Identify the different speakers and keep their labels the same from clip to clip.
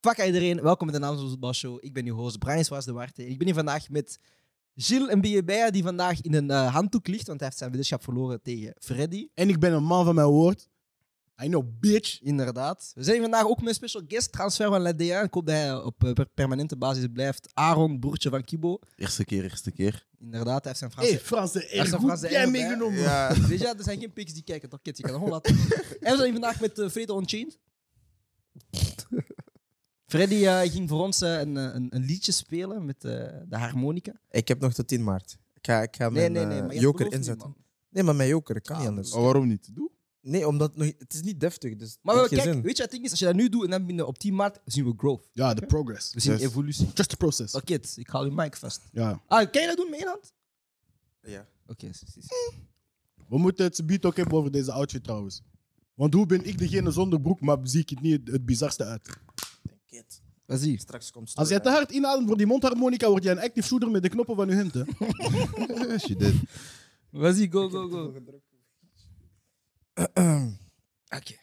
Speaker 1: Fuck iedereen, welkom bij de Naamloze Voetbalshow. Ik ben uw host Brian Swaas de Warte. En ik ben hier vandaag met Gilles en Biebea, die vandaag in een eh, handdoek ligt, want hij heeft zijn weddenschap verloren tegen Freddy.
Speaker 2: En ik ben een man van mijn woord. I know, bitch.
Speaker 1: Inderdaad. We zijn hier vandaag ook met een special guest transfer van La DA. Ik hoop dat hij op eh, per- permanente basis blijft. Aaron, broertje van Kibo.
Speaker 3: Eerste keer, eerste keer.
Speaker 1: Inderdaad, hij heeft zijn
Speaker 2: Hé,
Speaker 1: Franse...
Speaker 2: hey,
Speaker 1: is
Speaker 2: Frans de R.
Speaker 1: een
Speaker 2: Goed
Speaker 1: Frans de
Speaker 2: jij
Speaker 1: R,
Speaker 2: meegenomen.
Speaker 3: Ja.
Speaker 1: Weet je, er zijn geen piks die kijken, toch? Kid, je kan het gewoon laten. en we zijn hier vandaag met eh, Fredo Unchained. Freddy eh, ging voor ons eh, een, eh, een, een liedje spelen met eh, de harmonica.
Speaker 4: Ik heb nog tot 10 maart. Ik ga, ik ga
Speaker 1: Nee,
Speaker 4: mijn
Speaker 1: nee, nee.
Speaker 4: eh,
Speaker 1: Maar je
Speaker 4: joker
Speaker 1: belooft niet,
Speaker 4: inzetten.
Speaker 1: man.
Speaker 4: nee, maar mijn joker, ik kan
Speaker 1: Ah,
Speaker 4: niet anders.
Speaker 3: Oh, waarom niet? Doe.
Speaker 4: Nee, omdat nog, het is niet deftig, dus
Speaker 1: Maar
Speaker 4: het
Speaker 1: wel,
Speaker 4: heeft
Speaker 1: kijk,
Speaker 4: geen zin.
Speaker 1: weet je wat het ding is? Als je dat nu doet en dan binnen op 10 maart zien we growth.
Speaker 2: Ja, de progress.
Speaker 1: We zien
Speaker 3: Yes.
Speaker 1: evolutie.
Speaker 2: Just the process.
Speaker 1: Oké, kid, ik hou je mic vast.
Speaker 2: Ja.
Speaker 1: Ah, kan je dat doen met één hand?
Speaker 4: Ja.
Speaker 1: Oké, precies.
Speaker 2: We moeten het beat ook hebben over deze outfit trouwens. Want hoe ben ik degene zonder broek, maar zie ik het niet het, het bizarste uit.
Speaker 4: Kid,
Speaker 1: Wat zie je?
Speaker 4: straks komt
Speaker 2: Als jij te hard inademt voor die mondharmonica, word jij een active shooter met de knoppen van je hemd. hè.
Speaker 3: Yes, you did.
Speaker 1: Wat zie je? Go, go, go. Oké.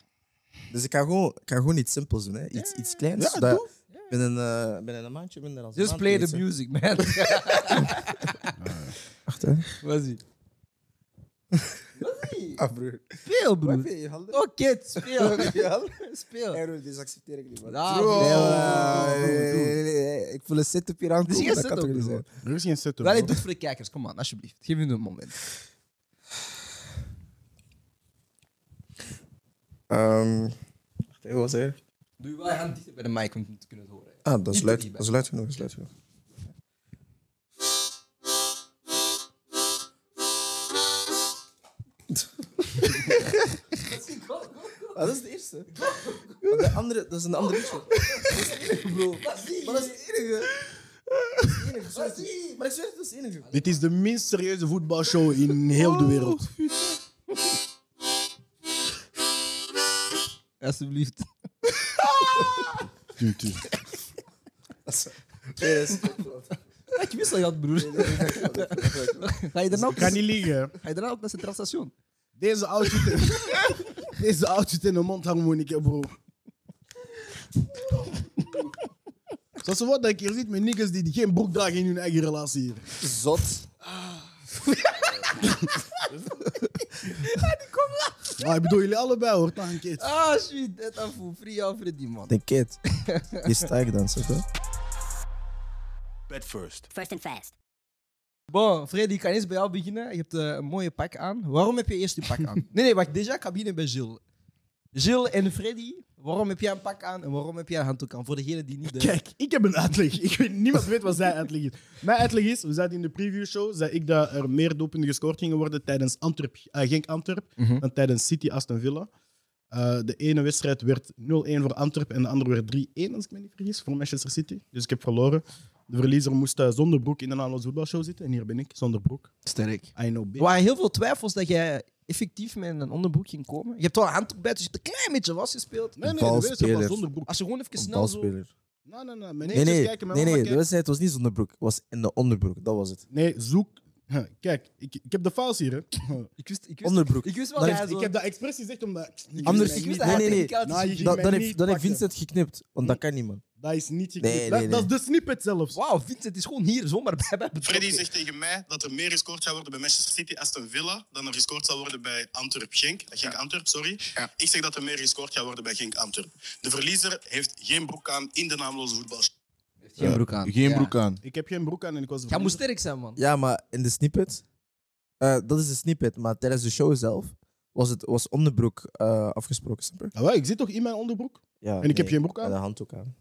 Speaker 4: Dus ik ga gewoon, ik ga gewoon iets simpels doen, hè. Iets, iets kleins.
Speaker 2: Ja,
Speaker 4: dat
Speaker 2: doe.
Speaker 4: binnen, eh, binnen een maandje minder dan een
Speaker 1: Just
Speaker 4: maand
Speaker 1: play
Speaker 4: is,
Speaker 1: the
Speaker 4: hè.
Speaker 1: music, man.
Speaker 4: Wacht, hè.
Speaker 1: Wat zie je? Wat zie je?
Speaker 4: Ah, broer.
Speaker 1: Speel,
Speaker 4: Wat
Speaker 1: broer.
Speaker 4: vind je handen?
Speaker 1: Oh, kid, speel.
Speaker 4: je handen?
Speaker 1: Speel.
Speaker 4: Error, deze accepteer ik niet, man.
Speaker 1: Ah,
Speaker 4: Nee,
Speaker 1: bro.
Speaker 4: maar, eh, nee, nee, nee, Ik voel een setup hier aankomen.
Speaker 1: Dit is geen
Speaker 4: dat kan
Speaker 1: setup,
Speaker 4: toch niet
Speaker 1: bro.
Speaker 4: zijn?
Speaker 2: Er is geen setup.
Speaker 1: Wel,
Speaker 2: bro.
Speaker 1: doe het voor de kijkers. Kom aan, alsjeblieft. Geef me een moment.
Speaker 4: Ehm, Wacht, hè, wat was hij?
Speaker 1: Doe je wel je hand dichter bij de mic om te kunnen het horen.
Speaker 4: Ah, dat is
Speaker 1: Niet
Speaker 4: luid,
Speaker 1: erbij.
Speaker 4: dat is luid genoeg, dat is luid genoeg. Ah, dat is de eerste. Maar De andere, dat is een andere liedje. Dat is het enige, bro. Maar dat is het enige. Dat is het enige. sorry. Maar ik zweer, dat is het enige.
Speaker 2: Dit is de minst serieuze voetbalshow in heel de wereld.
Speaker 1: Alsjeblieft.
Speaker 2: Tuut, tuut.
Speaker 4: Nee, dat is klopt.
Speaker 1: Ik wist dat je had, broer. Ga je daarna ook,
Speaker 2: Ga niet liggen. hè.
Speaker 1: ga je daarna ook naar Centraal Station?
Speaker 2: Deze outfit, deze outfit en een mondharmonica, bro. Zoals wat dat ik hier zit met niggas die geen broek dragen in hun eigen relatie. hier.
Speaker 4: Zot.
Speaker 2: Maar ik bedoel, jullie allebei hoor, dan een keer.
Speaker 1: Ah, shit. Dat afvoer. Free Alfred, die man.
Speaker 4: De kid. Die sta ik dan, zeg
Speaker 3: Bed first.
Speaker 5: First and fast.
Speaker 1: Bon, Freddy, ik kan eens bij jou beginnen. Je hebt eh, een mooie pak aan. Waarom heb je eerst je pak aan? Nee, nee, wacht. Déjà, ik ga beginnen bij Gilles. Gilles en Freddy, waarom heb jij een pak aan en waarom heb jij een handdoek aan? Voor degenen die niet...
Speaker 4: Eh,
Speaker 1: de
Speaker 2: Kijk, ik heb een uitleg. Ik weet, niemand weet wat zijn uitleg is. Mijn uitleg is, we zaten in de previewshow, zei ik dat er meer doelpunten gescoord gingen worden tijdens Antwerp, eh, Genk Antwerp
Speaker 1: Mhm.
Speaker 2: dan tijdens City Aston Villa. Eh, de ene wedstrijd werd 0-1 voor Antwerp en de andere werd 3-1, als ik me niet vergis, voor Manchester City. Dus ik heb verloren. De verliezer moest eh, zonder broek in de Nederlandse voetbalshow zitten. En hier ben ik, zonder broek.
Speaker 1: Sterk.
Speaker 2: I know, bitch.
Speaker 1: Er waren heel veel twijfels dat jij effectief met een onderbroek ging komen. Je hebt wel een handdoek bij, dus je hebt een klein beetje was gespeeld.
Speaker 2: Nee, nee, de
Speaker 4: Valspeler.
Speaker 2: wedstrijd was zonder broek. Ah,
Speaker 1: Als je gewoon even
Speaker 4: Een
Speaker 1: snel zo...
Speaker 4: balspeler.
Speaker 2: Nee, nee, nee. Mijn
Speaker 4: Nee,
Speaker 2: neefjes
Speaker 4: nee,
Speaker 2: kijken, mijn mama
Speaker 4: nee, nee de
Speaker 2: kijkt.
Speaker 4: wedstrijd was niet zonder broek. Het was in de onderbroek, dat was het.
Speaker 2: Nee, zoek. Huh, Kijk, ik, ik heb de files hier. Hè.
Speaker 1: Ik wist, ik wist,
Speaker 4: Onderbroek.
Speaker 1: ik wist wel
Speaker 4: Dan
Speaker 1: dat
Speaker 4: heeft-
Speaker 1: hij zo...
Speaker 2: Ik heb dat expres gezegd omdat...
Speaker 4: Anders-
Speaker 1: ik wist
Speaker 2: Ik wist
Speaker 1: dat
Speaker 4: nee,
Speaker 1: hij
Speaker 4: nee, nee.
Speaker 1: technicaal
Speaker 2: Nou,
Speaker 1: is.
Speaker 2: je ging
Speaker 4: Dan,
Speaker 2: mij
Speaker 4: dan,
Speaker 2: niet
Speaker 4: heeft, dan heeft
Speaker 2: pakken.
Speaker 4: Vincent geknipt, want dat kan niet, man.
Speaker 2: Dat is niet geknipt.
Speaker 4: Nee, nee,
Speaker 2: dat,
Speaker 4: nee.
Speaker 2: dat is de snippet zelfs.
Speaker 1: Wauw, Vincent is gewoon hier zomaar bij mij betrokken.
Speaker 6: Freddy zegt tegen mij dat er meer gescoord zou worden bij Manchester City Aston Villa dan er gescoord zal worden bij Antwerp Genk. Eh, Genk Antwerp, sorry. Ik zeg dat er meer gescoord gaat worden bij Genk Antwerp. De verliezer heeft geen broek aan in de naamloze voetbal.
Speaker 1: Geen broek aan.
Speaker 3: Geen
Speaker 1: Ja.
Speaker 3: broek aan.
Speaker 2: Ik heb geen broek aan en ik was...
Speaker 1: Jij moet sterk zijn, man.
Speaker 4: Ja, maar in de snippet, eh, dat is de snippet, maar tijdens de show zelf was, het, was onderbroek eh, afgesproken, snap je?
Speaker 2: Ah, wel, ik zit toch in mijn onderbroek?
Speaker 4: Ja,
Speaker 2: En ik heb geen broek aan?
Speaker 4: De handdoek aan.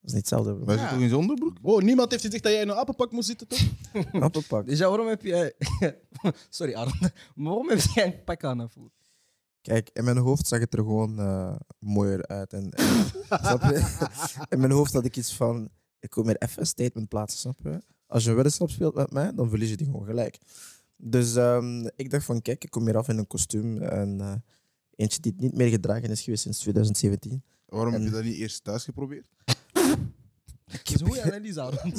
Speaker 4: Dat is niet hetzelfde, bro.
Speaker 3: Wij
Speaker 1: Ja.
Speaker 3: zitten toch in zijn onderbroek?
Speaker 2: Oh, niemand heeft gezegd dat jij in een appenpak moest zitten, toch?
Speaker 4: Handdoekpak.
Speaker 1: Dus ja, waarom heb je... Sorry, Aaron. Maar waarom heb jij een pak aan, afvoer?
Speaker 4: Kijk, in mijn hoofd zag het er gewoon eh, mooier uit. En, en- snap je? In mijn hoofd had ik iets van, ik kom hier even een statement plaatsen, snap je? Als je een weddenschap speelt met mij, dan verlies je die gewoon gelijk. Dus ehm, ik dacht van, kijk, ik kom hier af in een kostuum. En eh, eentje die niet meer gedragen is geweest sinds 2017.
Speaker 3: Waarom heb
Speaker 4: En-
Speaker 3: je dat niet eerst thuis geprobeerd?
Speaker 1: Dat is een goede analyse, Aaron.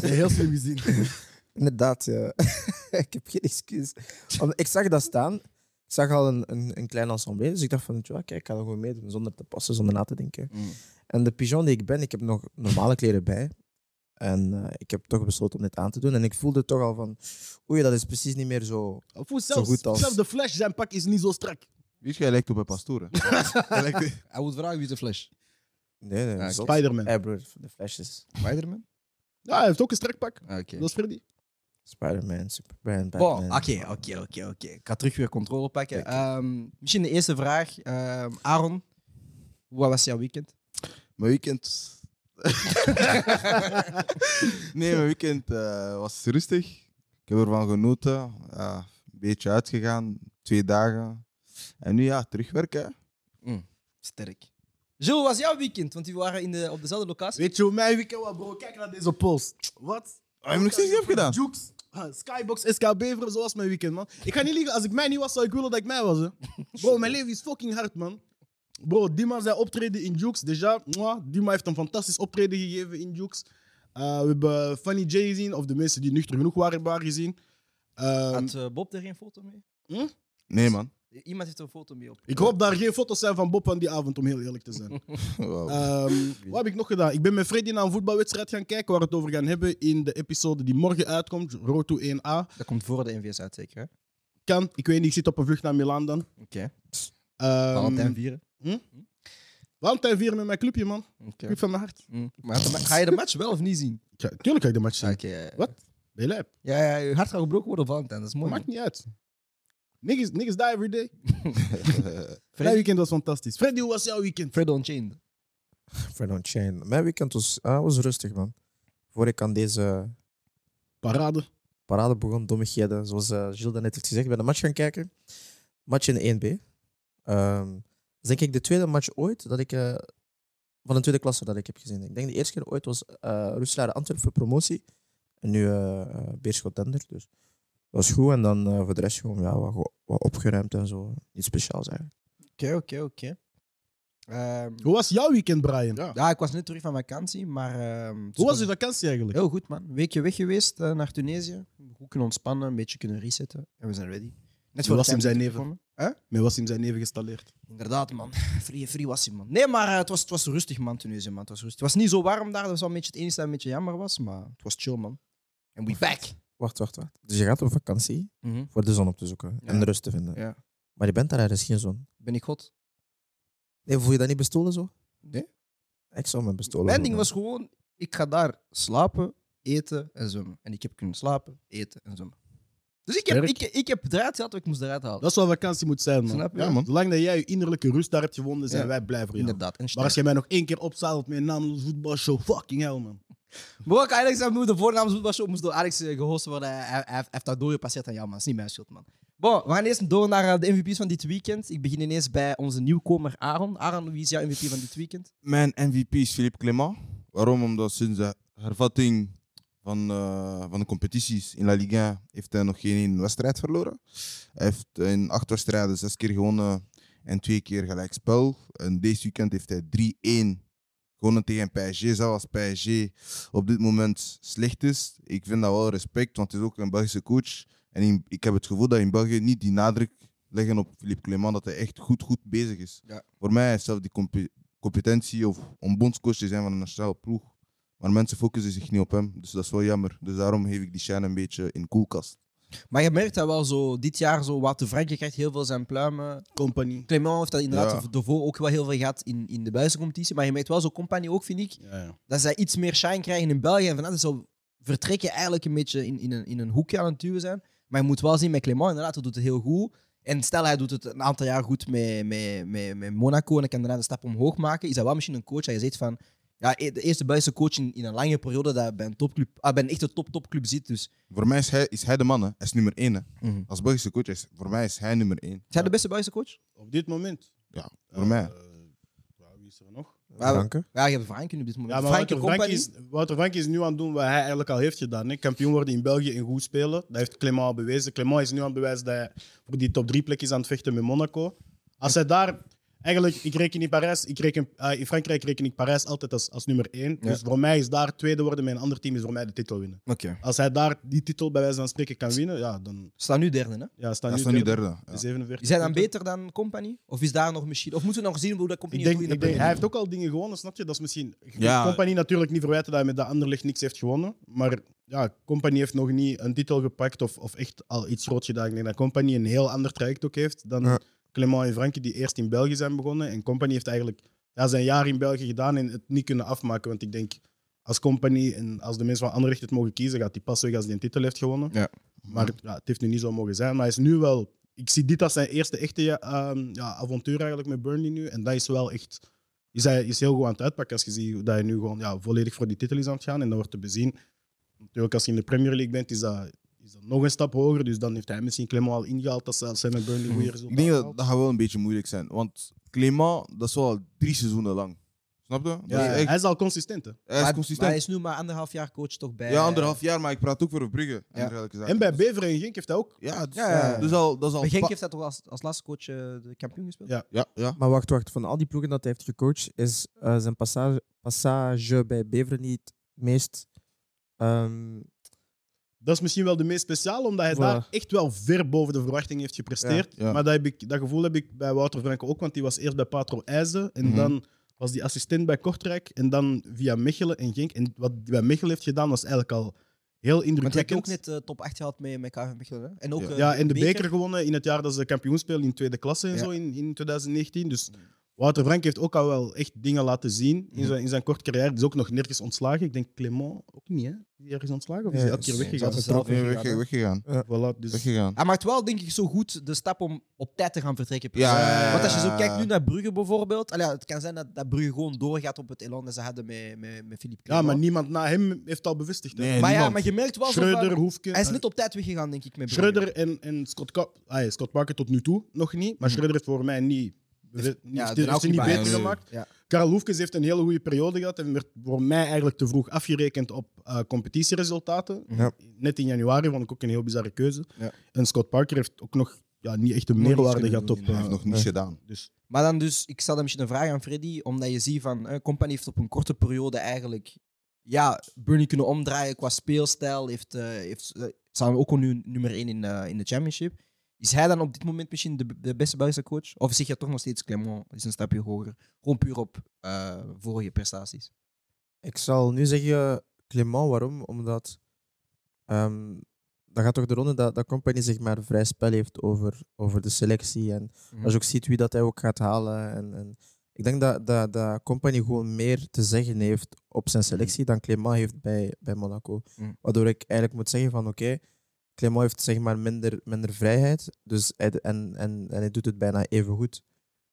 Speaker 2: Heel slim gezien.
Speaker 4: Inderdaad, ja. ik heb geen excuus. Om- Ik zag dat staan. Ik zag al een, een, een klein ensemble, dus ik dacht van, ja, kijk, ik ga er gewoon meedoen zonder te passen, zonder na te denken.
Speaker 3: Mm.
Speaker 4: En de pigeon die ik ben, ik heb nog normale kleren bij. En eh, ik heb toch besloten om dit aan te doen. En ik voelde toch al van, oei, dat is precies niet meer zo.
Speaker 2: Of hoe zelfs,
Speaker 4: goed als-
Speaker 2: zelfs de flash, zijn pak is niet zo strak.
Speaker 3: Weet je, hij lijkt op een pastoor. hè. Hij lijkt-
Speaker 1: Hij moet vragen wie is de Flash.
Speaker 4: Nee, nee,
Speaker 1: Ah,
Speaker 4: zot.
Speaker 2: Spider-Man.
Speaker 4: Hey, broer, de Flash is
Speaker 1: Spider-Man?
Speaker 2: Ja, hij heeft ook een strak pak.
Speaker 1: Ah, Oké.
Speaker 2: Dat is Freddy.
Speaker 4: Spider-Man, Superman,
Speaker 1: Bon,
Speaker 4: Batman.
Speaker 1: Oké, oké, oké, oké. Ik ga terug weer controle pakken. Ehm, misschien de eerste vraag. Ehm, Aaron, wat was jouw weekend?
Speaker 3: Mijn weekend. nee, mijn weekend eh, was rustig. Ik heb ervan genoten. Ja, een beetje uitgegaan, twee dagen. En nu ja, terugwerken. hè.
Speaker 1: Sterk. Jules, wat was jouw weekend? Want die waren in de, op dezelfde locatie.
Speaker 2: Weet je hoe mijn weekend was, bro? Kijk naar deze post. Wat?
Speaker 3: Oh, heb je nog steeds niet gedaan?
Speaker 2: Jukes, ah, Skybox, SKB, bro, zo was mijn weekend, man. Ik ga niet liegen, als ik mij niet was, zou ik willen dat ik mij was, hè. Bro, mijn leven is fucking hard, man. Bro, die man zijn optreden in Jukes, déjà. Mwah, die man heeft een fantastisch optreden gegeven in Jukes. Eh, we hebben Funny J gezien, of de mensen die nuchter genoeg waren, hebben haar gezien. Ehm,
Speaker 1: Had eh, Bob er geen foto mee?
Speaker 3: Nee, man.
Speaker 1: Iemand heeft een foto mee op.
Speaker 2: ik hoop daar geen foto's zijn van Bob van die avond, om heel eerlijk te zijn.
Speaker 3: Wauw.
Speaker 2: Ehm, wat heb ik nog gedaan? Ik ben met Freddy naar een voetbalwedstrijd gaan kijken waar we het over gaan hebben in de episode die morgen uitkomt, Road to 1A.
Speaker 1: Dat komt voor de NVS uit, zeker? hè?
Speaker 2: Ehm, Kan, ik weet niet, ik zit op een vlucht naar Milaan dan.
Speaker 1: Oké.
Speaker 2: Ehm,
Speaker 1: Valentijn vieren.
Speaker 2: Valentijn vieren met mijn clubje, man.
Speaker 1: Oké.
Speaker 2: Club van mijn hart.
Speaker 1: Mm. Maar de ma- ga je de match wel of niet zien?
Speaker 2: Ja, tuurlijk ga ik de match zien.
Speaker 1: Oké, ja, ja.
Speaker 2: Wat? Ben je lijp?
Speaker 1: Ja, ja, je hart gaat gebroken worden op Valentijn. Dat is mooi.
Speaker 2: Maakt niet uit. Niggas, niggas die every day.
Speaker 1: Freddy?
Speaker 2: Mijn weekend was fantastisch. Freddy, hoe was jouw weekend?
Speaker 1: Fred Unchained.
Speaker 4: Fred on Chain. Mijn weekend was, ah, was rustig, man. Voor ik aan deze
Speaker 2: Parade.
Speaker 4: parade begon, dommigheden, zoals eh Gilles daarnet heeft gezegd, ik ben een match gaan kijken. Match in de 1B. Ehm, dat is denk ik de tweede match ooit dat ik, eh, van een tweede klasse dat ik heb gezien. Ik denk de eerste keer ooit was eh Roeselaar Antwerpen voor promotie. En nu eh eh, Beerschot Dender. Dus dat is goed. En dan eh, voor de rest gewoon ja, wat, wat opgeruimd en zo. Niets speciaals eigenlijk.
Speaker 1: Oké, oké, oké. Ehm,
Speaker 2: Hoe was jouw weekend, Brian?
Speaker 1: Ja, ik was net terug van vakantie, maar... ehm,
Speaker 2: Hoe was je vakantie eigenlijk?
Speaker 1: Heel goed, man. Een weekje weg geweest eh, naar Tunesië. Goed kunnen ontspannen, een beetje kunnen resetten. En we zijn ready. Net
Speaker 2: was hem
Speaker 1: Champions
Speaker 2: zijn
Speaker 1: League
Speaker 2: neven.
Speaker 1: begonnen.
Speaker 2: Mij was in zijn neven gestalleerd.
Speaker 1: Inderdaad, man. Free, free was hij, man. Nee, maar eh, het, was, het was rustig, man, Tunesië, man. Het was, rustig. het was niet zo warm daar. Dat was wel een beetje het enige dat een beetje jammer was. Maar het was chill, man. En we back.
Speaker 4: Wacht, wacht, wacht. Dus je gaat op vakantie
Speaker 1: Mhm.
Speaker 4: voor de zon op te zoeken
Speaker 1: Ja.
Speaker 4: en de rust te vinden.
Speaker 1: Ja.
Speaker 4: Maar je bent daar, er is geen zon.
Speaker 1: Ben ik god?
Speaker 4: Nee, voel je dat niet bestolen zo?
Speaker 1: Nee.
Speaker 4: Ik zou me bestolen
Speaker 1: Mijn ding
Speaker 4: voelen.
Speaker 1: was gewoon, ik ga daar slapen, eten en zwemmen. En ik heb kunnen slapen, eten en zwemmen. Dus ik heb, ik,
Speaker 2: Sterk.
Speaker 1: ik heb eruit gehad wat ik moest eruit halen.
Speaker 2: Dat is wat vakantie moet zijn, man.
Speaker 1: Snap je?
Speaker 2: Ja, man. Zolang dat jij je innerlijke rust daar hebt gevonden, zijn
Speaker 1: Ja.
Speaker 2: wij blij voor jou.
Speaker 1: Inderdaad. En
Speaker 2: Maar als jij mij nog één keer opzadelt met een naamloze voetbalshow, fucking hell, man.
Speaker 1: Maar ook Alex, dat moet- de voornaam was moest door Alex eh, gehost worden. Hij, hij- hij heeft dat doorgepasseerd aan jou, man. Dat is niet mijn schuld, man. Bon, we gaan eerst door naar eh, de MVP's van dit weekend. Ik begin ineens bij onze nieuwkomer Aaron. Aaron, wie is jouw MVP van dit weekend?
Speaker 3: Mijn MVP is Philippe Clément. Waarom? Omdat sinds de hervatting van, eh, van de competities in La Liga heeft hij nog geen één wedstrijd verloren. Hij heeft in acht wedstrijden zes keer gewonnen en twee keer gelijkspel. En deze weekend heeft hij 3-1 gewonnen tegen PSG. Zelfs als PSG op dit moment slecht is. Ik vind dat wel respect, want het is ook een Belgische coach. En in- ik heb het gevoel dat in België niet die nadruk leggen op Philippe Clément dat hij echt goed, goed bezig is.
Speaker 1: Ja.
Speaker 3: Voor mij heeft zelf die compe- competentie of om bondscoach te zijn van een nationale ploeg. Maar mensen focussen zich niet op hem, dus dat is wel jammer. Dus daarom geef ik die shine een beetje in koelkast.
Speaker 1: Maar je merkt dat wel zo, dit jaar zo, wat de Frankrijk krijgt heel veel zijn pluimen.
Speaker 2: Compagnie.
Speaker 1: Clement heeft dat inderdaad
Speaker 3: Ja.
Speaker 1: daarvoor ook wel heel veel gehad in, in de Belgische competitie. Maar je merkt wel zo, Compagnie ook, vind ik,
Speaker 2: Ja, ja.
Speaker 1: dat zij iets meer shine krijgen in België. En vanuit zo vertrekken eigenlijk een beetje in, in, een, in een hoekje aan het duwen zijn. Maar je moet wel zien met Clement, inderdaad, hij doet het heel goed. En stel, hij doet het een aantal jaar goed met, met, met, met Monaco en hij kan daarna de stap omhoog maken. Is dat wel misschien een coach dat je zegt van... Ja, e- de eerste Belgische coach in, in een lange periode dat bij een, topclub, ah, bij een echte top-topclub zit. Dus
Speaker 3: Voor mij is hij, is hij de man, hè. hij is nummer één. Hè.
Speaker 1: Mhm.
Speaker 3: Als Belgische coach, is, voor mij is hij nummer één.
Speaker 1: is hij de beste Belgische coach?
Speaker 2: Op dit moment.
Speaker 3: Ja, voor
Speaker 2: Eh,
Speaker 3: mij.
Speaker 2: eh, ja, wie is er nog?
Speaker 4: Dank u.
Speaker 1: Ja, je hebt Franken op dit moment.
Speaker 2: Ja, maar
Speaker 1: Franken
Speaker 2: Wouter Frank,
Speaker 1: Company.
Speaker 2: is, Wouter Frank is nu aan het doen wat hij eigenlijk al heeft gedaan. Hè. Kampioen worden in België en goed spelen. Dat heeft Clement al bewezen. Clement is nu aan het bewijzen dat hij voor die top 3 plek is aan het vechten met Monaco. Als hij daar... Eigenlijk, ik reken in Parijs, ik reken, eh, in Frankrijk reken ik Parijs altijd als, als nummer één.
Speaker 1: Ja.
Speaker 2: Dus voor mij is daar tweede worden, mijn ander team is voor mij de titel winnen.
Speaker 1: Oké.
Speaker 2: Als hij daar die titel bij wijze van spreken kan winnen, ja, dan
Speaker 1: Staan nu derde, hè?
Speaker 2: ja, staan
Speaker 3: Dat
Speaker 2: nu,
Speaker 3: is dan nu
Speaker 2: derde.
Speaker 3: derde. Ja.
Speaker 2: 47
Speaker 1: Is hij dan
Speaker 2: punten.
Speaker 1: beter dan Company? Of is daar nog misschien... Of moeten we nog zien hoe dat Company
Speaker 2: Ik
Speaker 1: het
Speaker 2: denk,
Speaker 1: doet in
Speaker 2: ik
Speaker 1: de
Speaker 2: denk, hij
Speaker 1: play-in?
Speaker 2: heeft ook al dingen gewonnen, snap je? Dat is misschien.
Speaker 3: Ja.
Speaker 2: Compagnie natuurlijk niet verwijten dat hij met dat Anderlecht niks heeft gewonnen. Maar ja, Compagnie heeft nog niet een titel gepakt of, of echt al iets groot gedaan. Ik denk dat Compagnie een heel ander traject ook heeft dan
Speaker 4: Ja.
Speaker 2: Clement en Frankie, die eerst in België zijn begonnen. En Compagnie heeft eigenlijk ja, zijn jaar in België gedaan en het niet kunnen afmaken. Want ik denk, als Compagnie en als de mensen van Anderlecht het mogen kiezen, gaat hij pas weg als hij een titel heeft gewonnen.
Speaker 3: Ja.
Speaker 2: Maar ja, het heeft nu niet zo mogen zijn. Maar hij is nu wel ik zie dit als zijn eerste echte ja, ehm, ja, avontuur eigenlijk met Burnley nu. En dat is wel echt. Is hij is heel goed aan het uitpakken als je ziet hoe dat hij nu gewoon ja, volledig voor die titel is aan het gaan. En dat wordt te bezien. Natuurlijk, als je in de Premier League bent, is dat, is dat nog een stap hoger. Dus dan heeft hij misschien Clement al ingehaald als, als hij met Burnley weer resultaat
Speaker 3: Ik denk dat
Speaker 2: haalt.
Speaker 3: dat gaat wel een beetje moeilijk zijn. Want Clément, dat is wel drie seizoenen lang. Snap je? Dat
Speaker 2: Ja,
Speaker 3: is echt-
Speaker 2: hij is al consistent. Hè.
Speaker 3: hij is
Speaker 1: Maar- Maar
Speaker 3: consistent.
Speaker 1: hij is nu maar anderhalf jaar coach toch bij... eh,
Speaker 3: ja, anderhalf jaar, maar ik praat ook voor Brugge.
Speaker 1: Ja.
Speaker 3: eerlijk gezegd.
Speaker 2: En bij Beveren en Genk heeft hij ook.
Speaker 3: Dus- Ja, dus,
Speaker 1: Ja, ja, ja.
Speaker 3: dus al, dat is al...
Speaker 1: Maar Genk
Speaker 3: pa-
Speaker 1: heeft dat toch als, als laatste coach eh, de kampioen gespeeld?
Speaker 2: Ja.
Speaker 3: Ja, ja.
Speaker 4: Maar wacht, wacht. Van al die ploegen dat hij heeft gecoacht, is eh, zijn passage, passage bij Beveren niet het meest... ehm,
Speaker 2: Dat is misschien wel de meest speciale, omdat hij
Speaker 4: Voilà.
Speaker 2: daar echt wel ver boven de verwachting heeft gepresteerd.
Speaker 3: Ja, ja.
Speaker 2: Maar dat, heb ik, dat gevoel heb ik bij Wouter Franke ook, want die was eerst bij Patro IJzen en
Speaker 3: Mhm.
Speaker 2: dan was die assistent bij Kortrijk en dan via Mechelen en Genk. En wat hij bij Mechelen heeft gedaan was eigenlijk al heel
Speaker 1: Want hij heeft ook
Speaker 2: indrukwekkend.
Speaker 1: net eh, top 8 gehad met, met KV Mechelen. hè? En ook
Speaker 3: Ja.
Speaker 1: eh,
Speaker 2: Ja, en de beker gewonnen in het jaar dat ze kampioen spelen in tweede klasse en
Speaker 1: Ja.
Speaker 2: zo in, in 2019. Dus Wouter Frank heeft ook al wel echt dingen laten zien in
Speaker 3: Mhm.
Speaker 2: zijn, in zijn korte carrière. Die is ook nog nergens ontslagen. Ik denk Clement ook niet, hè? Die ergens ontslagen of is
Speaker 4: Ja,
Speaker 2: hij elke keer
Speaker 4: is-
Speaker 2: weggegaan?
Speaker 1: is-
Speaker 2: Getrokken.
Speaker 3: Nee,
Speaker 1: Weggegaan, hè?
Speaker 3: wegge- weggegaan.
Speaker 2: Voilà, dus...
Speaker 3: Weggegaan.
Speaker 1: Hij maakt wel, denk ik, zo goed de stap om op tijd te gaan vertrekken.
Speaker 3: Ja, ja, ja, ja.
Speaker 1: Want als je zo kijkt nu naar Brugge bijvoorbeeld. allee, ja, het kan zijn dat, dat Brugge gewoon doorgaat op het elan dat ze hadden met, met, met Philippe
Speaker 2: Ja,
Speaker 1: Clément.
Speaker 2: maar niemand na hem heeft al bevestigd. hè.
Speaker 3: Nee,
Speaker 1: maar, ja,
Speaker 3: niemand.
Speaker 1: maar je merkt wel zo van-
Speaker 2: Schreuder, Hoefke.
Speaker 1: Hij is
Speaker 2: eh,
Speaker 1: net op tijd weggegaan, denk ik, met ah, Brugge.
Speaker 2: Schreuder en, en Scott, Ka- ah, ja, Scott Parker tot nu toe nog niet. Maar Schreuder heeft voor mij niet, bewe- niet,
Speaker 1: ja,
Speaker 2: heeft
Speaker 1: daarna ook
Speaker 2: hij
Speaker 1: niet
Speaker 2: niet
Speaker 1: bij.
Speaker 2: beter
Speaker 3: Nee.
Speaker 2: gemaakt.
Speaker 1: Ja.
Speaker 2: Karel Hoefkes heeft een hele goede periode gehad. En werd voor mij eigenlijk te vroeg afgerekend op eh, competitieresultaten.
Speaker 4: Ja.
Speaker 2: Net in januari vond ik ook een heel bizarre keuze.
Speaker 1: Ja.
Speaker 2: En Scott Parker heeft ook nog ja, niet echt een
Speaker 1: niets
Speaker 2: meerwaarde
Speaker 1: kunnen
Speaker 2: gehad
Speaker 1: doen,
Speaker 2: op...
Speaker 3: Hij heeft
Speaker 2: eh,
Speaker 3: nog niets
Speaker 4: nee.
Speaker 3: gedaan.
Speaker 2: dus.
Speaker 1: Maar dan dus, ik stel dan misschien een vraag aan Freddy, omdat je ziet van, eh, Company heeft op een korte periode eigenlijk, ja, Burnley kunnen omdraaien qua speelstijl, heeft, eh heeft eh, staan ook al nu nummer 1 in, eh, in de championship. Is hij dan op dit moment misschien de, de beste Belgische coach? Of zeg je toch nog steeds Clement is een stapje hoger? Gewoon puur op eh, vorige prestaties.
Speaker 4: Ik zal nu zeggen Clement, waarom? Omdat ehm dan gaat toch de ronde dat, dat Company zich maar vrij spel heeft over, over de selectie. En
Speaker 1: Mhm.
Speaker 4: als je ook ziet wie dat hij ook gaat halen. En, en ik denk dat, dat, dat Company gewoon meer te zeggen heeft op zijn selectie dan Clement heeft bij, bij Monaco.
Speaker 1: Mhm.
Speaker 4: Waardoor ik eigenlijk moet zeggen van oké, Clement heeft zeg maar minder, minder vrijheid. Dus hij, en, en, en hij doet het bijna even goed.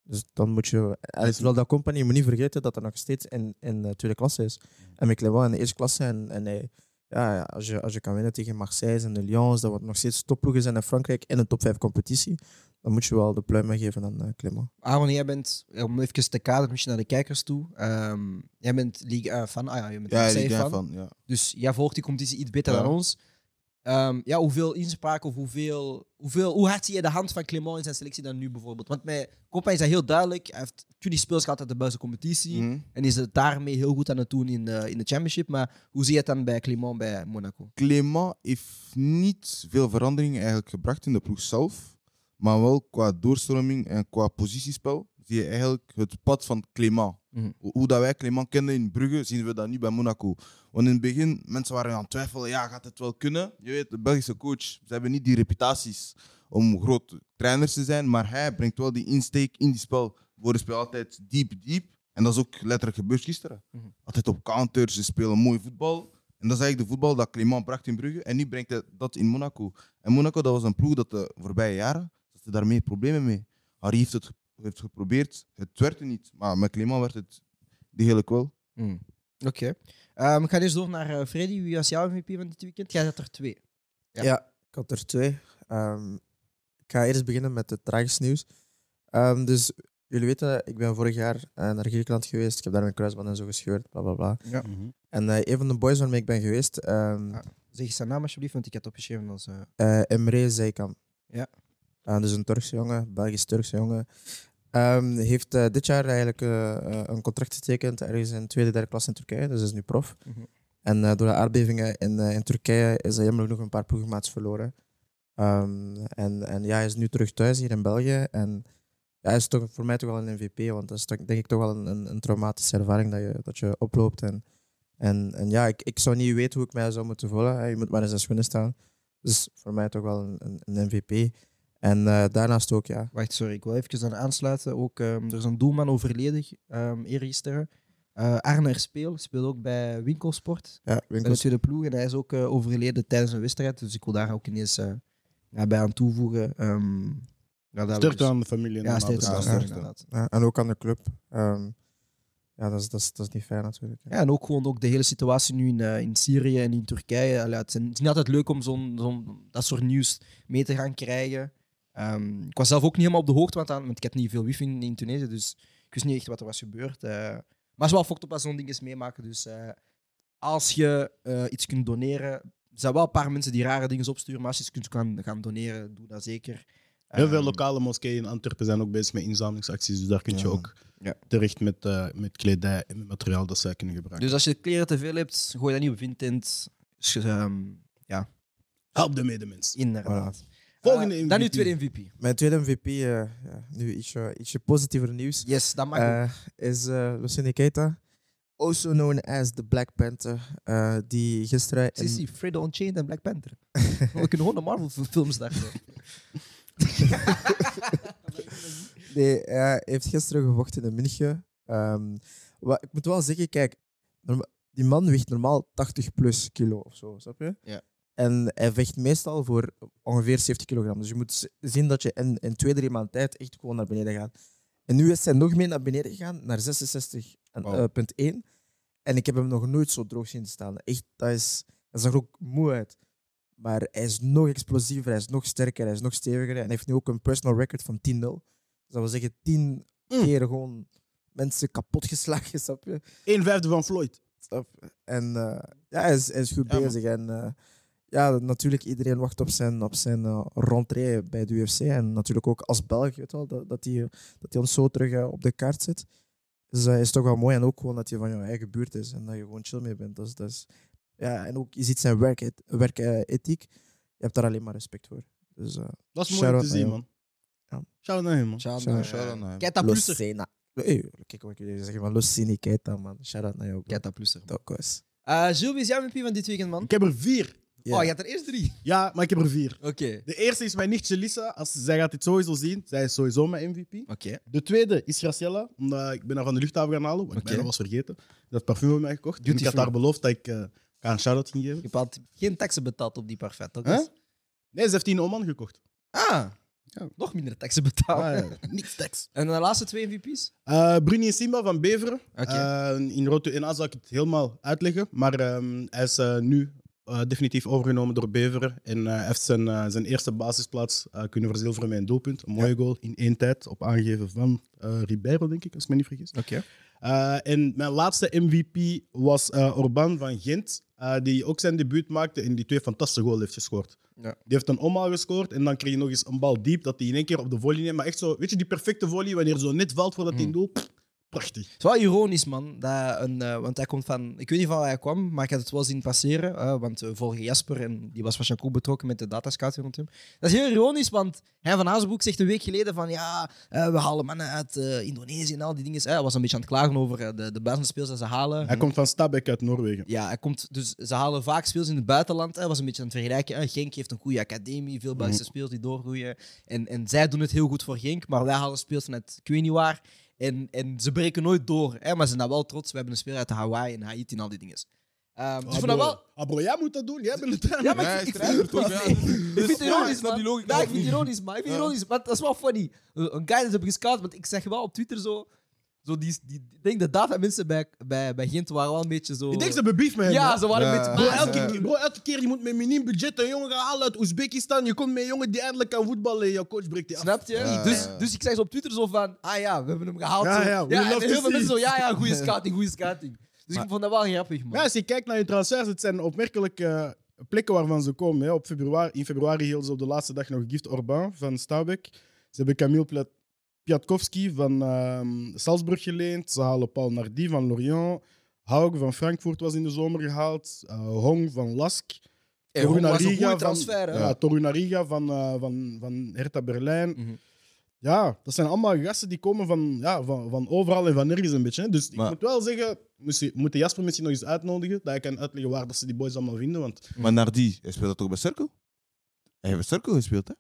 Speaker 4: Dus dan moet je. en Terwijl dat compagnie, je moet niet vergeten dat hij nog steeds in, in de tweede klasse is. En met Clément in de eerste klasse. En, en hij, ja, ja, als, je, als je kan winnen tegen Marseille en de Lyons, dat wat nog steeds topploegen zijn in Frankrijk in een top 5 competitie, dan moet je wel de pluimen geven aan eh Clément.
Speaker 1: Aaron, jij bent, eh, om even te kaderen misschien naar de kijkers toe, ehm, jij bent Ligue 1 fan, ah ja, je bent
Speaker 3: Ja,
Speaker 1: Marseille
Speaker 3: ik
Speaker 1: fan.
Speaker 3: ben van. Ja.
Speaker 1: Dus jij volgt die competitie iets beter
Speaker 3: Ja.
Speaker 1: dan ons. Ehm, ja, hoeveel inspraak of hoeveel, hoeveel, hoe hard zie je de hand van Clement in zijn selectie dan nu bijvoorbeeld? Want met Kopa is dat heel duidelijk. Hij heeft 20 speels gehad uit de Belgische competitie.
Speaker 3: Mhm.
Speaker 1: En is het daarmee heel goed aan het doen in de, in de championship. Maar hoe zie je het dan bij Clement bij Monaco?
Speaker 3: Clément heeft niet veel veranderingen eigenlijk gebracht in de ploeg zelf. Maar wel qua doorstroming en qua positiespel zie je eigenlijk het pad van Clément.
Speaker 1: Mhm.
Speaker 3: Ho- Hoe dat wij Clément kenden in Brugge, zien we dat nu bij Monaco. Want in het begin, mensen waren aan het twijfelen, ja, gaat het wel kunnen? Je weet, de Belgische coach, ze hebben niet die reputaties om groot trainers te zijn, maar hij brengt wel die insteek in die spel. Voor spel altijd diep, diep. En dat is ook letterlijk gebeurd gisteren.
Speaker 1: Mhm.
Speaker 3: Altijd op counters, ze spelen mooi voetbal. En dat is eigenlijk de voetbal dat Clément bracht in Brugge. En nu brengt hij dat in Monaco. En Monaco, dat was een ploeg dat de voorbije jaren, dat ze daarmee problemen mee. Harry heeft het heeft geprobeerd, het werd er niet. Maar met Clément werd het degelijk wel.
Speaker 1: Oké. Ehm, ik ga dus door naar eh, Freddy. Wie was jouw MVP van dit weekend? Jij had er twee. Ja.
Speaker 4: Ja. ik had er twee. Ehm, ik ga eerst beginnen met het tragisch nieuws. Ehm, dus jullie weten, ik ben vorig jaar eh, naar Griekenland geweest. Ik heb daar mijn kruisband en zo gescheurd, bla bla bla.
Speaker 1: Ja.
Speaker 4: En eh, een van de boys waarmee ik ben geweest, ehm,
Speaker 1: Ah. Zeg eens zijn naam alsjeblieft, want ik had opgeschreven als... eh,
Speaker 4: eh Emre Ah, Zeykam.
Speaker 1: Ja.
Speaker 4: Eh, dus een Turkse jongen, Belgisch-Turkse jongen. Ehm, heeft eh, dit jaar eigenlijk eh, eh, een contract getekend ergens in tweede, derde klas in Turkije. Dus is nu prof.
Speaker 1: Mhm.
Speaker 4: En eh, door de aardbevingen in, eh, in Turkije is hij jammer genoeg een paar ploegmaats verloren. Ehm, en, en ja, hij is nu terug thuis hier in België. En ja, hij is toch voor mij toch wel een MVP. Want dat is toch, denk ik toch wel een, een, een traumatische ervaring dat je, dat je oploopt. En, en, en ja, ik, ik zou niet weten hoe ik mij zou moeten voelen. hè. Je moet maar in zijn schoenen staan. Dus voor mij toch wel een, een, een MVP. En eh, daarnaast ook, ja.
Speaker 1: Wacht, sorry, ik wil even aan aansluiten. Ook, ehm, er is een doelman overleden ehm eergisteren. Eh Arne Erspeel speelt ook bij Winkelsport.
Speaker 4: ja
Speaker 1: Zijn
Speaker 4: winkels.
Speaker 1: de tweede ploeg en hij is ook eh, overleden tijdens een wedstrijd. Dus ik wil daar ook ineens eh, ja, bij aan toevoegen. Ehm, ja, dat
Speaker 2: Sterkte
Speaker 1: was-
Speaker 2: aan de familie en
Speaker 1: dus- Ja,
Speaker 2: aan de
Speaker 1: sterkte aan.
Speaker 2: nabestaanden.
Speaker 1: sterkte
Speaker 4: Ja.
Speaker 1: inderdaad.
Speaker 4: Ja, en ook aan de club. Ehm, ja, dat is, dat, is, dat is niet fijn natuurlijk. hè.
Speaker 1: Ja, en ook gewoon ook de hele situatie nu in, eh, in Syrië en in Turkije. Allee, het, zijn- het is niet altijd leuk om zo'n, zo'n, dat soort nieuws mee te gaan krijgen. Ehm, ik was zelf ook niet helemaal op de hoogte, want, aan, want ik heb niet veel wifi in, in Tunesië, dus ik wist niet echt wat er was gebeurd. eh. maar het is wel fucked op als zo'n ding is meemaken. Dus eh, als je eh, iets kunt doneren, er zijn wel een paar mensen die rare dingen opsturen, maar als je iets kunt gaan, gaan doneren, doe dat zeker.
Speaker 2: Heel veel
Speaker 1: Ehm,
Speaker 2: lokale moskeeën in Antwerpen zijn ook bezig met inzamelingsacties. Dus daar kun je
Speaker 3: Ja, man.
Speaker 2: ook
Speaker 1: Ja.
Speaker 2: terecht met, eh, met kledij en met materiaal dat zij kunnen gebruiken.
Speaker 1: Dus als je kleren te veel hebt, gooi dat niet op Vinted. Dus, ehm,
Speaker 2: Help de medemens.
Speaker 1: inderdaad.
Speaker 2: Volgende
Speaker 1: Eh, Dus- dan nu
Speaker 2: MVP.
Speaker 1: tweede MVP.
Speaker 4: Mijn tweede MVP, eh, ja, nu ietsje, ietsje positiever nieuws,
Speaker 1: Yes, dat mag ook.
Speaker 4: eh, is eh Lucine Keita. Also known as the Black Panther, eh, die gisteren... in-
Speaker 1: Sissy, Fredo Unchained en Black Panther. We kunnen gewoon de Marvel-films daar.
Speaker 4: Nee, eh, hij heeft gisteren gevochten in München. Ehm, wa- ik moet wel zeggen, kijk, norma- die man weegt normaal 80 plus kilo of zo, snap je?
Speaker 1: Ja.
Speaker 4: En hij vecht meestal voor ongeveer 70 kilogram. Dus je moet z- zien dat je in, in twee, drie maanden tijd echt gewoon naar beneden gaat. En nu is hij nog meer naar beneden gegaan, naar 66,1.
Speaker 3: Wauw.
Speaker 4: en ik heb hem nog nooit zo droog zien staan. Echt, dat is, hij zag er ook moe uit. Maar hij is nog explosiever, hij is nog sterker, hij is nog steviger. En hij heeft nu ook een personal record van 10-0. Dus dat wil zeggen, tien
Speaker 2: Mm.
Speaker 4: keer gewoon mensen kapot geslagen, snap je?
Speaker 2: Een vijfde van Floyd.
Speaker 4: Snap je? En eh, ja, hij is, hij is goed
Speaker 2: Ja, man.
Speaker 4: bezig. En eh, ja, natuurlijk, iedereen wacht op zijn, op zijn eh, rentrée bij de UFC. En natuurlijk ook als Belg, weet je wel, dat, dat, hij, dat hij ons zo terug eh, op de kaart zet. Dus dat is toch wel mooi. En ook gewoon dat hij van jouw eigen buurt is en dat je gewoon chill mee bent. Dat is, dat is, ja, en ook, je ziet zijn werkethiek. Werk, eh, ethiek. je hebt daar alleen maar respect voor. Dus eh
Speaker 2: Dat is
Speaker 4: Shout-out
Speaker 2: mooi te
Speaker 4: naar
Speaker 2: zien,
Speaker 4: hem.
Speaker 2: man.
Speaker 4: Ja.
Speaker 2: Shout-out naar hem, man.
Speaker 1: Shana.
Speaker 3: Shout-out naar hem.
Speaker 1: Keta Plusser.
Speaker 4: Lucena. Hey, kijk wat ik jullie zeggen, man. Lucini Keita, man. Shout-out naar jou, bro.
Speaker 1: Keta Plusser.
Speaker 4: Toch, guys.
Speaker 1: Eh, Jules, wie is jouw MVP van dit weekend, man?
Speaker 2: Ik heb er vier.
Speaker 4: Ja.
Speaker 1: Oh, je had er eerst drie.
Speaker 2: Ja, maar ik heb er vier.
Speaker 1: Oké.
Speaker 2: De eerste is mijn nichtje Lisa. Als, zij gaat dit sowieso zien. Zij is sowieso mijn MVP.
Speaker 1: Oké.
Speaker 2: De tweede is Graciela, omdat ik ben haar van de luchthaven gaan halen, wat ik
Speaker 1: Oké.
Speaker 2: bijna was vergeten. Dat parfum voor mij gekocht. En ik had
Speaker 1: Beautiful.
Speaker 2: haar beloofd dat ik eh, haar een shout-out ging
Speaker 1: Je
Speaker 2: geven.
Speaker 1: hebt altijd geen taxen betaald op die parfait, toch? Dus
Speaker 2: Huh? Nee, ze heeft die in Oman gekocht.
Speaker 1: Ah,
Speaker 2: Ja.
Speaker 1: nog minder taxen betaald.
Speaker 2: Ah, ja. Niks tekst.
Speaker 1: En de laatste twee MVP's?
Speaker 2: Eh, Bruni en Simba van Beveren.
Speaker 1: Oké.
Speaker 2: Eh, in Roto 1A zal ik het helemaal uitleggen. Maar ehm, hij is eh, nu eh, definitief overgenomen door Beveren. En eh, hij heeft zijn, eh, zijn eerste basisplaats eh, kunnen verzilveren met een doelpunt. Een mooie goal in één tijd op aangeven van eh Ribeiro, denk ik, als ik me niet vergis.
Speaker 1: Oké.
Speaker 2: Eh, en mijn laatste MVP was eh, Orban van Gent, eh, die ook zijn debuut maakte en die twee fantastische goals heeft gescoord.
Speaker 1: Ja.
Speaker 2: Die heeft een omhaal gescoord en dan kreeg je nog eens een bal diep dat hij in één keer op de volley neemt. Maar echt zo, weet je, die perfecte volley wanneer zo net valt voordat hij
Speaker 1: Mm.
Speaker 2: doet. Pff, Prachtig.
Speaker 1: Het is wel ironisch, man. Dat een, eh, want hij komt van... Ik weet niet van waar hij kwam, maar ik had het wel zien passeren. eh, want eh, volgens Jasper, en die was waarschijnlijk ook betrokken met de datascouting rond hem. Dat is heel ironisch, want hij van Hazenbroek zegt een week geleden van... Ja, eh, we halen mannen uit eh, Indonesië en al die dingen. Eh, hij was een beetje aan het klagen over eh, de, de buitenlandse speels dat ze halen.
Speaker 2: Hij komt van Stabæk uit Noorwegen.
Speaker 1: Ja, hij komt, dus ze halen vaak speels in het buitenland. Hij was een beetje aan het vergelijken. hè. Genk heeft een goede academie, veel
Speaker 3: Mm.
Speaker 1: Belgische speels die doorgroeien. En, en zij doen het heel goed voor Genk, maar wij halen speels vanuit ik weet niet waar. En, en ze breken nooit door, hè, maar ze zijn daar wel trots. We hebben een speler uit Hawaii en Haiti en al die dingen. Ehm, dus ik vond dat
Speaker 2: bro.
Speaker 1: wel...
Speaker 2: Ah, bro, jij moet dat doen. Jij bent het
Speaker 1: Ja, maar
Speaker 3: Ja, hij
Speaker 1: ik,
Speaker 3: is
Speaker 1: ik, ik,
Speaker 3: strijder, toch? Ja.
Speaker 1: ik vind het
Speaker 3: Ja, ik
Speaker 1: ironisch,
Speaker 3: snap die
Speaker 1: man.
Speaker 3: logica.
Speaker 1: Ja, ik vind het ironisch, maar ik vind het ironisch. Maar dat is wel funny. Eh, Een guy dat heb gescout, want ik zeg wel op Twitter zo... zo die, die, ik denk dat data mensen bij, bij, bij Gent waren wel een beetje zo...
Speaker 2: Ik denk ze bebief met hem.
Speaker 1: ja,
Speaker 2: hè.
Speaker 1: ze waren een
Speaker 3: Ja.
Speaker 1: beetje...
Speaker 2: Bro,
Speaker 1: maar elke-
Speaker 2: elke, bro, elke keer je moet met miniem budget een jongen gaan halen uit Oezbekistan. Je komt met een jongen die eindelijk kan voetballen en jouw coach breekt die af.
Speaker 1: Snap je?
Speaker 3: Ja,
Speaker 1: dus,
Speaker 3: ja.
Speaker 1: dus ik zei ze op Twitter zo van, ah ja, we hebben hem gehaald.
Speaker 2: Ja,
Speaker 1: zo.
Speaker 2: ja, we love
Speaker 1: en
Speaker 2: to
Speaker 1: heel veel
Speaker 2: see
Speaker 1: mensen zo,
Speaker 2: it.
Speaker 1: ja, ja, goede scouting, goede scouting. Dus ik vond dat wel grappig, man.
Speaker 2: Ja, als je kijkt naar je transfers, het zijn opmerkelijke eh, plekken waarvan ze komen. Hè. Op februari, in februari hielden ze op de laatste dag nog Gift Orban van Stabæk. Ze hebben Camille Pla- Piatkowski van ehm, Salzburg geleend. Ze halen Paul Nardi van Lorient. Haug van Frankfurt was in de zomer gehaald. eh, Hong van Lask.
Speaker 1: En Hong was een goede
Speaker 2: van-
Speaker 1: transfer. hè.
Speaker 2: Ja, Torunariga van, eh, van, van Hertha Berlijn.
Speaker 1: Mhm.
Speaker 2: Ja, dat zijn allemaal gasten die komen van, ja, van, van overal en van nergens een beetje. hè. Dus
Speaker 3: Maar-
Speaker 2: ik moet wel zeggen, moest, moet de Jasper misschien nog eens uitnodigen, dat ik kan uitleggen waar dat ze die boys allemaal vinden. Want
Speaker 3: Maar Nardi, hij speelt dat toch bij Cirkel? Hij heeft bij Cirkel gespeeld, hè?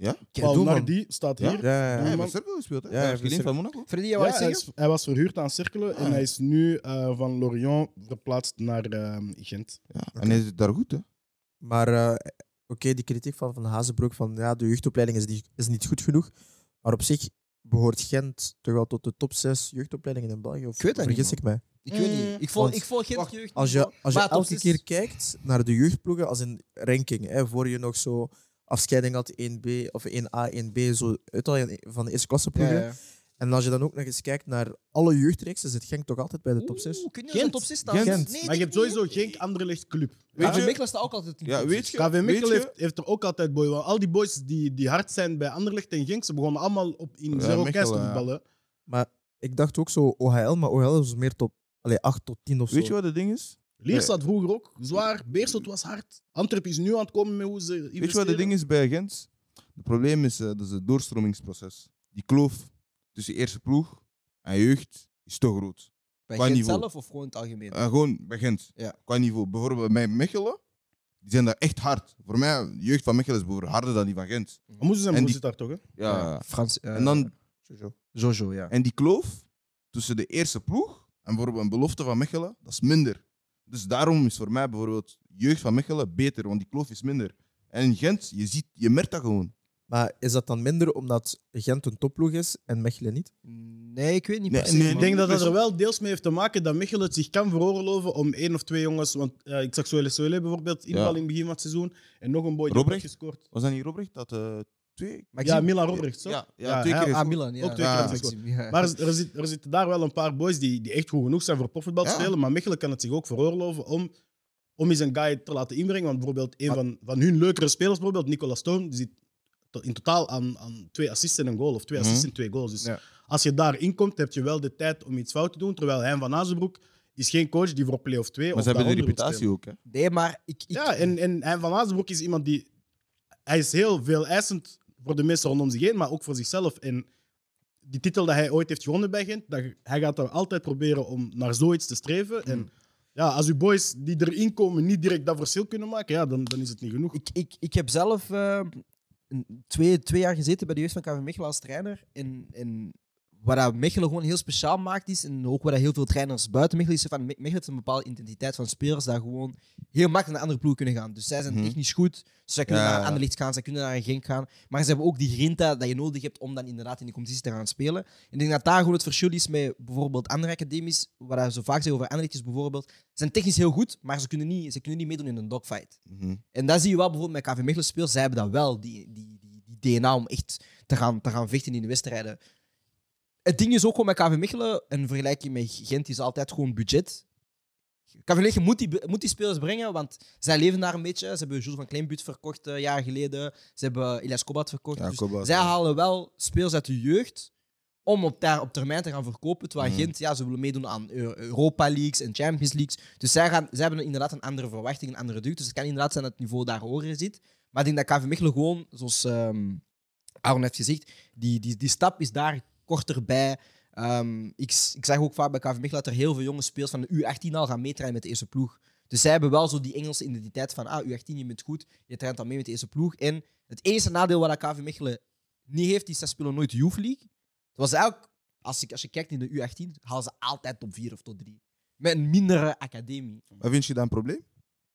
Speaker 4: Kijk,
Speaker 2: Paul
Speaker 4: doe, man.
Speaker 2: Nardi staat
Speaker 3: Ja?
Speaker 2: hier.
Speaker 4: Ja,
Speaker 3: hij
Speaker 4: ja,
Speaker 3: heeft
Speaker 4: ja.
Speaker 3: bij Cirkel gespeeld, hè?
Speaker 4: Ja,
Speaker 3: hij
Speaker 4: hij
Speaker 3: is
Speaker 4: heeft bij
Speaker 3: geleend van Monaco.
Speaker 1: Freddy, jij
Speaker 2: Ja,
Speaker 1: wou iets
Speaker 2: hij,
Speaker 1: zeggen? Ah.
Speaker 2: is- hij was verhuurd aan Cerkelen en hij is nu eh, van Lorient verplaatst naar ehm, Gent.
Speaker 3: Ja. En hij zit daar goed, hè?
Speaker 4: Maar eh, oké, die kritiek van Van Hazenbroek van ja, de jeugdopleiding is, die, is niet goed genoeg. Maar op zich behoort Gent toch wel tot de top 6 jeugdopleidingen in België. Of
Speaker 1: Ik weet dat
Speaker 4: vergis
Speaker 1: niet,
Speaker 4: ik mij.
Speaker 1: Ik weet
Speaker 3: Mm.
Speaker 1: niet. Ik volg,
Speaker 4: Want-
Speaker 1: ik volg geen
Speaker 4: Wacht,
Speaker 1: jeugd.
Speaker 4: Als je, als je
Speaker 1: Maar top
Speaker 4: elke
Speaker 1: zes-
Speaker 4: keer kijkt naar de jeugdploegen als een ranking, hè, voor je nog zo afscheiding had 1B of 1A, 1B, zo uit al je- van de eerste klasse
Speaker 1: Ja,
Speaker 4: ploegen.
Speaker 1: ja.
Speaker 4: En als je dan ook nog eens kijkt naar alle jeugdreeksen, zit Genk toch altijd bij de top 6.
Speaker 1: Oeh, kun je in de
Speaker 2: Gent.
Speaker 1: top 6 staan?
Speaker 4: Gent.
Speaker 1: Nee,
Speaker 4: Maar
Speaker 1: denk
Speaker 2: Maar je hebt
Speaker 1: niet.
Speaker 2: sowieso geen anderlecht club.
Speaker 1: Ja,
Speaker 3: Weet je-
Speaker 1: Mechelen staat ook altijd in de
Speaker 3: Ja,
Speaker 1: top
Speaker 3: weet
Speaker 1: zes.
Speaker 3: je?
Speaker 2: KV
Speaker 3: weet
Speaker 2: Mechelen
Speaker 3: je-
Speaker 2: heeft, heeft er ook altijd boy. Want al die boys die, die hard zijn bij Anderlecht en Genk, ze begonnen allemaal op in
Speaker 3: Ja,
Speaker 2: zero
Speaker 3: Mechelen,
Speaker 2: kast te
Speaker 3: ja.
Speaker 2: voetballen.
Speaker 4: Maar ik dacht ook zo OHL, maar OHL is meer top allee, 8 tot 10 of zo.
Speaker 3: Weet je wat het ding is?
Speaker 2: Leers zat vroeger ook zwaar. Beerschot was hard. Antwerp is nu aan het komen met hoe ze investeren.
Speaker 3: Weet je wat het ding is bij Gent? Het probleem is, eh, dat is het doorstromingsproces. Die kloof tussen eerste ploeg en jeugd is te groot.
Speaker 1: Bij
Speaker 3: Qua
Speaker 1: Gent
Speaker 3: niveau.
Speaker 1: zelf of gewoon in het algemeen?
Speaker 3: En gewoon bij Gent,
Speaker 1: Ja.
Speaker 3: qua niveau. Bijvoorbeeld bij Mechelen, die zijn daar echt hard. Voor mij, de jeugd van Mechelen is bijvoorbeeld harder dan die van Gent.
Speaker 2: Maar moesten zijn
Speaker 3: En
Speaker 2: broer
Speaker 3: die-
Speaker 2: zit daar toch, hè?
Speaker 3: Ja.
Speaker 1: Frans, eh,
Speaker 3: En dan
Speaker 1: Jojo, ja.
Speaker 3: En die kloof tussen de eerste ploeg en bijvoorbeeld een belofte van Mechelen, dat is minder. Dus daarom is voor mij bijvoorbeeld jeugd van Mechelen beter, want die kloof is minder. En in Gent, je, ziet, je merkt dat gewoon.
Speaker 4: Maar is dat dan minder omdat Gent een topploeg is en Mechelen niet?
Speaker 1: Nee, ik weet niet
Speaker 3: Nee,
Speaker 1: precies.
Speaker 3: nee,
Speaker 1: man.
Speaker 2: Ik denk dat dat er wel deels mee heeft te maken dat Michel het zich kan veroorloven om één of twee jongens. Want eh, ik zag Soele Soele bijvoorbeeld inval in het begin van het seizoen. En nog een boy die
Speaker 3: Robrecht?
Speaker 2: heeft gescoord.
Speaker 3: Was dat niet Robrecht dat eh, twee...
Speaker 1: Maar Ah, ik
Speaker 2: Ja,
Speaker 1: zie-
Speaker 2: Milan Robrecht, zo.
Speaker 3: Ja, ja,
Speaker 2: Ja,
Speaker 3: twee
Speaker 2: hij-
Speaker 3: keer is
Speaker 1: Ah,
Speaker 3: goed.
Speaker 1: Milan, ja.
Speaker 2: Ook twee
Speaker 3: keer
Speaker 1: Ja,
Speaker 3: dat
Speaker 2: is
Speaker 1: Maxime, ja.
Speaker 2: Maar er, zit, er zitten daar wel een paar boys die, die echt goed genoeg zijn voor profvoetbal te
Speaker 3: Ja.
Speaker 2: spelen. Maar Mechelen kan het zich ook veroorloven om, om eens een guy te laten inbrengen. Want bijvoorbeeld een van, van hun leukere spelers, bijvoorbeeld Nicolas Storm, die zit to- in totaal aan, aan twee assists en een goal. Of twee
Speaker 3: Mhm.
Speaker 2: assists en twee goals. Dus
Speaker 1: Ja.
Speaker 2: als je daarin komt, heb je wel de tijd om iets fout te doen. Terwijl hij van Azenbroek is geen coach die voor play-off 2
Speaker 3: Maar
Speaker 2: of
Speaker 3: ze hebben de
Speaker 2: daaronder wil
Speaker 3: reputatie ook. Hè.
Speaker 1: Nee, maar ik... ik
Speaker 2: spelen. Ja, en, en hij van Azenbroek is iemand die... Hij is heel veel eisend voor de mensen rondom zich heen, maar ook voor zichzelf. En die titel dat hij ooit heeft gewonnen bij Gent, dat, hij gaat er altijd proberen om naar zoiets te streven.
Speaker 1: Hmm.
Speaker 2: En ja, als uw boys die erin komen niet direct dat verschil kunnen maken, ja, dan, dan is het niet genoeg.
Speaker 1: ik, ik, ik heb zelf eh, een- twee, twee jaar gezeten bij de jeugd van KV Mechelen als trainer. En, en wat dat Mechelen gewoon heel speciaal maakt is, en ook wat dat heel veel trainers buiten Mechelen is, van Me- Mechelen heeft een bepaalde identiteit van spelers dat gewoon heel makkelijk naar andere ploegen kunnen gaan. Dus zij zijn
Speaker 3: Mhm.
Speaker 1: technisch goed, dus zij kunnen
Speaker 3: Ja,
Speaker 1: naar een
Speaker 3: ja.
Speaker 1: Anderlecht gaan, zij kunnen naar een Genk gaan. Maar ze hebben ook die grinta dat je nodig hebt om dan inderdaad in de competitie te gaan spelen. En ik denk dat daar gewoon het verschil is met bijvoorbeeld andere academies, wat dat ze vaak zeggen over Anderlecht is bijvoorbeeld, ze zijn technisch heel goed, maar ze kunnen niet, ze kunnen niet meedoen in een dogfight.
Speaker 3: Mhm.
Speaker 1: En dat zie je wel bijvoorbeeld met KV Mechelen speels. Zij hebben dat wel, die, die, die, die DNA om echt te gaan, te gaan vechten in de wedstrijden. Het ding is ook gewoon met KV Mechelen, een vergelijking met Gent is altijd gewoon budget. KV Mechelen moet die, be- moet die spelers brengen, want zij leven daar een beetje. Ze hebben Jules van Kleinbuut verkocht eh, jaren geleden. Ze hebben Elias Kobat verkocht.
Speaker 3: Ja,
Speaker 1: Dus
Speaker 3: Kobat,
Speaker 1: zij
Speaker 3: ja.
Speaker 1: halen wel spelers uit de jeugd om op, daar, op termijn te gaan verkopen. Terwijl
Speaker 3: Mhm.
Speaker 1: Gent, ja, ze willen meedoen aan Eu- Europa Leagues en Champions Leagues. Dus zij, gaan, zij hebben inderdaad een andere verwachting, een andere druk. Dus het kan inderdaad zijn dat het niveau daar hoger zit. Maar ik denk dat KV Mechelen gewoon, zoals ehm Aaron heeft gezegd, die, die, die stap is daar korter bij. Ehm, ik, s- ik zag ook vaak bij KV Mechelen dat er heel veel jonge spelers van de U18 al gaan meetrainen met de eerste ploeg. Dus zij hebben wel zo die Engelse identiteit van ah, U18, je bent goed, je traint dan mee met de eerste ploeg. En het enige nadeel wat KV Mechelen niet heeft, is dat ze spelen nooit Youth League. Het was eigenlijk, als, ik, als je kijkt in de U18, halen ze altijd top 4 of top 3. Met een mindere academie.
Speaker 3: Maar vind je dat een probleem?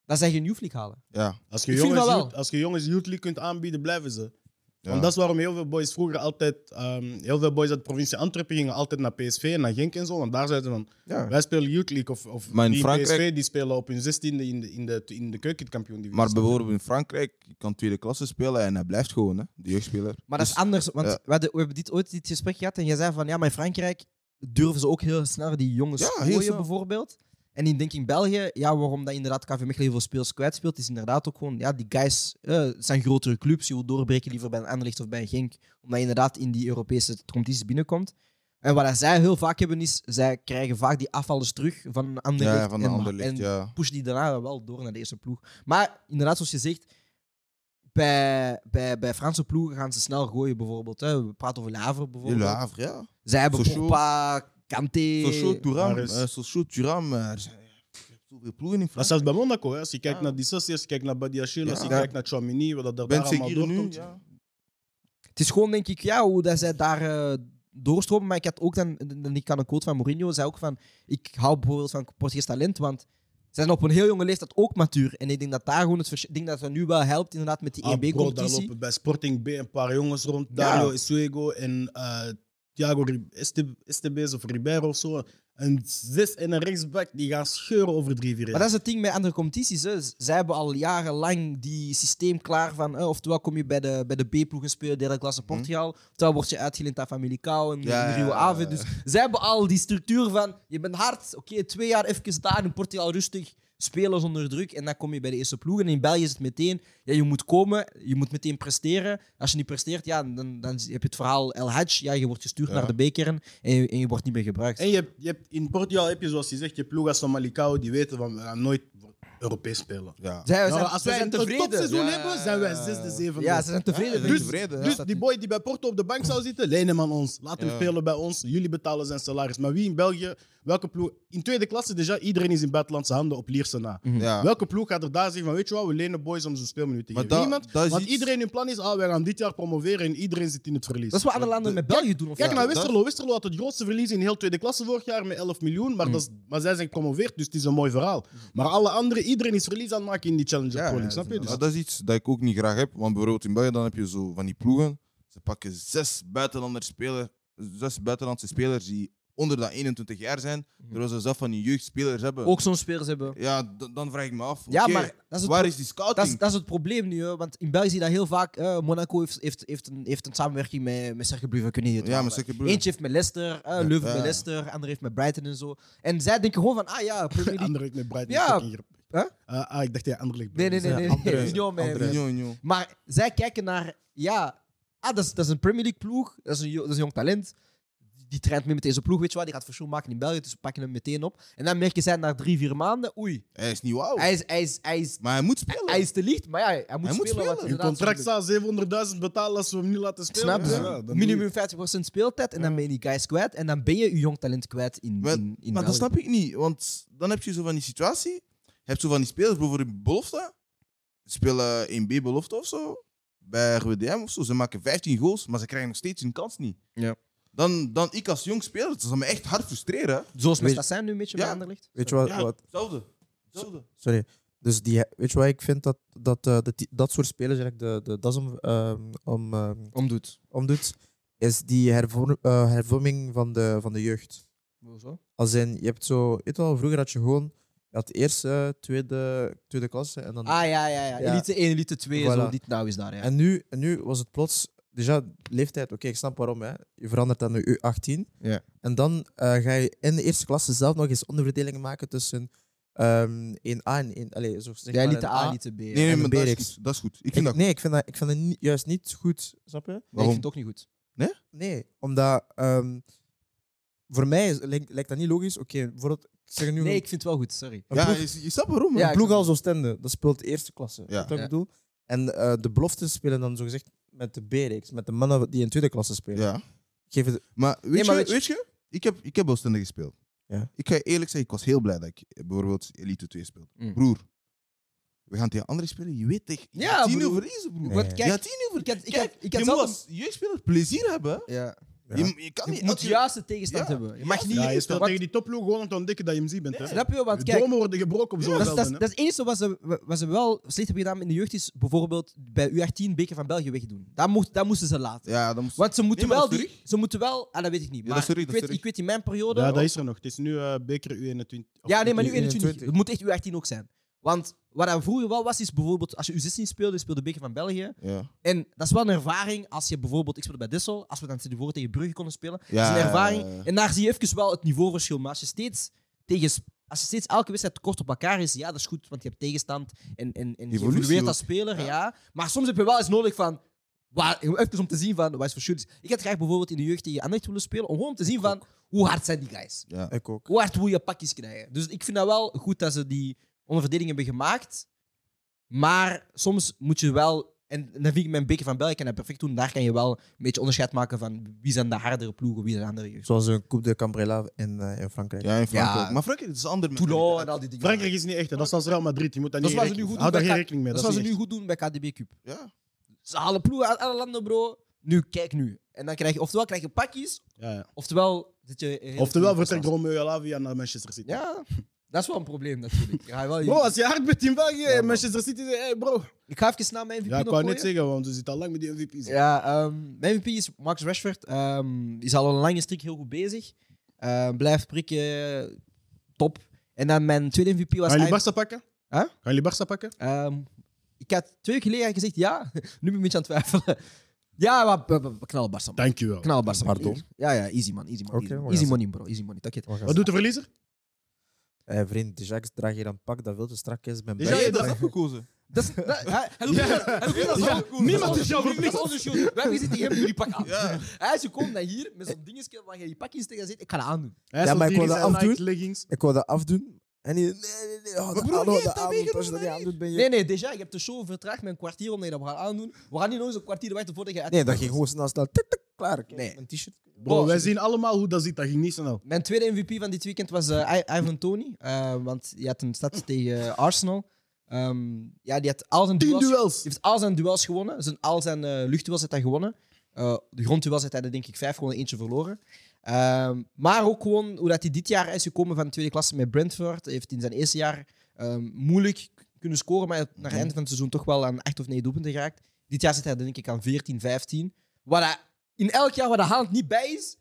Speaker 1: Dat zij geen Youth League halen.
Speaker 3: Ja.
Speaker 2: Als je,
Speaker 1: Ik vind
Speaker 2: jongens,
Speaker 1: dat wel.
Speaker 2: youth- als je jongens Youth League kunt aanbieden, blijven ze.
Speaker 3: Ja.
Speaker 2: Want dat is waarom heel veel boys vroeger altijd... ehm, heel veel boys uit de provincie Antwerpen gingen altijd naar PSV en naar Genk en zo. Want daar zeiden ze van,
Speaker 3: Ja.
Speaker 2: wij spelen Youth League. Of, of
Speaker 3: Maar in
Speaker 2: die
Speaker 3: Frankrijk-
Speaker 2: PSV die spelen op hun 16e in de, in de, in de keukenkampioen-divisie.
Speaker 3: Maar bijvoorbeeld in Frankrijk, je kan tweede klasse spelen en hij blijft gewoon, hè, de jeugdspeler.
Speaker 1: Maar dat is
Speaker 3: Dus-
Speaker 1: anders, want
Speaker 3: ja.
Speaker 1: we, hadden- we hebben dit ooit dit gesprek gehad en jij zei van ja, maar in Frankrijk durven ze ook heel snel die jongens
Speaker 3: Ja, heel
Speaker 1: gooien
Speaker 3: snel.
Speaker 1: bijvoorbeeld. En ik denk in België, ja, waarom dat inderdaad KV Mechelen heel veel speels kwijtspeelt, is inderdaad ook gewoon, ja, die guys eh, het zijn grotere clubs. Je wil doorbreken liever bij een Anderlecht of bij een Genk, omdat je inderdaad in die Europese competities binnenkomt. En wat dat zij heel vaak hebben is, zij krijgen vaak die afvallers terug van een ander
Speaker 3: Ja, van de
Speaker 1: en,
Speaker 3: ander
Speaker 1: en
Speaker 3: licht, ja.
Speaker 1: pushen die daarna wel door naar de eerste ploeg. Maar inderdaad, zoals je zegt, bij, bij, bij Franse ploegen gaan ze snel gooien bijvoorbeeld. Hè. We praten over Laver
Speaker 3: De
Speaker 1: bijvoorbeeld.
Speaker 3: Le Havre, ja.
Speaker 1: Zij hebben
Speaker 3: Sochaux.
Speaker 1: Pogba, Kanté.
Speaker 3: Sochaux, Thuram.
Speaker 2: Daar is-
Speaker 3: eh, Sochaux, Thuram. eh, Er zijn zoveel ploegen in
Speaker 2: Maar
Speaker 3: Frankrijk.
Speaker 2: zelfs bij Monaco, hè, als je kijkt
Speaker 3: Ja.
Speaker 2: naar Dissassi, als je kijkt naar Badiachil, als je
Speaker 3: Ja.
Speaker 2: kijkt naar Chouamini, wat dat daar
Speaker 3: Ben
Speaker 2: allemaal
Speaker 3: Seguir nu,
Speaker 2: doorkomt.
Speaker 3: ja.
Speaker 1: Het is gewoon, denk ik, ja, hoe dat zij daar eh, doorstromen. Maar ik had ook dan, en ik had een quote van Mourinho, zei ook van, ik hou bijvoorbeeld van Portugees talent, want ze zijn op een heel jonge leeftijd ook matuur. En ik denk dat daar gewoon het verschil, ik denk dat dat nu wel helpt inderdaad met die E
Speaker 2: Ah, bro, daar
Speaker 1: EB-competitie.
Speaker 2: lopen bij Sporting B een paar jongens rond. Dario Isuego en eh Thiago Ri- Este- Esteves of Ribeiro of zo. Een zes en een rechtsback die gaan scheuren over drie, vier
Speaker 1: Maar
Speaker 2: jaar.
Speaker 1: dat is het ding met andere competities. Hè. Z- Zij hebben al jarenlang die systeem klaar van... eh, oftewel kom je bij de, bij de B-ploegen spelen, derde klasse Portugal. Oftewel word je uitgeleend aan Famalicão en
Speaker 3: Mhm. Ja,
Speaker 1: en
Speaker 3: ja,
Speaker 1: Rio
Speaker 3: ja,
Speaker 1: Ave.
Speaker 3: ja.
Speaker 1: Dus zij hebben al die structuur van... Je bent hard, oké, twee jaar even daar in Portugal rustig. Spelers onder druk en dan kom je bij de eerste ploeg. En in België is het meteen, ja, je moet komen, je moet meteen presteren. Als je niet presteert, ja, dan, dan heb je het verhaal El Hadj. Ja, je wordt gestuurd naar de B-kern en, je- en je wordt niet meer gebruikt.
Speaker 2: En je hebt, je hebt, in Portugal heb je, zoals je zegt, je ploeg als Malikao die weten van we gaan nooit voor Europees spelen.
Speaker 3: Ja.
Speaker 1: Zij
Speaker 2: Nou,
Speaker 1: zijn,
Speaker 2: als
Speaker 1: zij
Speaker 2: wij
Speaker 1: zijn
Speaker 2: een
Speaker 1: tevreden.
Speaker 2: topseizoen
Speaker 3: Ja.
Speaker 2: hebben, zijn wij zesde, zevende.
Speaker 1: Ja, ze zijn tevreden.
Speaker 3: Ja,
Speaker 1: denk
Speaker 2: dus,
Speaker 1: ik.
Speaker 3: tevreden, ja.
Speaker 2: dus die boy die bij Porto op de bank zou zitten, leen hem aan ons. Laat hem
Speaker 3: Ja.
Speaker 2: spelen bij ons. Jullie betalen zijn salaris. Maar wie in België, welke ploeg... In tweede klasse, déjà, iedereen is in buitenlandse handen op Lierse na.
Speaker 3: Ja.
Speaker 2: Welke ploeg gaat er daar zeggen van, weet je wat, we lenen boys om ze speelminuten te
Speaker 3: Maar
Speaker 2: geven?
Speaker 3: dat-
Speaker 2: Niemand.
Speaker 3: dat is
Speaker 2: want
Speaker 3: iets-
Speaker 2: iedereen hun plan is, ah, wij gaan dit jaar promoveren en iedereen zit in het verlies.
Speaker 1: Dat is wat andere landen met België doen. Of
Speaker 2: Kijk
Speaker 1: niet?
Speaker 2: naar
Speaker 3: dat-
Speaker 2: Westerlo. Westerlo had het grootste verlies in heel tweede klasse vorig jaar met 11 miljoen. Maar, dat is, maar zij zijn gepromoveerd, dus het is een mooi verhaal. Maar alle anderen, iedereen is verlies aan het maken in die Challenger
Speaker 3: Ja,
Speaker 2: Pro
Speaker 3: ja,
Speaker 2: League. Snap je? Dus
Speaker 3: Maar dat is iets dat ik ook niet graag heb. Want bijvoorbeeld in België dan heb je zo van die ploegen. Ze pakken zes buitenlandse spelers, zes buitenlandse spelers die onder de 21 jaar zijn.
Speaker 2: Mm.
Speaker 3: Terwijl ze zelf van die jeugdspelers
Speaker 2: Oh.
Speaker 3: hebben.
Speaker 1: Ook zo'n spelers hebben.
Speaker 3: Ja, d- dan vraag ik me af.
Speaker 1: Ja,
Speaker 3: oké,
Speaker 1: maar dat is het
Speaker 3: waar is die
Speaker 1: Dat is,
Speaker 3: scouting?
Speaker 1: dat is het probleem nu, hè, want in België zie je dat heel vaak. eh, Monaco heeft, heeft, heeft, een, heeft een samenwerking met, met Cercle Brugge, we kunnen hier het
Speaker 3: ja, maar
Speaker 1: halen.
Speaker 3: zeker broer.
Speaker 1: Eentje heeft met Leicester, eh, Leuven
Speaker 3: ja.
Speaker 1: met Leicester, ander heeft met Brighton en zo. En zij denken gewoon van, ah ja, Premier League.
Speaker 2: Anderlecht met Brighton.
Speaker 1: Ja.
Speaker 2: fucking grap.
Speaker 1: Huh?
Speaker 2: Eh, ah, ik dacht jij Anderlecht.
Speaker 1: Nee, nee, nee. nee, nee.
Speaker 3: Andere-
Speaker 1: Union met-
Speaker 3: andere- Union, Union.
Speaker 1: Maar zij kijken naar, ja, ah, dat, is, dat is een Premier League ploeg, dat is een, jo- dat is een jong talent. Die traint mee met deze ploeg, weet je wat, die gaat verschil maken in België, dus we pakken hem meteen op. En dan merken zij na drie, vier maanden, oei,
Speaker 3: Hij is niet wauw.
Speaker 1: hij is, hij is, hij is,
Speaker 3: Maar hij moet
Speaker 1: hij
Speaker 3: spelen.
Speaker 1: is, te licht, maar ja, hij moet spelen.
Speaker 3: moet
Speaker 1: want
Speaker 3: spelen.
Speaker 2: Hun
Speaker 1: inderdaad,
Speaker 2: contract zou 700.000 betalen als we hem niet laten spelen.
Speaker 1: Snap je?
Speaker 2: Ja, dan doe je-
Speaker 1: Minimum 50% speeltijd en dan ben je die guys kwijt. En dan ben je je jong talent kwijt in,
Speaker 3: Maar,
Speaker 1: in, in
Speaker 3: maar dat
Speaker 1: België.
Speaker 3: snap ik niet, want dan heb je zo van die situatie. Je hebt zo van die spelers, bijvoorbeeld in belofte, spelen in B-belofte of zo, bij RWDM of zo. Ze maken 15 goals, maar ze krijgen nog steeds hun kans niet.
Speaker 1: Ja.
Speaker 3: Dan, dan ik als jong speler, dat zal me echt hard frustreren. hè.
Speaker 1: Zoals
Speaker 4: Weet-
Speaker 1: met dat zijn nu een beetje
Speaker 3: Ja.
Speaker 1: bij Anderlecht.
Speaker 4: Weet je wat?
Speaker 3: Ja,
Speaker 4: wat
Speaker 3: Hetzelfde. Hetzelfde.
Speaker 4: sorry. Dus die, weet je wat ik vind dat, dat, eh, dat, die- dat soort spelers eigenlijk de, de das om, ehm, om, ehm,
Speaker 1: Omdoet.
Speaker 4: omdoet? Is die hervorm, eh, hervorming van de, van de jeugd.
Speaker 1: Zo.
Speaker 4: Als in, je hebt zo, weet je wel, vroeger had je gewoon, je had eerste, tweede, tweede klasse en dan.
Speaker 1: Ah ja, ja, ja.
Speaker 4: Ja.
Speaker 1: Elite 1, elite 2, zo.
Speaker 4: Voilà.
Speaker 1: Dit nou is daar, ja.
Speaker 4: En nu, en nu was het plots, dus ja, leeftijd, oké, ik snap waarom, hè. je verandert dan nu U18.
Speaker 1: Ja.
Speaker 4: En dan eh, ga je in de eerste klasse zelf nog eens onderverdelingen maken tussen ehm 1A en 1, allez, zo zeg
Speaker 1: ja,
Speaker 4: maar
Speaker 1: elite
Speaker 4: een
Speaker 1: A,
Speaker 4: A.
Speaker 1: elite B. ja.
Speaker 3: Nee, nee,
Speaker 4: en
Speaker 3: maar
Speaker 4: de
Speaker 3: dat is,
Speaker 4: B-reeks.
Speaker 3: goed. dat is goed. Ik
Speaker 4: Ik-
Speaker 3: vind dat
Speaker 4: nee, ik vind dat, ik vind dat niet- juist niet goed, snap je?
Speaker 1: Nee, ik
Speaker 3: Waarom?
Speaker 1: vind het ook niet goed.
Speaker 4: Nee, omdat ehm, voor mij is- lijkt, lijkt dat niet logisch. Oké, bijvoorbeeld, ik zeg nu
Speaker 1: Nee,
Speaker 4: een-
Speaker 1: ik vind het wel goed, sorry.
Speaker 4: een
Speaker 3: ja,
Speaker 4: ploeg-
Speaker 3: je, je snapt waarom. hè?
Speaker 1: Ja,
Speaker 4: een
Speaker 1: ik
Speaker 4: ploeg
Speaker 1: snap
Speaker 4: als Oostende, dat speelt eerste klasse. Weet je wat ik
Speaker 1: Ja.
Speaker 4: bedoel? En eh, de beloftes spelen dan zogezegd met de B-reeks, met de mannen die in tweede klasse spelen.
Speaker 3: Ja.
Speaker 4: Geef het,
Speaker 3: Maar weet,
Speaker 1: Nee, maar
Speaker 3: je,
Speaker 1: weet
Speaker 3: weet,
Speaker 1: je-
Speaker 3: je, ik heb, ik heb Oostende gespeeld.
Speaker 4: Ja.
Speaker 3: Ik ga je eerlijk zeggen, ik was heel blij dat ik eh, bijvoorbeeld Elite 2 speelde.
Speaker 1: Mm.
Speaker 3: Broer, we gaan tegen anderen spelen, je weet echt.
Speaker 1: Ja,
Speaker 3: tien
Speaker 1: broer.
Speaker 3: uur verliezen, broer.
Speaker 4: Nee.
Speaker 1: Want
Speaker 3: Je had
Speaker 1: kijk,
Speaker 3: tien uur
Speaker 1: ik had, ik
Speaker 3: Kijk,
Speaker 1: had, ik
Speaker 3: je
Speaker 1: had
Speaker 3: moet
Speaker 1: zelf...
Speaker 3: als jeugdspeler plezier hebben.
Speaker 1: Ja.
Speaker 4: Ja.
Speaker 3: Je, je kan
Speaker 1: Je
Speaker 3: niet
Speaker 1: moet
Speaker 3: elke-
Speaker 1: juist de tegenstand
Speaker 3: Ja.
Speaker 1: hebben. Je mag niet...
Speaker 2: Ja, je
Speaker 1: want-
Speaker 2: speelt tegen die topploeg gewoon om te ontdekken dat je hem ziet bent. Hè?
Speaker 1: Snap je? Want
Speaker 2: De
Speaker 1: kijk,
Speaker 2: Dromen worden gebroken op zo'n
Speaker 1: Dat, is- dat, is-
Speaker 2: velden, hè.
Speaker 1: dat is het enige wat ze, wat ze wel slecht hebben gedaan in de jeugd, is bijvoorbeeld bij U18 Beker van België wegdoen. Dat, mocht, dat moesten ze laten.
Speaker 3: Ja, dan moest
Speaker 1: Want ze moeten
Speaker 3: Nee, maar
Speaker 1: wel,
Speaker 3: dat is
Speaker 1: die, ze moeten wel, ah, dat weet ik niet.
Speaker 3: Ja,
Speaker 1: Maar
Speaker 3: dat is terug,
Speaker 1: ik,
Speaker 3: dat is
Speaker 1: weet,
Speaker 3: terug.
Speaker 1: ik weet in mijn periode.
Speaker 2: Ja, dat is er nog. Het is nu eh, beker U21. of
Speaker 1: Ja, nee, maar nu 21.
Speaker 4: 21.
Speaker 1: Het moet echt U18 ook zijn. Want wat dat vroeger wel was, is bijvoorbeeld als je U16 speelde, speelde Beker van België.
Speaker 3: Ja.
Speaker 1: En dat is wel een ervaring als je bijvoorbeeld, ik speelde bij Dissel, als we dan voor tegen Brugge konden spelen.
Speaker 3: Ja,
Speaker 1: dat is een ervaring.
Speaker 3: ja, ja.
Speaker 1: En daar zie je even wel het niveauverschil. Maar als je steeds tegen s- Als je steeds elke wedstrijd tekort op elkaar is, ja, dat is goed, want je hebt tegenstand en, en, en je
Speaker 3: Evolutie
Speaker 1: evolueert
Speaker 3: ook.
Speaker 1: als speler, ja. Maar soms heb je wel eens nodig van, waar, even om te zien van, wat is voor shooters. Ik had graag bijvoorbeeld in de jeugd tegen Anderlecht willen spelen, om gewoon te zien van, hoe hard zijn die guys?
Speaker 3: Ja.
Speaker 4: Ik ook.
Speaker 1: Hoe hard wil je pakjes krijgen? Dus ik vind dat wel goed dat ze die onderverdeling hebben gemaakt. Maar soms moet je wel, en dan vind ik mijn beker van België kan dat perfect doen, daar kan je wel een beetje onderscheid maken van wie zijn de hardere ploegen, wie zijn de andere jeugd.
Speaker 4: Zoals een Coupe de Cambrella in, eh, in Frankrijk.
Speaker 3: Ja, in Frankrijk.
Speaker 1: Ja.
Speaker 3: Maar Frankrijk is een ander
Speaker 1: Toulon en
Speaker 3: mentaliteit.
Speaker 1: al die dingen.
Speaker 2: Frankrijk is niet echt, hè. dat is als Real Madrid. Je moet daar
Speaker 1: Dat
Speaker 2: niet
Speaker 1: is waar ze
Speaker 2: rekening-
Speaker 1: nu goed doen
Speaker 2: Hou daar geen
Speaker 1: bij-
Speaker 2: rekening mee.
Speaker 1: Dat
Speaker 2: Dat,
Speaker 1: zou
Speaker 2: is
Speaker 1: ze
Speaker 2: niet
Speaker 1: nu
Speaker 2: echt.
Speaker 1: goed doen bij KDB Cup.
Speaker 3: Ja.
Speaker 1: Ze halen ploegen uit alle landen, bro. Nu, kijk nu. En dan krijg je, oftewel krijg je pakjes,
Speaker 2: Ja, ja.
Speaker 1: oftewel zit je...
Speaker 2: Oftewel vertrekt Romeo Lavia naar Manchester City.
Speaker 1: Ja, dat is wel een probleem natuurlijk. Ja, wel,
Speaker 2: Bro, als je hard bent in België,
Speaker 1: Ja, man.
Speaker 2: Manchester City, eh, hey, bro.
Speaker 1: Ik ga even naar mijn MVP
Speaker 2: Ja, ik
Speaker 1: nog
Speaker 2: wou
Speaker 1: gooien.
Speaker 2: net zeggen, want ze zitten al lang met die MVP's.
Speaker 1: Ja, ehm, mijn MVP is Max Rashford. Ehm, is al een lange strik heel goed bezig. Ehm, blijft prikken, top. En dan mijn tweede MVP was...
Speaker 2: Gaan jullie
Speaker 1: eigenlijk-
Speaker 2: Barca pakken?
Speaker 1: Huh?
Speaker 2: Gaan jullie Barca pakken?
Speaker 1: Ehm, ik had twee weken geleden gezegd ja. nu ben ik een beetje aan het twijfelen. Ja, maar we- we- we knallen Barca. man.
Speaker 2: Dankjewel.
Speaker 1: Knal Barca.
Speaker 4: Pardon?
Speaker 1: Ja, ja, easy man. Easy, man, easy, man.
Speaker 4: Oké, we gaan
Speaker 1: Easy
Speaker 4: zien.
Speaker 1: money, bro. Easy money. Takk it.
Speaker 4: Wat gaan
Speaker 2: Wat
Speaker 4: ze-
Speaker 2: doet de verliezer?
Speaker 4: Eh, vriend, de Jacques draagt hier een pak dat veel te strak is. Ik Ben
Speaker 2: Dus
Speaker 4: blij
Speaker 2: jij
Speaker 4: dat-
Speaker 2: hebt dat
Speaker 3: Gekozen.
Speaker 1: Dat is, dat, hij, hij doet dat- hij doet dat zo goed.
Speaker 2: niemand is jouw
Speaker 1: Dat Dat is onze show. Wij hebben gezegd tegen hem, jullie pak aan.
Speaker 3: Ja.
Speaker 1: Hij is gekomen naar hier met zo'n dingetje waar je je pakjes tegen zit. Ik ga dat aandoen.
Speaker 2: Hij
Speaker 4: Ja,
Speaker 2: stond
Speaker 4: maar ik
Speaker 2: hier
Speaker 4: wou
Speaker 2: in
Speaker 4: dat
Speaker 2: zijn Nike
Speaker 4: afdoen.
Speaker 2: leggings.
Speaker 4: Ik wou dat afdoen. En die, nee, nee, nee. Oh, dat
Speaker 3: broer,
Speaker 4: aan-
Speaker 3: wie
Speaker 4: oh,
Speaker 3: heeft
Speaker 4: dat
Speaker 3: dat
Speaker 4: aan- Als je dat
Speaker 3: meegenomen,
Speaker 4: niet aandoet, ben je...
Speaker 1: Nee, nee, déjà, ik heb de show vertraagd met een kwartier omdat je dat we gaan aandoen. We gaan niet nog eens een kwartier wachten voordat je uit-
Speaker 4: Nee, dat ging gewoon snel, snel. Tik, tik, klaar. Ik heb
Speaker 1: Nee.
Speaker 4: Mijn t-shirt.
Speaker 2: Bro, wij zien allemaal hoe dat zit. Dat ging niet snel.
Speaker 1: Mijn tweede MVP van dit weekend was eh, I- Ivan Tony. Eh, want die had een stad tegen eh, Arsenal. Ehm, ja, die had al zijn
Speaker 2: Tien
Speaker 1: duels
Speaker 2: duels.
Speaker 1: Hij heeft al zijn duels gewonnen. Zijn, al zijn eh, luchtduels heeft hij gewonnen. Eh, de grondduels heeft hij er denk ik vijf gewoon eentje verloren. Ehm, maar ook gewoon hoe dat hij dit jaar is gekomen van de tweede klasse met Brentford. Hij heeft in zijn eerste jaar ehm, moeilijk k- kunnen scoren, maar hij heeft naar het einde van het seizoen toch wel aan acht of negen doelpunten geraakt. Dit jaar zit hij denk ik aan 14, 15. Wat hij- in elk jaar waar de Haaland niet bij is,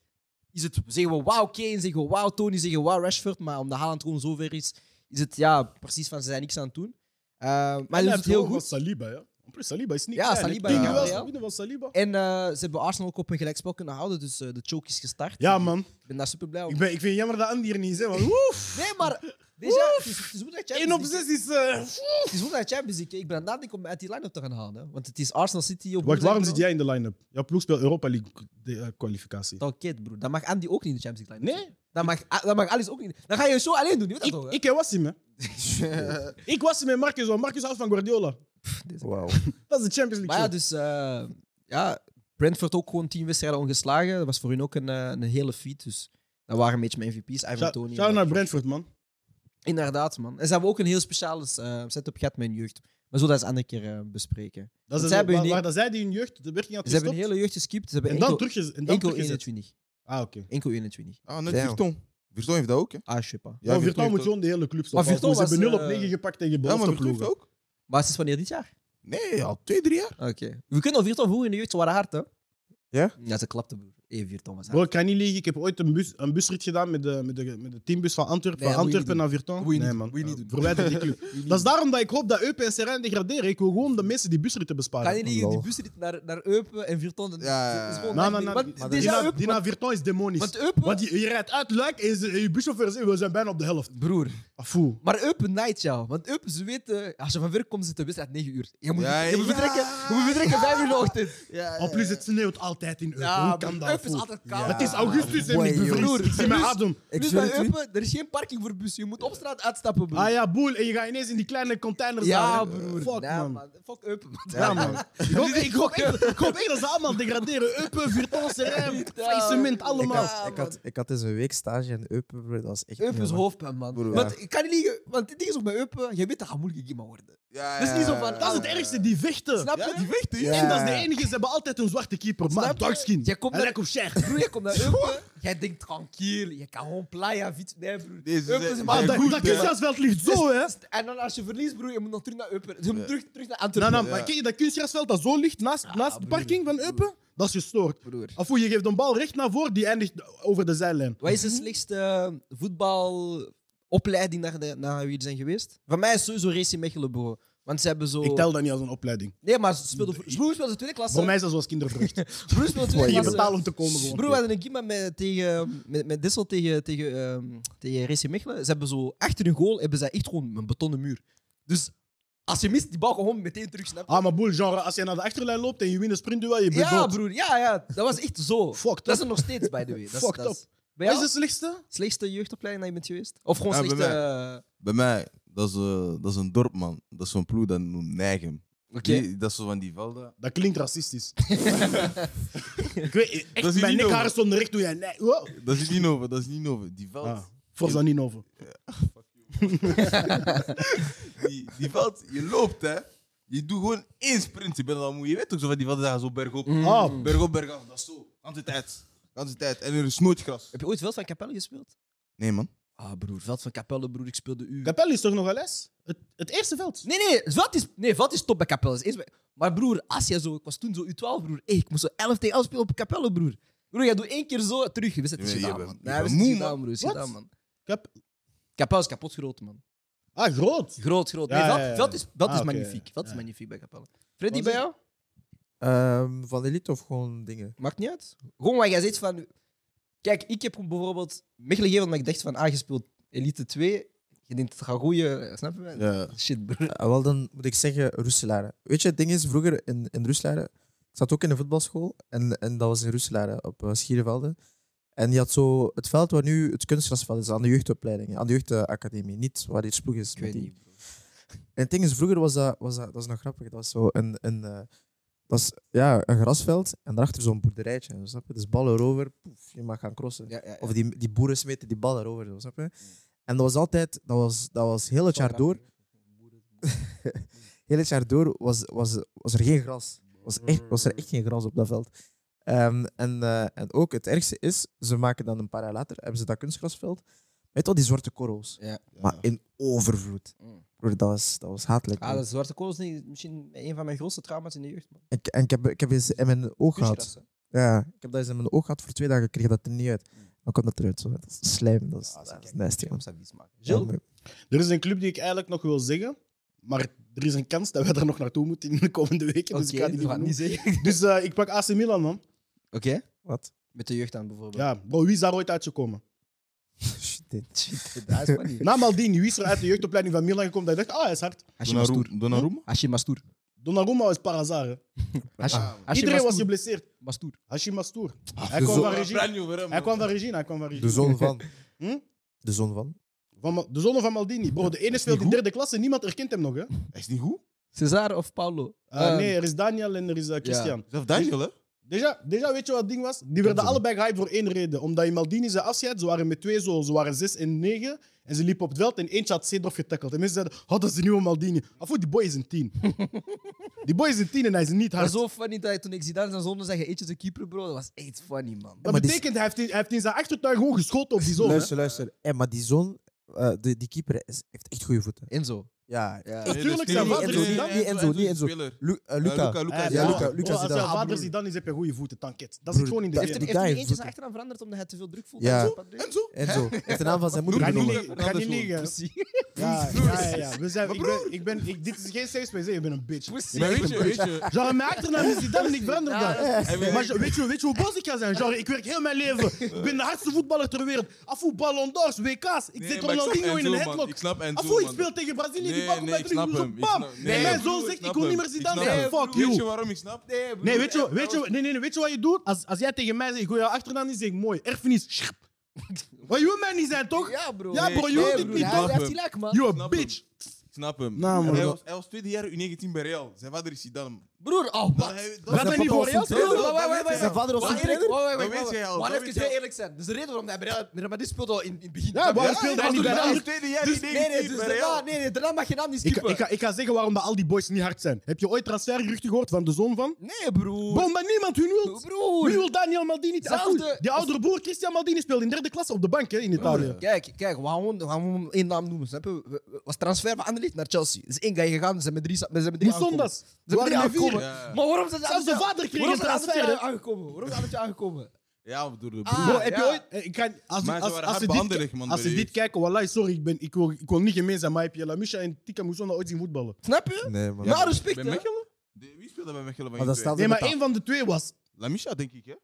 Speaker 1: is het zeggen we wauw Kane, zeggen we wauw Tony, zeggen we wauw Rashford. Maar omdat Haaland gewoon zover is, is het ja, precies van ze zijn niks aan het doen. Eh, maar hij doet het heel goed.
Speaker 2: Saliba, ja. In plus, Saliba is niet
Speaker 1: Ja,
Speaker 2: klein, hè.
Speaker 1: Saliba,
Speaker 2: Tien
Speaker 3: ja.
Speaker 2: duels,
Speaker 1: Ja.
Speaker 2: winnen van Saliba.
Speaker 1: En eh, ze hebben Arsenal ook op een gelijkspel kunnen houden, dus eh, de choke is gestart.
Speaker 2: Ja, man.
Speaker 1: Ik ben daar super blij
Speaker 2: Ik,
Speaker 1: om.
Speaker 2: ben, ik vind het jammer dat Andy hier niet is, hè. want Oef.
Speaker 1: Nee, maar déjà, het is, het is goed dat Champions
Speaker 2: 1 op
Speaker 1: League,
Speaker 2: 6 is... eh,
Speaker 1: het is goed dat Champions League. Ik ben aan het nadenken om uit die line-up te gaan halen. hè. Want het is Arsenal City op
Speaker 2: Wacht,
Speaker 1: woensdag,
Speaker 2: waarom
Speaker 1: bro.
Speaker 2: zit jij in de line-up? Jouw ploeg speelt Europa League de, eh, kwalificatie.
Speaker 1: Dat oké, broer. Dan mag Andy ook niet in de Champions League line-up. Nee. Dan mag, ah, dan mag Alice ook niet. Dan ga je zo alleen doen, je weet dat
Speaker 2: Ik,
Speaker 1: toch? hè?
Speaker 2: ik en was hem, hè. Ik was hem met Marcus, want Marcus houdt van Guardiola.
Speaker 4: Wauw.
Speaker 2: Dat is de Champions League
Speaker 1: Maar ja,
Speaker 2: show.
Speaker 1: dus eh, ja, Brentford ook gewoon tien wedstrijden ongeslagen. Dat was voor hun ook een, eh, een hele feat. Dus dat waren een beetje mijn MVP's. Ivan
Speaker 2: Shout-
Speaker 1: Tony.
Speaker 2: Shout
Speaker 1: en-
Speaker 2: naar Brentford, man.
Speaker 1: Inderdaad, man. En ze hebben ook een heel speciale eh, setup gehad met hun jeugd. Maar zo dat eens een andere keer eh, bespreken.
Speaker 2: Dat
Speaker 1: zij
Speaker 2: is waar,
Speaker 1: hebben
Speaker 2: waar,
Speaker 1: hun-
Speaker 2: dat zij die hun jeugd de werking had
Speaker 1: Ze hebben een
Speaker 2: gestopt.
Speaker 1: hele jeugd geskipt. Ze hebben
Speaker 2: En
Speaker 1: enkel,
Speaker 2: dan teruggez- en dan
Speaker 1: enkel
Speaker 2: teruggezet.
Speaker 1: 21.
Speaker 2: Ah, oké.
Speaker 1: Enkel 21.
Speaker 3: Ah, net
Speaker 4: Damn.
Speaker 3: Virton. Virton heeft dat ook, hè?
Speaker 1: Ah, je sais pas.
Speaker 2: Ja, Virtual moet
Speaker 3: heeft dat-
Speaker 2: gewoon de hele club
Speaker 1: Maar
Speaker 2: stoppen. Maar
Speaker 1: Virtual
Speaker 2: ze hebben
Speaker 1: was,
Speaker 2: 0 op
Speaker 1: eh,
Speaker 2: 9 gepakt tegen
Speaker 3: Ja, maar
Speaker 2: belofte
Speaker 3: Virton heeft dat
Speaker 2: ploegen.
Speaker 3: ook?
Speaker 1: Maar sinds wanneer dit jaar? Ah,
Speaker 3: Nee, al twee, drie jaar.
Speaker 1: Oké. We kunnen al Virton vroeger in de jeugd, ze waren hard, hè?
Speaker 4: Ja?
Speaker 1: Ja, ze klapte, broer. Even Virton was hard.
Speaker 2: Bro, ik kan niet liegen. Ik heb ooit een, bus, een busrit gedaan met de, met de, met de teambus van Antwerpen,
Speaker 1: Nee,
Speaker 2: van
Speaker 1: moet je
Speaker 2: Antwerpen
Speaker 1: niet
Speaker 2: naar Virton.
Speaker 1: Moet je
Speaker 2: Nee,
Speaker 1: niet
Speaker 2: man.
Speaker 1: doen, moet je niet
Speaker 2: Eh,
Speaker 1: doen.
Speaker 2: Verwijder die club. dat is daarom dat ik hoop dat Eupen en Serijn degraderen. Ik wil gewoon de mensen die busritten besparen.
Speaker 1: Kan je niet die
Speaker 4: Lol.
Speaker 1: busrit naar, naar Eupen en Virton? Dat
Speaker 3: Ja,
Speaker 1: dat is gewoon
Speaker 2: Nee,
Speaker 1: echt
Speaker 2: nee, nee.
Speaker 1: niet-
Speaker 2: Maar
Speaker 1: Want
Speaker 2: Nou, die
Speaker 1: dit
Speaker 2: na-
Speaker 1: jaar
Speaker 2: Die
Speaker 1: Eupen...
Speaker 2: naar Virton is demonisch.
Speaker 1: Want
Speaker 2: Want,
Speaker 1: Eupen...
Speaker 2: je, je rijdt uit Luik en ze- je buschauffeur zegt, we zijn bijna op de helft. Ah,
Speaker 1: Broer.
Speaker 2: Afoe.
Speaker 1: Maar Eupen night jou. Want Eupen, ze weten... Als je van ver komt, zit de wedstrijd 9 uur. Je moet,
Speaker 3: Ja,
Speaker 1: je moet
Speaker 3: ja.
Speaker 1: vertrekken, je moet vertrekken 5 uur in de ochtend.
Speaker 2: Al plus, het sneeuwt altijd in Eupen.
Speaker 1: Eh, Ja,
Speaker 2: Hoe kan
Speaker 1: maar
Speaker 2: dat?
Speaker 1: Eupen is
Speaker 2: afoe?
Speaker 1: altijd koud.
Speaker 2: Het is augustus en
Speaker 4: Boy,
Speaker 2: ik bevries.
Speaker 1: broer.
Speaker 2: Ik zie mijn adem.
Speaker 4: Ik
Speaker 1: dus
Speaker 4: zweer
Speaker 1: bij
Speaker 4: het u.
Speaker 1: Eupen, er is geen parking voor bussen. Je moet op straat uitstappen, broer.
Speaker 2: Ah ja, boel. En je gaat ineens in die kleine containers
Speaker 1: Ja,
Speaker 2: daar, hè.
Speaker 1: broer.
Speaker 2: Fuck,
Speaker 1: Ja,
Speaker 2: man.
Speaker 1: Fuck Eupen, man.
Speaker 2: Ja, man. Ik hoop, ik, hoop echt, ik hoop echt dat ze allemaal degraderen. Eupen, Virton, Serijn, faillissement, allemaal.
Speaker 1: Ja,
Speaker 4: Ik had, ik had eens een week stage in Eupen, broer. Dat was echt...
Speaker 1: Eupen is
Speaker 4: niet
Speaker 1: hoofdpijn, man.
Speaker 4: Broer,
Speaker 1: want ik kan niet liegen, want dit ding is ook bij Eupen. Je weet dat gaat moeilijk iemand worden.
Speaker 3: Ja,
Speaker 1: Dat is niet zo van-
Speaker 2: Dat is het ergste, die vechten.
Speaker 1: Snap je? Die vechten.
Speaker 4: Ja.
Speaker 2: En dat is de enige, ze hebben altijd een zwarte keeper. Maar
Speaker 1: Snap je?
Speaker 2: darkskin.
Speaker 1: Jij komt
Speaker 2: Hij
Speaker 1: naar-
Speaker 2: lijkt op Cher.
Speaker 1: Broer, je komt naar Eupen. Jij denkt tranquil. Je kan gewoon playa, fiets. Nee, broer.
Speaker 3: Deze
Speaker 1: Eupen
Speaker 3: zijn-
Speaker 1: is
Speaker 2: Maar
Speaker 1: maar
Speaker 3: zijn
Speaker 2: dat,
Speaker 3: goed,
Speaker 2: dat
Speaker 3: hè.
Speaker 2: kunstgrasveld ligt zo, hè.
Speaker 1: En dan als je verliest, broer, je moet nog terug naar Eupen. Dus je moet
Speaker 3: Ja.
Speaker 1: terug, terug naar
Speaker 2: Nou,
Speaker 1: Antwerpen.
Speaker 2: nou,
Speaker 3: Ja.
Speaker 2: maar ken je dat kunstgrasveld dat zo ligt naast, naast de
Speaker 1: broer.
Speaker 2: parking van Eupen? Dat is gestoord.
Speaker 1: broer.
Speaker 2: Of hoe je geeft een bal recht naar voren, die eindigt over de zijlijn.
Speaker 1: Wat is de slechtste voetbalopleiding naar, de, naar wie jullie zijn geweest? Van mij is sowieso Racing Mechelen, bro. Want ze hebben zo...
Speaker 2: Ik tel dat niet als een opleiding.
Speaker 1: Nee, maar ze speelden... Broer speelde tweede klasse.
Speaker 2: Voor mij is dat zoals kindervrucht.
Speaker 1: Broer speelde tweede
Speaker 2: Je
Speaker 1: klasse.
Speaker 2: betaalt om te komen gewoon.
Speaker 1: Broer, we hadden een game met, tegen, met, met Dissel tegen, tegen, ehm, tegen RC Mechelen. Ze hebben zo achter hun goal hebben zij echt gewoon een betonnen muur. Dus als je mist, die bal gewoon meteen terug snapt.
Speaker 2: Ah, maar boel, genre, als je naar de achterlijn loopt en je wint een sprintduel, je bent
Speaker 1: ja,
Speaker 2: dood.
Speaker 1: broer. Ja, ja, dat was echt zo.
Speaker 2: Fuck,
Speaker 1: dat
Speaker 2: dat
Speaker 1: is er nog steeds, by the way. Dat is-
Speaker 2: Fucked
Speaker 1: dat is-
Speaker 2: up.
Speaker 1: Bij jou?
Speaker 2: is de slechtste?
Speaker 1: slechtste jeugdopleiding dat je bent geweest? Of gewoon
Speaker 3: Ja, bij
Speaker 1: slechtste...
Speaker 3: Bij mij, dat is, eh, dat is een dorp, man. Dat is zo'n ploeg dat noemt Nijgem.
Speaker 1: eh, Oké.
Speaker 3: Die- Dat is zo van die velden.
Speaker 2: Dat klinkt racistisch. ik weet
Speaker 3: is
Speaker 2: echt,
Speaker 3: hier
Speaker 2: mijn
Speaker 3: niet
Speaker 2: nekhaar
Speaker 3: over.
Speaker 2: stonden recht toen jij... Nee, wow.
Speaker 3: Dat is niet over, dat is niet over. Die veld.
Speaker 2: Ah, voor dat niet over.
Speaker 3: die, die veld, je loopt hè. Je doet gewoon één sprint. Je, bent al moe. je weet ook zo van die velden dat gaan zo bergop.
Speaker 1: Hmm.
Speaker 2: Ah,
Speaker 3: Bergop, bergaf, dat is zo. Ganse tijd. Ganse tijd. En er is nooit gras.
Speaker 1: Heb je ooit Veld van Capelle gespeeld?
Speaker 3: Nee man.
Speaker 1: Ah, broer. Veld van Capelle, broer. Ik speelde u.
Speaker 2: Capelle is toch nog wel les? Het, het eerste veld.
Speaker 1: Nee, nee, Veld is, nee, Veld is top bij Capelle. Is eerst bij- Maar broer, als jij zo... Ik was toen zo U12, broer. Hey, ik moest zo 11 tegen 11 spelen op Capelle, broer. Broer, jij doet één keer zo terug. We zetten
Speaker 3: Je
Speaker 1: het
Speaker 3: bent-
Speaker 1: gedaan,
Speaker 3: je
Speaker 1: man.
Speaker 3: bent-
Speaker 1: Nee,
Speaker 3: je
Speaker 1: we
Speaker 3: bent
Speaker 1: zetten
Speaker 3: moe,
Speaker 1: het gedaan,
Speaker 3: man.
Speaker 1: broer. we zetten het gedaan, man.
Speaker 2: Cap
Speaker 1: Capelle is kapot groot, man.
Speaker 2: ah, groot.
Speaker 1: Groot, groot.
Speaker 2: Ja,
Speaker 1: Nee, Veld,
Speaker 2: ja, ja.
Speaker 1: Veld is, Veld
Speaker 2: Ah,
Speaker 1: is
Speaker 2: oké.
Speaker 1: magnifiek. Veld is
Speaker 2: Ja.
Speaker 1: magnifiek bij Capelle. Freddy,
Speaker 2: Wat
Speaker 1: bij
Speaker 2: is-
Speaker 1: jou?
Speaker 4: Ehm, van elite of gewoon dingen?
Speaker 1: Maakt niet uit. Gewoon wat jij zegt van... Kijk, ik heb bijvoorbeeld Mechelen gegeven omdat ik dacht van... Ah, je speelt Elite 2. Je denkt, het gaat goeie... Snap je?
Speaker 3: Ja.
Speaker 1: Shit, broer.
Speaker 4: Eh, wel, dan moet ik zeggen Roeselare. Weet je, het ding is, vroeger in, in Roeselare... Ik zat ook in de voetbalschool en, en dat was in Roeselare, op eh, Schierenvelden. En je had zo het veld waar nu het kunstgrasveld is, aan de jeugdopleiding, aan de jeugdacademie. Niet waar die ploeg is.
Speaker 1: Ik weet
Speaker 4: met die-
Speaker 1: niet, broer.
Speaker 4: En het ding is, vroeger was dat, was dat, dat is nog grappig, dat was zo een, een, eh, dat is, ja, een grasveld en daarachter zo'n boerderijtje. Snap je? Dus ballen erover, poef, je mag gaan crossen.
Speaker 1: Ja, ja, ja.
Speaker 4: Of die, die boeren smeten die ballen erover, zo, snap je? En dat was altijd, dat was, dat was heel het jaar door, heel het jaar door was, was, was er geen gras. Was, echt, was er echt geen gras op dat veld. Ehm, en, eh, en ook het ergste is, ze maken dan een paar jaar later, hebben ze dat kunstgrasveld, met al die zwarte korrels.
Speaker 1: Ja.
Speaker 4: Maar in overvloed.
Speaker 1: Mm.
Speaker 4: Broer, dat was, dat was hatelijk.
Speaker 1: Ah,
Speaker 4: man.
Speaker 1: dat zwarte kool is niet- misschien een van mijn grootste trauma's in de jeugd, man.
Speaker 4: En, ik- en ik, heb, ik heb eens in mijn oog
Speaker 1: Kunstgras,
Speaker 4: gehad.
Speaker 1: hè.
Speaker 4: Ja, ik heb dat eens in mijn oog gehad voor twee dagen, ik kreeg dat er niet uit. Dan kwam dat eruit. Zo. Dat is slijm, dat is,
Speaker 1: Ah,
Speaker 4: dat is
Speaker 1: kijk,
Speaker 4: nasty.
Speaker 1: ik
Speaker 4: man.
Speaker 1: moet dat vies maken. Jill?
Speaker 4: Ja, maar-
Speaker 2: Er is een club die ik eigenlijk nog wil zeggen, maar er is een kans dat wij daar nog naartoe moeten in de komende weken. Dus
Speaker 1: Oké,
Speaker 2: ik ga die
Speaker 1: we
Speaker 2: niet
Speaker 1: gaan niet
Speaker 2: noemen.
Speaker 1: zeggen.
Speaker 2: Dus eh, ik pak AC Milan, man.
Speaker 1: Oké.
Speaker 4: Wat?
Speaker 1: Met de jeugd aan, bijvoorbeeld.
Speaker 2: Ja, bro, wie is daar ooit uitgekomen?
Speaker 4: Shit, dit.
Speaker 1: Shit, dat is funny.
Speaker 2: Na Maldini, wie is er uit de jeugdopleiding van Milan gekomen dat ik dacht, ah, hij is hard.
Speaker 1: Hashim Mastour.
Speaker 3: Donnarumma? Donnarumma?
Speaker 1: Hashim Mastour.
Speaker 2: Donnarumma is Parazar. hè.
Speaker 1: Hashim- Hashim
Speaker 2: Iedereen was
Speaker 1: Mastour.
Speaker 2: geblesseerd.
Speaker 1: Mastour.
Speaker 2: Hashim Mastour.
Speaker 4: Ah,
Speaker 2: Hij
Speaker 4: de,
Speaker 2: kwam
Speaker 4: zo-
Speaker 2: van Regina. Hij kwam van Regina. Hij kwam van
Speaker 4: de
Speaker 2: Regina.
Speaker 4: zoon van.
Speaker 2: Hm?
Speaker 4: De zoon van.
Speaker 2: Van Ma- de zoon van Maldini. Bro, de ene speelt in derde klasse. Niemand herkent hem nog, hè?
Speaker 3: Hij is niet goed.
Speaker 1: Cesar of Paulo?
Speaker 2: Eh,
Speaker 1: Ehm,
Speaker 2: nee, er is Daniel en er is eh, Christian.
Speaker 3: Zelf Daniel, hè?
Speaker 2: Deja, deja, weet je wat het ding was? Die werden allebei gehyped voor één reden. Omdat in Maldini zijn afscheid, ze waren met twee zo, ze waren zes en negen. En ze liepen op het veld en eentje had Cedrof getackeld. En mensen zeiden, oh, dat is de nieuwe Maldini. Afo, die boy is een tien. die boy is een tien en hij is niet
Speaker 1: Maar
Speaker 2: hard.
Speaker 1: zo funny dat toen ik Zidane zijn zonde zei, eentje de keeper, bro. Dat was echt funny, man.
Speaker 2: Dat
Speaker 4: maar die-
Speaker 2: betekent, hij, heeft in, hij heeft in zijn achtertuin gewoon geschoten op die zoon. hè.
Speaker 4: luister, luister. Eh, maar die zoon, eh, de, die keeper, is, heeft echt goede voeten.
Speaker 1: Enzo.
Speaker 4: Ja.
Speaker 1: Ja.
Speaker 2: Natuurlijk,
Speaker 3: dat is
Speaker 2: zijn
Speaker 3: niet
Speaker 2: vader
Speaker 3: Enzo,
Speaker 2: is
Speaker 3: niet
Speaker 2: dan-
Speaker 3: Enzo,
Speaker 4: niet Enzo, niet
Speaker 3: Enzo is
Speaker 4: Enzo.
Speaker 3: speler.
Speaker 4: Lu- eh,
Speaker 3: Ja,
Speaker 4: Luca.
Speaker 3: Luca, Luca.
Speaker 2: Hij-
Speaker 3: is-
Speaker 4: Ja,
Speaker 2: bro,
Speaker 4: Luca,
Speaker 2: bro,
Speaker 4: Luca
Speaker 2: als
Speaker 4: is
Speaker 2: jouw
Speaker 4: daar.
Speaker 2: vader ziet, dan is heb je goede voeten, tanket. Dat zit
Speaker 4: Broer,
Speaker 2: gewoon in de
Speaker 4: dat
Speaker 1: Heeft
Speaker 2: genen.
Speaker 1: er
Speaker 4: die
Speaker 1: heeft er
Speaker 4: guy
Speaker 1: eentje zijn
Speaker 4: voeten.
Speaker 1: achternaam veranderd omdat hij te veel druk voelde?
Speaker 4: Ja.
Speaker 1: Enzo, Padre?
Speaker 3: Enzo?
Speaker 4: En zo. Heeft de naam van zijn moeder
Speaker 2: Ga
Speaker 3: Broer,
Speaker 2: niet
Speaker 4: genomen.
Speaker 3: broer,
Speaker 2: liegen,
Speaker 3: broer,
Speaker 2: ga niet
Speaker 3: broer.
Speaker 2: liegen.
Speaker 1: Precies.
Speaker 2: Ja, ja, ja, ja. We zijn,
Speaker 3: Maar
Speaker 2: ik ben, ik ben, ik, dit is geen safe space, hè. je bent een bitch.
Speaker 1: Pussy.
Speaker 3: Maar weet je, weet je...
Speaker 2: Genre, mijn achternaam is Zidane en ik verander
Speaker 1: Ja,
Speaker 2: dat.
Speaker 1: dat is-
Speaker 3: Hij wil-
Speaker 2: Maar je- weet je, weet je hoe boos ik ga zijn? Genre, ik werk heel mijn leven. Ik ben de hardste voetballer ter wereld. Afoe, Ballon d'Ors, WK's. Ik
Speaker 3: Nee,
Speaker 2: zit
Speaker 3: maar ik snap
Speaker 2: Ronaldinho in
Speaker 3: Enzo,
Speaker 2: een
Speaker 3: man.
Speaker 2: headlock.
Speaker 3: Ik snap Enzo,
Speaker 2: Afoe, ik
Speaker 3: man.
Speaker 2: speel tegen Brazilië, die
Speaker 3: Nee,
Speaker 2: pak op
Speaker 3: nee,
Speaker 2: mij
Speaker 3: ik
Speaker 2: terug.
Speaker 3: snap
Speaker 2: zo,
Speaker 3: hem. Ik
Speaker 2: Bam!
Speaker 3: snap-
Speaker 2: en
Speaker 3: nee,
Speaker 2: mijn
Speaker 3: broer,
Speaker 2: zoon
Speaker 3: ik
Speaker 2: zegt, ik
Speaker 3: snap
Speaker 2: wil niet
Speaker 3: hem.
Speaker 2: meer
Speaker 3: Ik
Speaker 2: Zidane
Speaker 3: snap
Speaker 2: zijn.
Speaker 3: hem.
Speaker 2: Fuck
Speaker 3: Weet je
Speaker 2: you.
Speaker 3: waarom ik snap?
Speaker 2: Nee, weet je, weet je, nee, nee, nee, weet je wat je doet? Als, als jij tegen mij zegt, ik wil jouw achternaam niet, zeg ik mooi. Erfenis, schip. Maar je wil mij niet zijn, toch?
Speaker 1: Ja, bro.
Speaker 2: Ja, bro, je
Speaker 1: Nee,
Speaker 2: hoeft het
Speaker 1: broer,
Speaker 2: niet,
Speaker 1: hij-
Speaker 3: toch?
Speaker 1: Hij heeft gelijk, man.
Speaker 2: You a
Speaker 3: snap hem.
Speaker 2: bitch.
Speaker 3: Ik snap hem.
Speaker 2: Nou, man,
Speaker 3: hij,
Speaker 2: dat-
Speaker 3: was, hij was tweede jaar U19 bij Real. Zijn vader is Zidane.
Speaker 1: Broer, oh,
Speaker 3: Dat
Speaker 1: wat?
Speaker 3: hij- dat-
Speaker 2: Laat hij niet voor jou
Speaker 1: Broer,
Speaker 2: spelen.
Speaker 1: wacht, wacht, wacht, wacht.
Speaker 4: Zijn vader was
Speaker 1: Maar
Speaker 4: een
Speaker 1: eerlijk-
Speaker 4: trainer?
Speaker 1: wacht, wacht,
Speaker 3: Dat
Speaker 1: wacht,
Speaker 3: weet jij al,
Speaker 1: Maar
Speaker 3: dat
Speaker 1: even
Speaker 3: weet jij
Speaker 1: heel
Speaker 3: al.
Speaker 1: eerlijk zijn. Dus de reden waarom hij bij Real- Real Madrid speelde al in in het begin.
Speaker 2: Ja, waarom
Speaker 1: dat-
Speaker 2: speelde hij
Speaker 1: dat-
Speaker 2: niet bij
Speaker 1: dat-
Speaker 2: Real?
Speaker 3: tweede jaar
Speaker 1: Dus, nee, nee,
Speaker 3: U19
Speaker 1: dus
Speaker 3: bij
Speaker 1: daarna,
Speaker 3: Real.
Speaker 1: nee, nee, daarna mag je naam niet
Speaker 2: Ik,
Speaker 1: skippen.
Speaker 2: ik, ga, ik ga zeggen waarom dat al die boys niet hard zijn. Heb je ooit transfergeruchten gehoord van de zoon van?
Speaker 1: Nee, broer.
Speaker 2: Bro, maar niemand hun wil.
Speaker 1: Broer.
Speaker 2: Wie wil Daniel Maldini?
Speaker 1: Zelfde-
Speaker 2: Zelfde... Die oudere broer Christian Maldini speelt in derde klasse op de bank hè, in Italië.
Speaker 1: Kijk, kijk, we gaan gewoon- we gaan gewoon één naam noemen. Snap je? We- we- Was transfer van Anderlecht naar Chelsea. Er is één guy gegaan, ze zijn met drie, sa- ze zijn met drie aangekomen.
Speaker 2: Moesondas.
Speaker 1: Ze zijn met
Speaker 2: Waren
Speaker 1: drie
Speaker 2: er vier?
Speaker 1: aangekomen.
Speaker 3: Ja.
Speaker 1: Maar waarom zijn ze
Speaker 2: Zelfs de vader kreeg
Speaker 1: waarom
Speaker 2: een
Speaker 1: zijn ze
Speaker 2: transfer.
Speaker 1: Anderlecht
Speaker 2: hè.
Speaker 1: aangekomen? Waarom zijn ze Anderlecht aangekomen?
Speaker 3: Ja, door de broer.
Speaker 2: Bro, heb je
Speaker 3: Ja.
Speaker 2: ooit... eh, Ik kan, als, als,
Speaker 3: Maar ze
Speaker 2: als,
Speaker 3: waren
Speaker 2: als,
Speaker 3: hard
Speaker 2: ze dit,
Speaker 3: behandeld,
Speaker 2: ki-
Speaker 3: man,
Speaker 2: als ze
Speaker 3: door
Speaker 2: dit
Speaker 3: je.
Speaker 2: kijken, wallahi, sorry, ik, ben, ik, wil, ik wil niet gemeen zijn, maar heb je Lamisha en Tika Moussona ooit zien voetballen?
Speaker 1: Snap je?
Speaker 4: Nee, man.
Speaker 1: Nou, respect,
Speaker 3: Bij
Speaker 1: hè.
Speaker 3: Mechelen? De- Wie speelde bij Mechelen van
Speaker 4: Maar
Speaker 3: je
Speaker 4: dat
Speaker 3: twee?
Speaker 4: staat
Speaker 2: Nee,
Speaker 4: in de
Speaker 2: maar één van de twee was...
Speaker 3: Lamisha, denk ik, hè?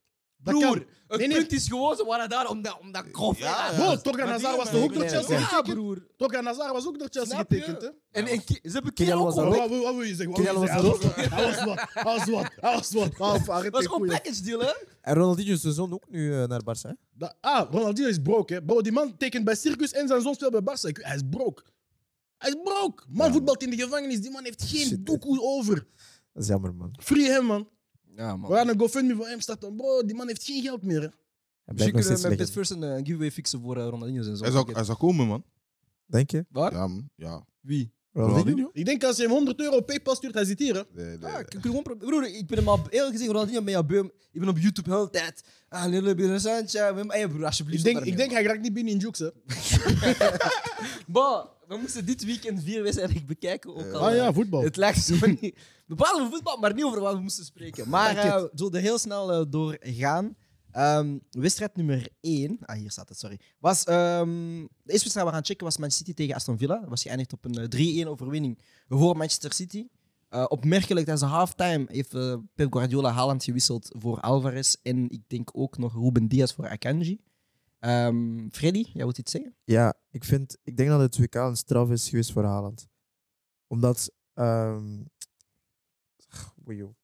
Speaker 2: Dat
Speaker 1: Broer, het
Speaker 2: Nee, nee.
Speaker 1: punt is gewoon, ze waren daar om dat, om dat krof.
Speaker 3: Ja,
Speaker 2: Bro,
Speaker 3: ja.
Speaker 2: Torgan
Speaker 3: Maar die
Speaker 2: Hazard was
Speaker 3: hebben-
Speaker 2: toch ook door
Speaker 4: Nee,
Speaker 2: Chelsea
Speaker 4: nee.
Speaker 1: Ja,
Speaker 2: getekend?
Speaker 1: broer.
Speaker 2: Torgan Hazard was ook door Chelsea
Speaker 1: Snap je?
Speaker 2: getekend, hè?
Speaker 1: En, en Ki- ze hebben Kiel
Speaker 4: Kylian
Speaker 1: ook
Speaker 4: was er
Speaker 1: al
Speaker 2: Wat
Speaker 1: weg.
Speaker 4: ook.
Speaker 2: wil wat wil je zeggen?
Speaker 4: Kylian
Speaker 2: Wat wil je
Speaker 4: was
Speaker 2: zeggen? Hij was wat, hij was wat, hij was wat. Ah, fuck, het
Speaker 1: Dat
Speaker 2: is
Speaker 1: is gewoon
Speaker 2: goeie.
Speaker 1: package deal, hè?
Speaker 4: En Ronaldinho is zijn zoon ook nu eh, naar Barça. hè?
Speaker 2: Da- Ah, Ronaldinho is broke, hè. Bro, die man tekent bij Circus en zijn zoon speelt bij Barça. Ik- Hij is broke. Hij is broke. Man voetbalt in de gevangenis. Die man heeft geen
Speaker 4: Shit.
Speaker 2: doekoe over.
Speaker 4: Dat is jammer, man.
Speaker 2: Free hem, man.
Speaker 1: Ja,
Speaker 2: We gaan een GoFundMe voor hem starten. Bro, die man heeft geen geld meer. hè.
Speaker 4: Hij
Speaker 1: Misschien
Speaker 4: blijft nog
Speaker 1: kunnen
Speaker 4: steeds
Speaker 1: we met Best
Speaker 4: legend.
Speaker 1: First een eh, giveaway fixen voor eh, Ronaldinho en zo.
Speaker 3: Hij zou, hij zou komen, man.
Speaker 4: Denk je?
Speaker 1: Waar?
Speaker 3: Ja, man. Ja.
Speaker 1: Wie?
Speaker 4: Ronaldinho?
Speaker 2: Ik denk als je hem 100 euro op PayPal stuurt, hij zit hier. hè.
Speaker 3: Nee, nee.
Speaker 1: Ja, Ah, ik, ik, gewoon pro- broer, ik ben hem al heel gezien, Ronaldinho ben je beu. Ik ben op YouTube de hele tijd. Ah, Lille Birasantja. Hey, broer, alsjeblieft.
Speaker 2: Ik
Speaker 1: stop daarmee,
Speaker 2: denk, ik denk hij raakt niet binnen in Jukes. hè.
Speaker 1: man. Bah, we moesten dit weekend vier wedstrijden bekijken. Ook al,
Speaker 2: Ah
Speaker 1: eh,
Speaker 2: ja, voetbal.
Speaker 1: Het lijkt zo niet. We praten over voetbal, maar niet over wat we moesten spreken. Maar eh, we zullen er heel snel eh, door gaan. Ehm, wedstrijd nummer 1, ah hier staat het, sorry. Was, ehm, de eerste wedstrijd we gaan checken was Man City tegen Aston Villa. Dat was geëindigd op een eh, 3-1 overwinning voor Manchester City. Eh, opmerkelijk tijdens de halftime heeft eh, Pep Guardiola Haaland gewisseld voor Alvarez. En ik denk ook nog Ruben Diaz voor Akanji. Ehm, Freddy, jij wilt iets zeggen?
Speaker 4: Ja, ik, vind, ik denk dat het WK een straf is geweest voor Haaland. Omdat... ehm, ach, oei, joh.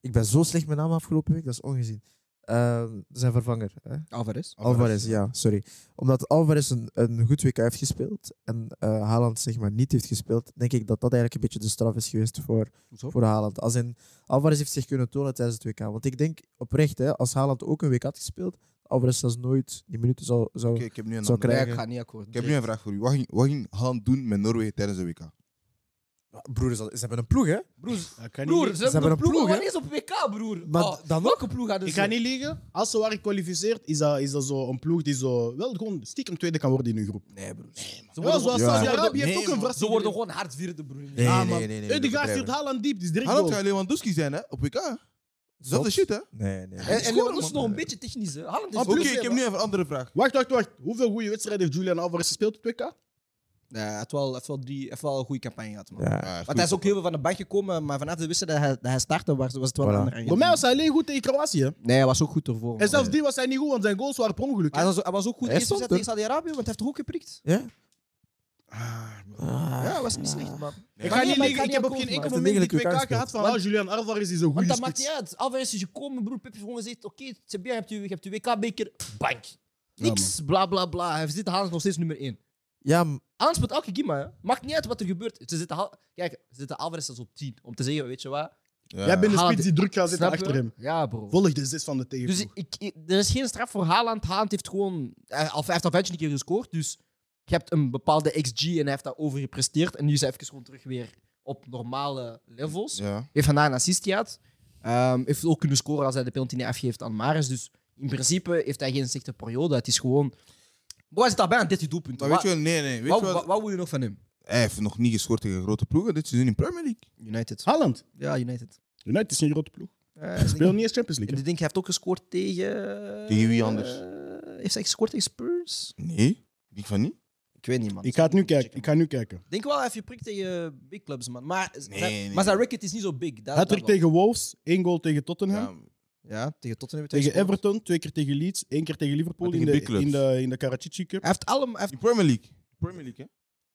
Speaker 4: Ik ben zo slecht met naam afgelopen week, dat is ongezien. Ehm, zijn vervanger, hè?
Speaker 1: Alvarez.
Speaker 4: Alvarez, ja, sorry. Omdat Alvarez een, een goed WK heeft gespeeld en eh, Haaland zeg maar niet heeft gespeeld, denk ik dat dat eigenlijk een beetje de straf is geweest voor,
Speaker 1: Hoezo?
Speaker 4: voor Haaland. Als in, Alvarez heeft zich kunnen tonen tijdens het WK. Want ik denk oprecht, hè, als Haaland ook een WK had gespeeld, Alvarez zelfs nooit die minuten zou... zou
Speaker 3: Oké, ik heb nu een
Speaker 4: Zou
Speaker 3: andere-
Speaker 1: Ja,
Speaker 4: krijgen.
Speaker 1: ik ga niet akkoord.
Speaker 3: Ik heb nu een vraag voor u. Wat ging, wat ging Haaland doen met Noorwegen tijdens de
Speaker 2: Ah,
Speaker 3: WK?
Speaker 4: Broer, ze hebben een ploeg, hè?
Speaker 2: Ik kan niet
Speaker 1: Broer,
Speaker 2: liegen.
Speaker 1: ze hebben
Speaker 4: hebben
Speaker 1: een
Speaker 4: een
Speaker 1: ploeg.
Speaker 4: ploeg, hè?
Speaker 1: Wanneer is op WK, broer?
Speaker 4: Maar
Speaker 1: Oh,
Speaker 4: dan
Speaker 1: welke ploeg hadden
Speaker 2: Ik
Speaker 1: ze?
Speaker 2: ga niet liegen. Als ze waren gekwalificeerd, is dat, is dat zo een ploeg die zo wel gewoon stiekem tweede kan worden in hun groep.
Speaker 1: Nee, broer. Nee, man. Ze
Speaker 2: Ja,
Speaker 1: worden,
Speaker 2: zoals
Speaker 1: gewoon,
Speaker 4: Ja.
Speaker 2: Saudi-Arabië heeft ook een
Speaker 1: man. ze
Speaker 2: verrassing.
Speaker 1: worden gewoon hard vierde, broer.
Speaker 4: Nee,
Speaker 2: Ah, man.
Speaker 4: nee, nee, nee, nee,
Speaker 2: Hey, die guy
Speaker 4: dat begrijp
Speaker 2: stuurt
Speaker 4: ik.
Speaker 2: Haaland diep, die is direct
Speaker 3: Haaland
Speaker 2: goal.
Speaker 3: gaat Lewandowski zijn, hè? Op WK. Zelfde
Speaker 4: Klopt.
Speaker 3: shit, hè?
Speaker 4: Nee, nee.
Speaker 1: En, en
Speaker 3: Scoren,
Speaker 1: dat is
Speaker 3: man.
Speaker 1: nog een beetje technisch. hè. Haaland is
Speaker 2: Ah,
Speaker 3: Oké,
Speaker 1: goed,
Speaker 3: ik
Speaker 1: hè,
Speaker 3: heb nu even een andere vraag.
Speaker 2: Wacht, wacht, wacht. Hoeveel goede wedstrijden heeft Julian Alvarez gespeeld op 2K?
Speaker 1: Nee, hij heeft wel, hij heeft wel, drie, hij heeft wel een goede campagne gehad, man.
Speaker 4: Ja.
Speaker 3: Ah,
Speaker 1: Want hij is ook heel veel van de bank gekomen, maar vanaf de wedstrijd dat hij, dat hij startte, was, was het wel een
Speaker 4: Voilà.
Speaker 1: ander
Speaker 2: Voor mij was hij alleen goed tegen Kroatië.
Speaker 1: Nee, hij was ook goed ervoor. man.
Speaker 2: En zelfs die was hij niet goed, want zijn goals waren per ongeluk.
Speaker 1: Hij was, hij was ook goed
Speaker 4: Hij
Speaker 1: eerst
Speaker 4: stond
Speaker 1: gezet tegen Saudi-Arabië, want hij heeft toch ook geprikt?
Speaker 4: Ja?
Speaker 3: Ah,
Speaker 1: Ja, hij was niet slecht, man.
Speaker 2: Ik
Speaker 1: Maar
Speaker 2: ga
Speaker 1: nee,
Speaker 2: niet
Speaker 1: maar
Speaker 2: liegen, ik
Speaker 1: ik
Speaker 2: heb
Speaker 1: ga
Speaker 2: op
Speaker 1: niet
Speaker 2: geen enkel
Speaker 1: akkoord,
Speaker 4: man.
Speaker 2: moment die 2K
Speaker 4: Het is degelijk elkaar
Speaker 2: gehad van ah, Julian Alvarez is een
Speaker 1: Want
Speaker 2: goede
Speaker 1: dat maakt
Speaker 2: spits.
Speaker 1: niet uit. Alvarez is gekomen, broer. Pep heeft gewoon gezegd, oké, Sebia, je hebt je, je hebt je WK-beker, bank. Niks, bla, bla, bla. Hij zit Haaland nog steeds nummer 1.
Speaker 4: Ja, m-
Speaker 1: Aan speelt elke Gima. hè. Maakt niet uit wat er gebeurt. Ze zitten, Haal- Kijk, ze zitten Alvarez als op 10. Om te zeggen, weet je wat?
Speaker 2: Jij bent de
Speaker 1: Haaland-
Speaker 2: spits die druk gaat zitten
Speaker 1: Snap je?
Speaker 2: achter hem.
Speaker 1: Ja, bro.
Speaker 2: Volg de zes van de
Speaker 1: Dus
Speaker 2: tegenstander.
Speaker 1: ik, ik- er is geen straf voor Haaland. Haaland heeft gewoon... Hij al- hij heeft al 15 keer gescoord, dus... Je hebt een bepaalde XG en hij heeft dat overgepresteerd. En nu is hij even gewoon terug weer op normale levels.
Speaker 3: Ja.
Speaker 1: Heeft vandaag een assist gehad. Ehm, heeft ook kunnen scoren als hij de penalty niet afgeeft aan Maris. Dus in principe heeft hij geen slechte periode. Het is gewoon... Boy, hij zit al bijna 13 doelpunten.
Speaker 3: Maar weet
Speaker 1: Wat,
Speaker 3: je wel- nee, nee. Weet
Speaker 1: wat,
Speaker 3: je wel-
Speaker 1: wat, wat wil je nog van hem?
Speaker 3: Hij heeft nog niet gescoord tegen grote ploegen dit seizoen in Premier League.
Speaker 1: United.
Speaker 2: Haaland,
Speaker 1: Ja, United.
Speaker 2: United is een grote ploeg.
Speaker 1: Eh,
Speaker 2: Speel niet eens Champions
Speaker 1: En
Speaker 2: League.
Speaker 1: ik denk, hij heeft ook gescoord tegen...
Speaker 3: Tegen wie anders?
Speaker 1: Eh, heeft hij gescoord tegen Spurs?
Speaker 3: Nee, ik van niet.
Speaker 1: Ik weet niet, man.
Speaker 2: hè. Ik ga het nu kijken. Ik ga nu kijken.
Speaker 1: denk wel, hij heeft geprikt tegen big clubs, man. Maar,
Speaker 3: Nee,
Speaker 1: zijn,
Speaker 3: nee,
Speaker 1: maar zijn
Speaker 3: nee.
Speaker 1: record is niet zo big. Dat, dat
Speaker 2: Hattrick
Speaker 1: wel.
Speaker 2: tegen Wolves, één goal tegen Tottenham.
Speaker 3: Ja,
Speaker 1: Ja, tegen Tottenham. heeft hij
Speaker 2: Tegen
Speaker 1: gescoord.
Speaker 2: Everton, twee keer tegen Leeds, één keer tegen Liverpool
Speaker 3: Maar
Speaker 2: in
Speaker 3: tegen
Speaker 2: de,
Speaker 3: big clubs.
Speaker 2: in de, in de Karachichi Cup.
Speaker 1: Hij heeft allemaal... Hij heeft-
Speaker 3: in Premier League. Premier League, hè?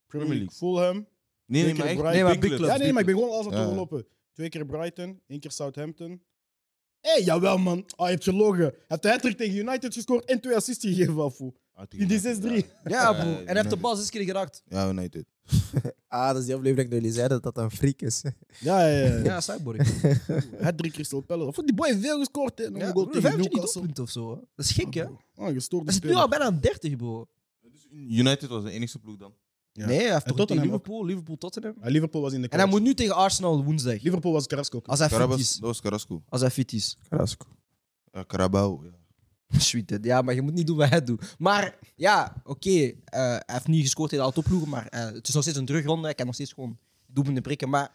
Speaker 2: Premier League,
Speaker 3: League.
Speaker 2: Fulham.
Speaker 3: Nee, nee,
Speaker 2: Zeker
Speaker 3: maar echt
Speaker 2: Brighton.
Speaker 1: Nee, maar big
Speaker 3: clubs.
Speaker 2: Ja, nee, maar ik ben gewoon alles aan het
Speaker 3: Ja.
Speaker 2: overlopen. Twee keer Brighton, één keer Southampton. Hé, hey, jawel man. Ah, je hebt gelogen. Hij heeft de hat tegen United gescoord en twee assists gegeven af. foe.
Speaker 3: Ah, tegen
Speaker 2: In die
Speaker 3: United,
Speaker 2: 6-3.
Speaker 1: Ja,
Speaker 3: Eh,
Speaker 1: broer. En hij heeft de bal zes keer geraakt.
Speaker 3: Ja, United.
Speaker 4: ah, dat is die aflevering dat jullie zeiden dat dat een freak is.
Speaker 2: Ja, ja, ja.
Speaker 1: Ja, Cyborg.
Speaker 2: Hat-trick Crystal Palace. Of die boy heeft veel gescoord. Hè. Nog
Speaker 1: Ja,
Speaker 2: een
Speaker 1: broer,
Speaker 2: goal tegen
Speaker 1: 25
Speaker 2: Newcastle.
Speaker 1: doelpunten of zo. hè. Dat is gek, hè?
Speaker 2: Ah, gestoord.
Speaker 1: Dat zit nu al bijna aan 30, bro.
Speaker 3: Dus United was de enige ploeg dan.
Speaker 2: Ja.
Speaker 1: Nee, hij heeft toch tegen
Speaker 2: Tottenham ook.
Speaker 1: Liverpool, Liverpool-Tottenham.
Speaker 2: Ah, Liverpool was in de
Speaker 1: En hij
Speaker 2: clinch.
Speaker 1: moet Ah. nu tegen Arsenal woensdag.
Speaker 2: Liverpool was Carrasco.
Speaker 1: Als hij fit
Speaker 3: Carabas,
Speaker 1: is.
Speaker 3: dat was Carrasco.
Speaker 1: Als hij fit is.
Speaker 4: Carrasco.
Speaker 3: Ja, Carabao. Ja.
Speaker 1: Sweet, hè. ja, maar je moet niet doen wat hij doet. Maar ja, oké, eh, hij heeft niet gescoord tegen de autoploegen, maar eh, het is nog steeds een terugronde. Hij kan nog steeds gewoon doelpunten prikken. Maar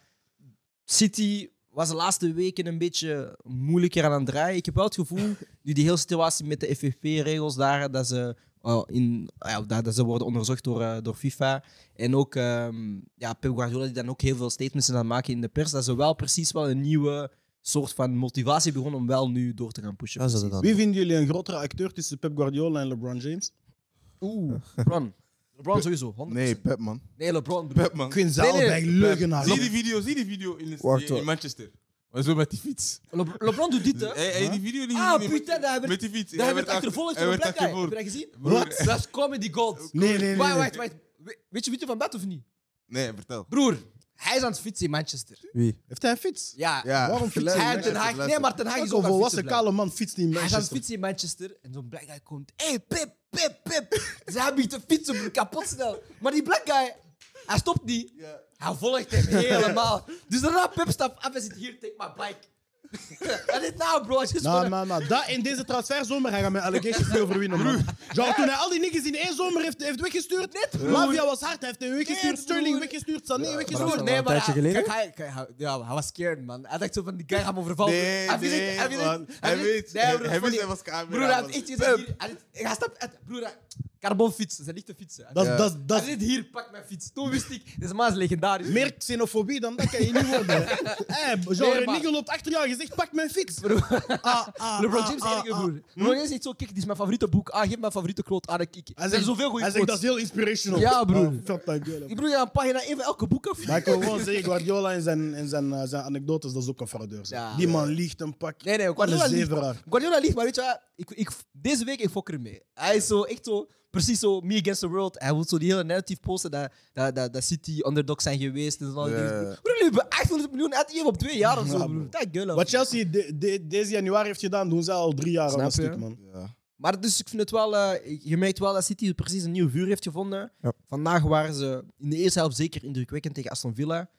Speaker 1: City was de laatste weken een beetje moeilijker aan het draaien. Ik heb wel het gevoel, nu die hele situatie met de FFP-regels daar, dat ze, eh, in, ah ja, dat, dat ze worden onderzocht door, eh, door FIFA. En ook ehm, ja, Pep Guardiola, die dan ook heel veel statements is aan het maken in de pers, dat ze wel precies wel een nieuwe soort van motivatie begon om wel nu door te gaan pushen.
Speaker 4: Dat is het dan.
Speaker 2: Wie vinden jullie een grotere acteur tussen Pep Guardiola en LeBron James?
Speaker 1: Oeh, LeBron. LeBron sowieso, 100%.
Speaker 3: Nee, Pep, man.
Speaker 1: Nee, LeBron.
Speaker 5: Pep, man.
Speaker 2: Quinzaal
Speaker 1: Nee, nee,
Speaker 2: bij
Speaker 1: nee.
Speaker 2: Leugenaar.
Speaker 5: Zie die video, zie die video in,
Speaker 4: Wacht,
Speaker 5: in
Speaker 4: hoor.
Speaker 5: Manchester. Maar zo met die fiets.
Speaker 1: Le- LeBron doet dit, hè?
Speaker 5: Hey, hey, die video die
Speaker 1: Ah,
Speaker 5: die-
Speaker 1: putain, daar hebben-
Speaker 5: met die fiets.
Speaker 1: Daar werd achtervolgd
Speaker 5: hij
Speaker 1: door een
Speaker 5: werd
Speaker 1: black guy. Heb je
Speaker 5: achtervolgd.
Speaker 1: dat gezien?
Speaker 5: Broer,
Speaker 2: Wat?
Speaker 1: Dat is comedy gold.
Speaker 2: Nee, nee, nee,
Speaker 1: Wacht,
Speaker 2: nee.
Speaker 1: wacht, wacht. We- Weet je, weet je van dat of niet?
Speaker 3: Nee, vertel.
Speaker 1: Broer, hij is aan het fietsen in Manchester.
Speaker 4: Wie?
Speaker 2: Heeft hij een fiets?
Speaker 1: Ja.
Speaker 3: Ja,
Speaker 2: Waarom fiets
Speaker 1: Hij en
Speaker 2: hij?
Speaker 1: Ten Haag. Nee, maar Ten Haag is ook
Speaker 2: Ook
Speaker 1: aan het
Speaker 2: een
Speaker 1: fietsen.
Speaker 2: volwassen
Speaker 1: blijkbaar.
Speaker 2: kale man fietst niet in
Speaker 1: Hij is aan het
Speaker 2: Manchester.
Speaker 1: fietsen in Manchester en zo'n black guy komt. Hé, hey, pip, pip, pip. Dus Ze begint te fietsen, broer, kapot snel. Maar die black guy, hij stopt niet. Hij volgt hem helemaal. Dus daarna pip stapt af en zit hier, take my bike. En dit nou, bro. Het is
Speaker 2: Nou,
Speaker 1: gewoon-
Speaker 2: maar, maar dat in deze transferzomer hij gaat met allegations niet overwinnen, man. Genre, toen hij al die niggas in één zomer heeft, heeft weggestuurd, Lavia was hard, hij heeft hem weggestuurd,
Speaker 1: Net,
Speaker 2: Sterling
Speaker 1: broer.
Speaker 2: weggestuurd, Sané
Speaker 4: maar dat
Speaker 2: weggestuurd.
Speaker 4: is wel een tijdje
Speaker 1: hij-
Speaker 4: geleden.
Speaker 1: Kijk, hij, kijk, hij- ja, hij was scared, man. Hij dacht zo van, die guy gaat me overvallen.
Speaker 3: Nee,
Speaker 1: hij wist
Speaker 3: nee,
Speaker 1: het, hij wist
Speaker 3: man.
Speaker 1: het,
Speaker 3: Hij weet.
Speaker 1: Nee, broer,
Speaker 3: Hij
Speaker 1: funny.
Speaker 3: wist, hij was camera,
Speaker 1: Broer, hij
Speaker 3: man.
Speaker 1: heeft echt gezegd, hier, hij zit- hij stapt uit. Broer, hij- carbon fietsen, zijn lichte fietsen.
Speaker 2: Dat, is- dat, is- dat
Speaker 1: Hij
Speaker 2: is
Speaker 1: zit hier, pak mijn fiets. Toen wist ik, deze man is legendarisch.
Speaker 2: meer xenofobie dan dat kan je niet worden. hè. Hé, genre,
Speaker 1: Nee,
Speaker 2: een
Speaker 1: maar-
Speaker 2: nigger loopt achter jou en je zegt, pak mijn fiets. Ah, ah,
Speaker 1: LeBron
Speaker 2: ah,
Speaker 1: James
Speaker 2: ah,
Speaker 1: is enige
Speaker 2: ah.
Speaker 1: broer. LeBron James zegt zo, kijk, dit is mijn favoriete boek. Ah, geef mijn favoriete quote aan, ik. ik.
Speaker 2: Hij
Speaker 1: Er zijn
Speaker 2: zegt,
Speaker 1: zoveel goede
Speaker 2: hij zegt, dat
Speaker 1: quotes.
Speaker 2: is heel inspirational.
Speaker 1: Ja, broer.
Speaker 2: Ah, fuck dat girl, hè.
Speaker 1: Ik bedoel, je een pagina even elke boek af.
Speaker 2: Maar ik wil gewoon zeggen, Guardiola en zijn, en zijn, eh, zijn anekdotes, dat is ook een fraudeur. zeg.
Speaker 1: Ja.
Speaker 2: die man liegt een pak.
Speaker 1: Nee, nee,
Speaker 2: Wat
Speaker 1: Guardiola
Speaker 2: een
Speaker 1: liegt.
Speaker 2: zeveraar.
Speaker 1: Guardiola liegt, maar weet je wat? Ik, ik, deze week, ik fok ermee. Hij is zo, echt zo, precies zo, me against the world. Hij wil zo die hele narrative posten dat, dat, dat, dat City underdogs zijn geweest. En zo.
Speaker 3: Ja,
Speaker 1: Yeah.
Speaker 3: ja, ja.
Speaker 1: Broer, jullie hebben 800 miljoen uitgegeven op twee jaar of zo,
Speaker 2: Ja,
Speaker 1: broer.
Speaker 2: bro.
Speaker 1: Dat gulle.
Speaker 2: Wat Chelsea de- de- deze januari heeft gedaan, doen ze al drie jaar aan
Speaker 1: Snap
Speaker 2: een
Speaker 1: je?
Speaker 2: stuk, man.
Speaker 3: Ja.
Speaker 1: Maar dus ik vind het wel, eh, je merkt wel dat City precies een nieuw vuur heeft gevonden.
Speaker 4: Ja.
Speaker 1: Vandaag waren ze in de eerste helft zeker indrukwekkend tegen Aston Villa.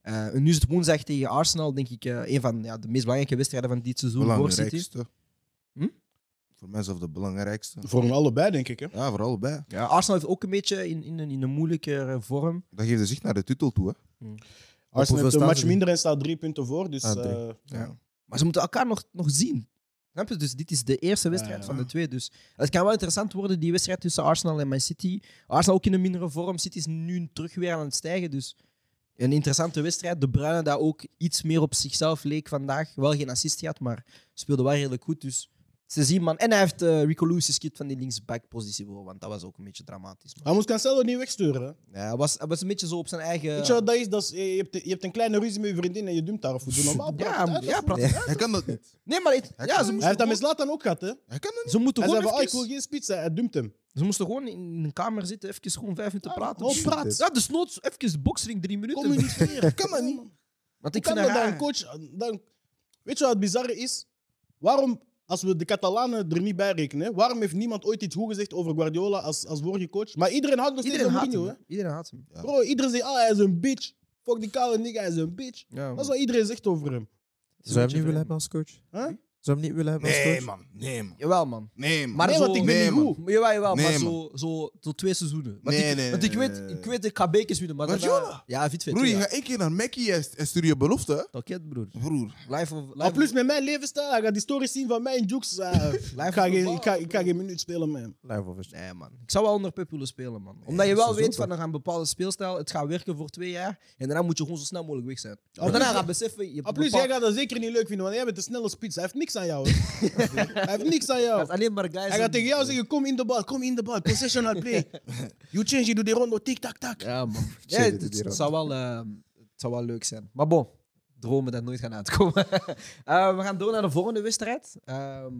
Speaker 1: Eh, en nu is het woensdag tegen Arsenal, denk ik, eh, een van ja, de meest belangrijke wedstrijden van dit seizoen voor City.
Speaker 3: Belangrijkste.
Speaker 1: Hm?
Speaker 3: Voor mij zelf de belangrijkste.
Speaker 2: Voor hen allebei, denk ik. Hè.
Speaker 3: Ja, voor allebei.
Speaker 1: Ja, Arsenal heeft ook een beetje in, in, een, in een moeilijkere vorm.
Speaker 3: Dat geeft de zicht naar de titel toe, hè.
Speaker 2: Arsenal
Speaker 4: hoeveel
Speaker 2: heeft een
Speaker 4: staan
Speaker 2: match
Speaker 4: ze nu?
Speaker 2: minder en staat drie punten voor. Dus,
Speaker 4: Ah, drie.
Speaker 2: eh,
Speaker 1: Maar ze moeten elkaar nog, nog zien. Snap je? Dus dit is de eerste wedstrijd
Speaker 2: Ja.
Speaker 1: van de twee. Dus het kan wel interessant worden, die wedstrijd tussen Arsenal en Man City. Arsenal ook in een mindere vorm. City is nu terug weer aan het stijgen. Dus een interessante wedstrijd. De Bruyne daar ook iets meer op zichzelf leek vandaag. Wel geen assist gehad, maar speelde wel redelijk goed. Dus ze zien, man. En hij heeft eh Rico Lewis geskipt van die linksback-positie. bro, Want dat was ook een beetje dramatisch. Man.
Speaker 2: hij moest Cancelo niet wegsturen. hè.
Speaker 1: Ja, hij, was, hij was een beetje zo op zijn eigen...
Speaker 2: Weet je wat dat is? Dat is eh, je, hebt, je hebt een kleine ruzie met je vriendin en je dumpt haar. Of hoe doe je normaal? Praat het
Speaker 1: ja,
Speaker 2: uit,
Speaker 1: ja,
Speaker 2: of hoe?
Speaker 1: praat-
Speaker 3: Hij kan dat niet.
Speaker 1: Nee, maar het- ja, ze
Speaker 2: Hij heeft dat met
Speaker 1: moesten,
Speaker 2: Zlatan ook gehad, hè?
Speaker 3: Hij kan dat niet.
Speaker 1: ze moeten
Speaker 2: Hij
Speaker 1: gewoon
Speaker 2: zei van, oh, ik
Speaker 1: even-
Speaker 2: wil geen spits. hè. Hij dumpt hem.
Speaker 1: Ze moesten gewoon in een kamer zitten, even gewoon vijf minuten
Speaker 2: Ah,
Speaker 1: praten.
Speaker 2: oh, praat.
Speaker 1: Ja, dus noods, even boksring drie minuten.
Speaker 2: Communiceren. kan dat niet.
Speaker 1: Want
Speaker 2: Ik
Speaker 1: ik
Speaker 2: kan
Speaker 1: vind dat
Speaker 2: dat dan
Speaker 1: raar.
Speaker 2: coach... Dan, weet je wat het bizarre is? Waarom, als we de Catalanen er niet bij rekenen, hè, waarom heeft niemand ooit iets goed gezegd over Guardiola als, als vorige coach? Maar iedereen houdt nog steeds
Speaker 1: Iedereen
Speaker 2: van
Speaker 1: haat
Speaker 2: Mourinho,
Speaker 1: hem.
Speaker 2: hè?
Speaker 1: hè. Iedereen haat hem.
Speaker 3: Ja.
Speaker 2: Bro, iedereen zegt, ah, hij is een bitch. Fuck die kale nigga, hij is een bitch.
Speaker 1: Ja,
Speaker 2: Dat is wat iedereen zegt over hem.
Speaker 4: Zou je hem niet willen hebben als coach?
Speaker 2: Huh?
Speaker 4: Zou je hem niet willen hebben als
Speaker 3: Nee,
Speaker 4: coach?
Speaker 3: man. Nee, man.
Speaker 1: Jawel, man.
Speaker 3: Nee, man.
Speaker 1: Maar
Speaker 2: nee,
Speaker 1: zo-
Speaker 2: want ik ben
Speaker 3: nee,
Speaker 2: niet
Speaker 3: man.
Speaker 2: goed.
Speaker 1: Maar Jawel, jawel,
Speaker 3: Nee,
Speaker 1: maar
Speaker 3: man.
Speaker 1: zo, zo tot twee seizoenen. Want
Speaker 3: Nee,
Speaker 1: ik,
Speaker 3: nee,
Speaker 1: want ik
Speaker 3: nee,
Speaker 1: weet,
Speaker 3: nee,
Speaker 1: ik weet de KB'kjes winnen, maar daarna-
Speaker 3: Guardiola?
Speaker 1: Ja, fit fit.
Speaker 3: Broer, je
Speaker 1: ja.
Speaker 3: gaat één keer naar Mackie en en stuur je belofte, hè.
Speaker 1: Toket, broer.
Speaker 3: Broer.
Speaker 1: Life of... Life
Speaker 2: En plus met mijn levensstijl, hij gaat die stories zien van mij in Jukes. eh, ik, ga geen, ik, ga, ik ga geen minuut spelen met hem.
Speaker 4: Live over.
Speaker 1: Nee, man. Ik zou wel onder Pep willen spelen, man. Omdat je wel weet van, er gaan een bepaalde speelstijl, het gaat werken voor twee jaar, en daarna moet je gewoon zo snel mogelijk weg zijn. Want daarna Ah, gaat beseffen... Je hebt
Speaker 2: En plus,
Speaker 1: bepaald-
Speaker 2: jij gaat dat zeker niet leuk vinden, want jij bent een snelle spits. Hij heeft niks aan jou. hè. hij heeft niks aan
Speaker 1: gaat
Speaker 2: jou.
Speaker 1: alleen maar guys...
Speaker 2: Hij gaat tegen jou zeggen, kom in de bal, kom in de bal, possessional play. You change, you do the rondo, tik, tak, tak.
Speaker 1: Ja, man.
Speaker 4: Shit,
Speaker 1: Ja,
Speaker 4: dit
Speaker 1: het,
Speaker 4: is hier
Speaker 1: het
Speaker 4: ook.
Speaker 1: zou wel, eh, het zou wel leuk zijn. Maar bon, dromen dat nooit gaan uitkomen. Eh, we gaan door naar de volgende wedstrijd. Ehm,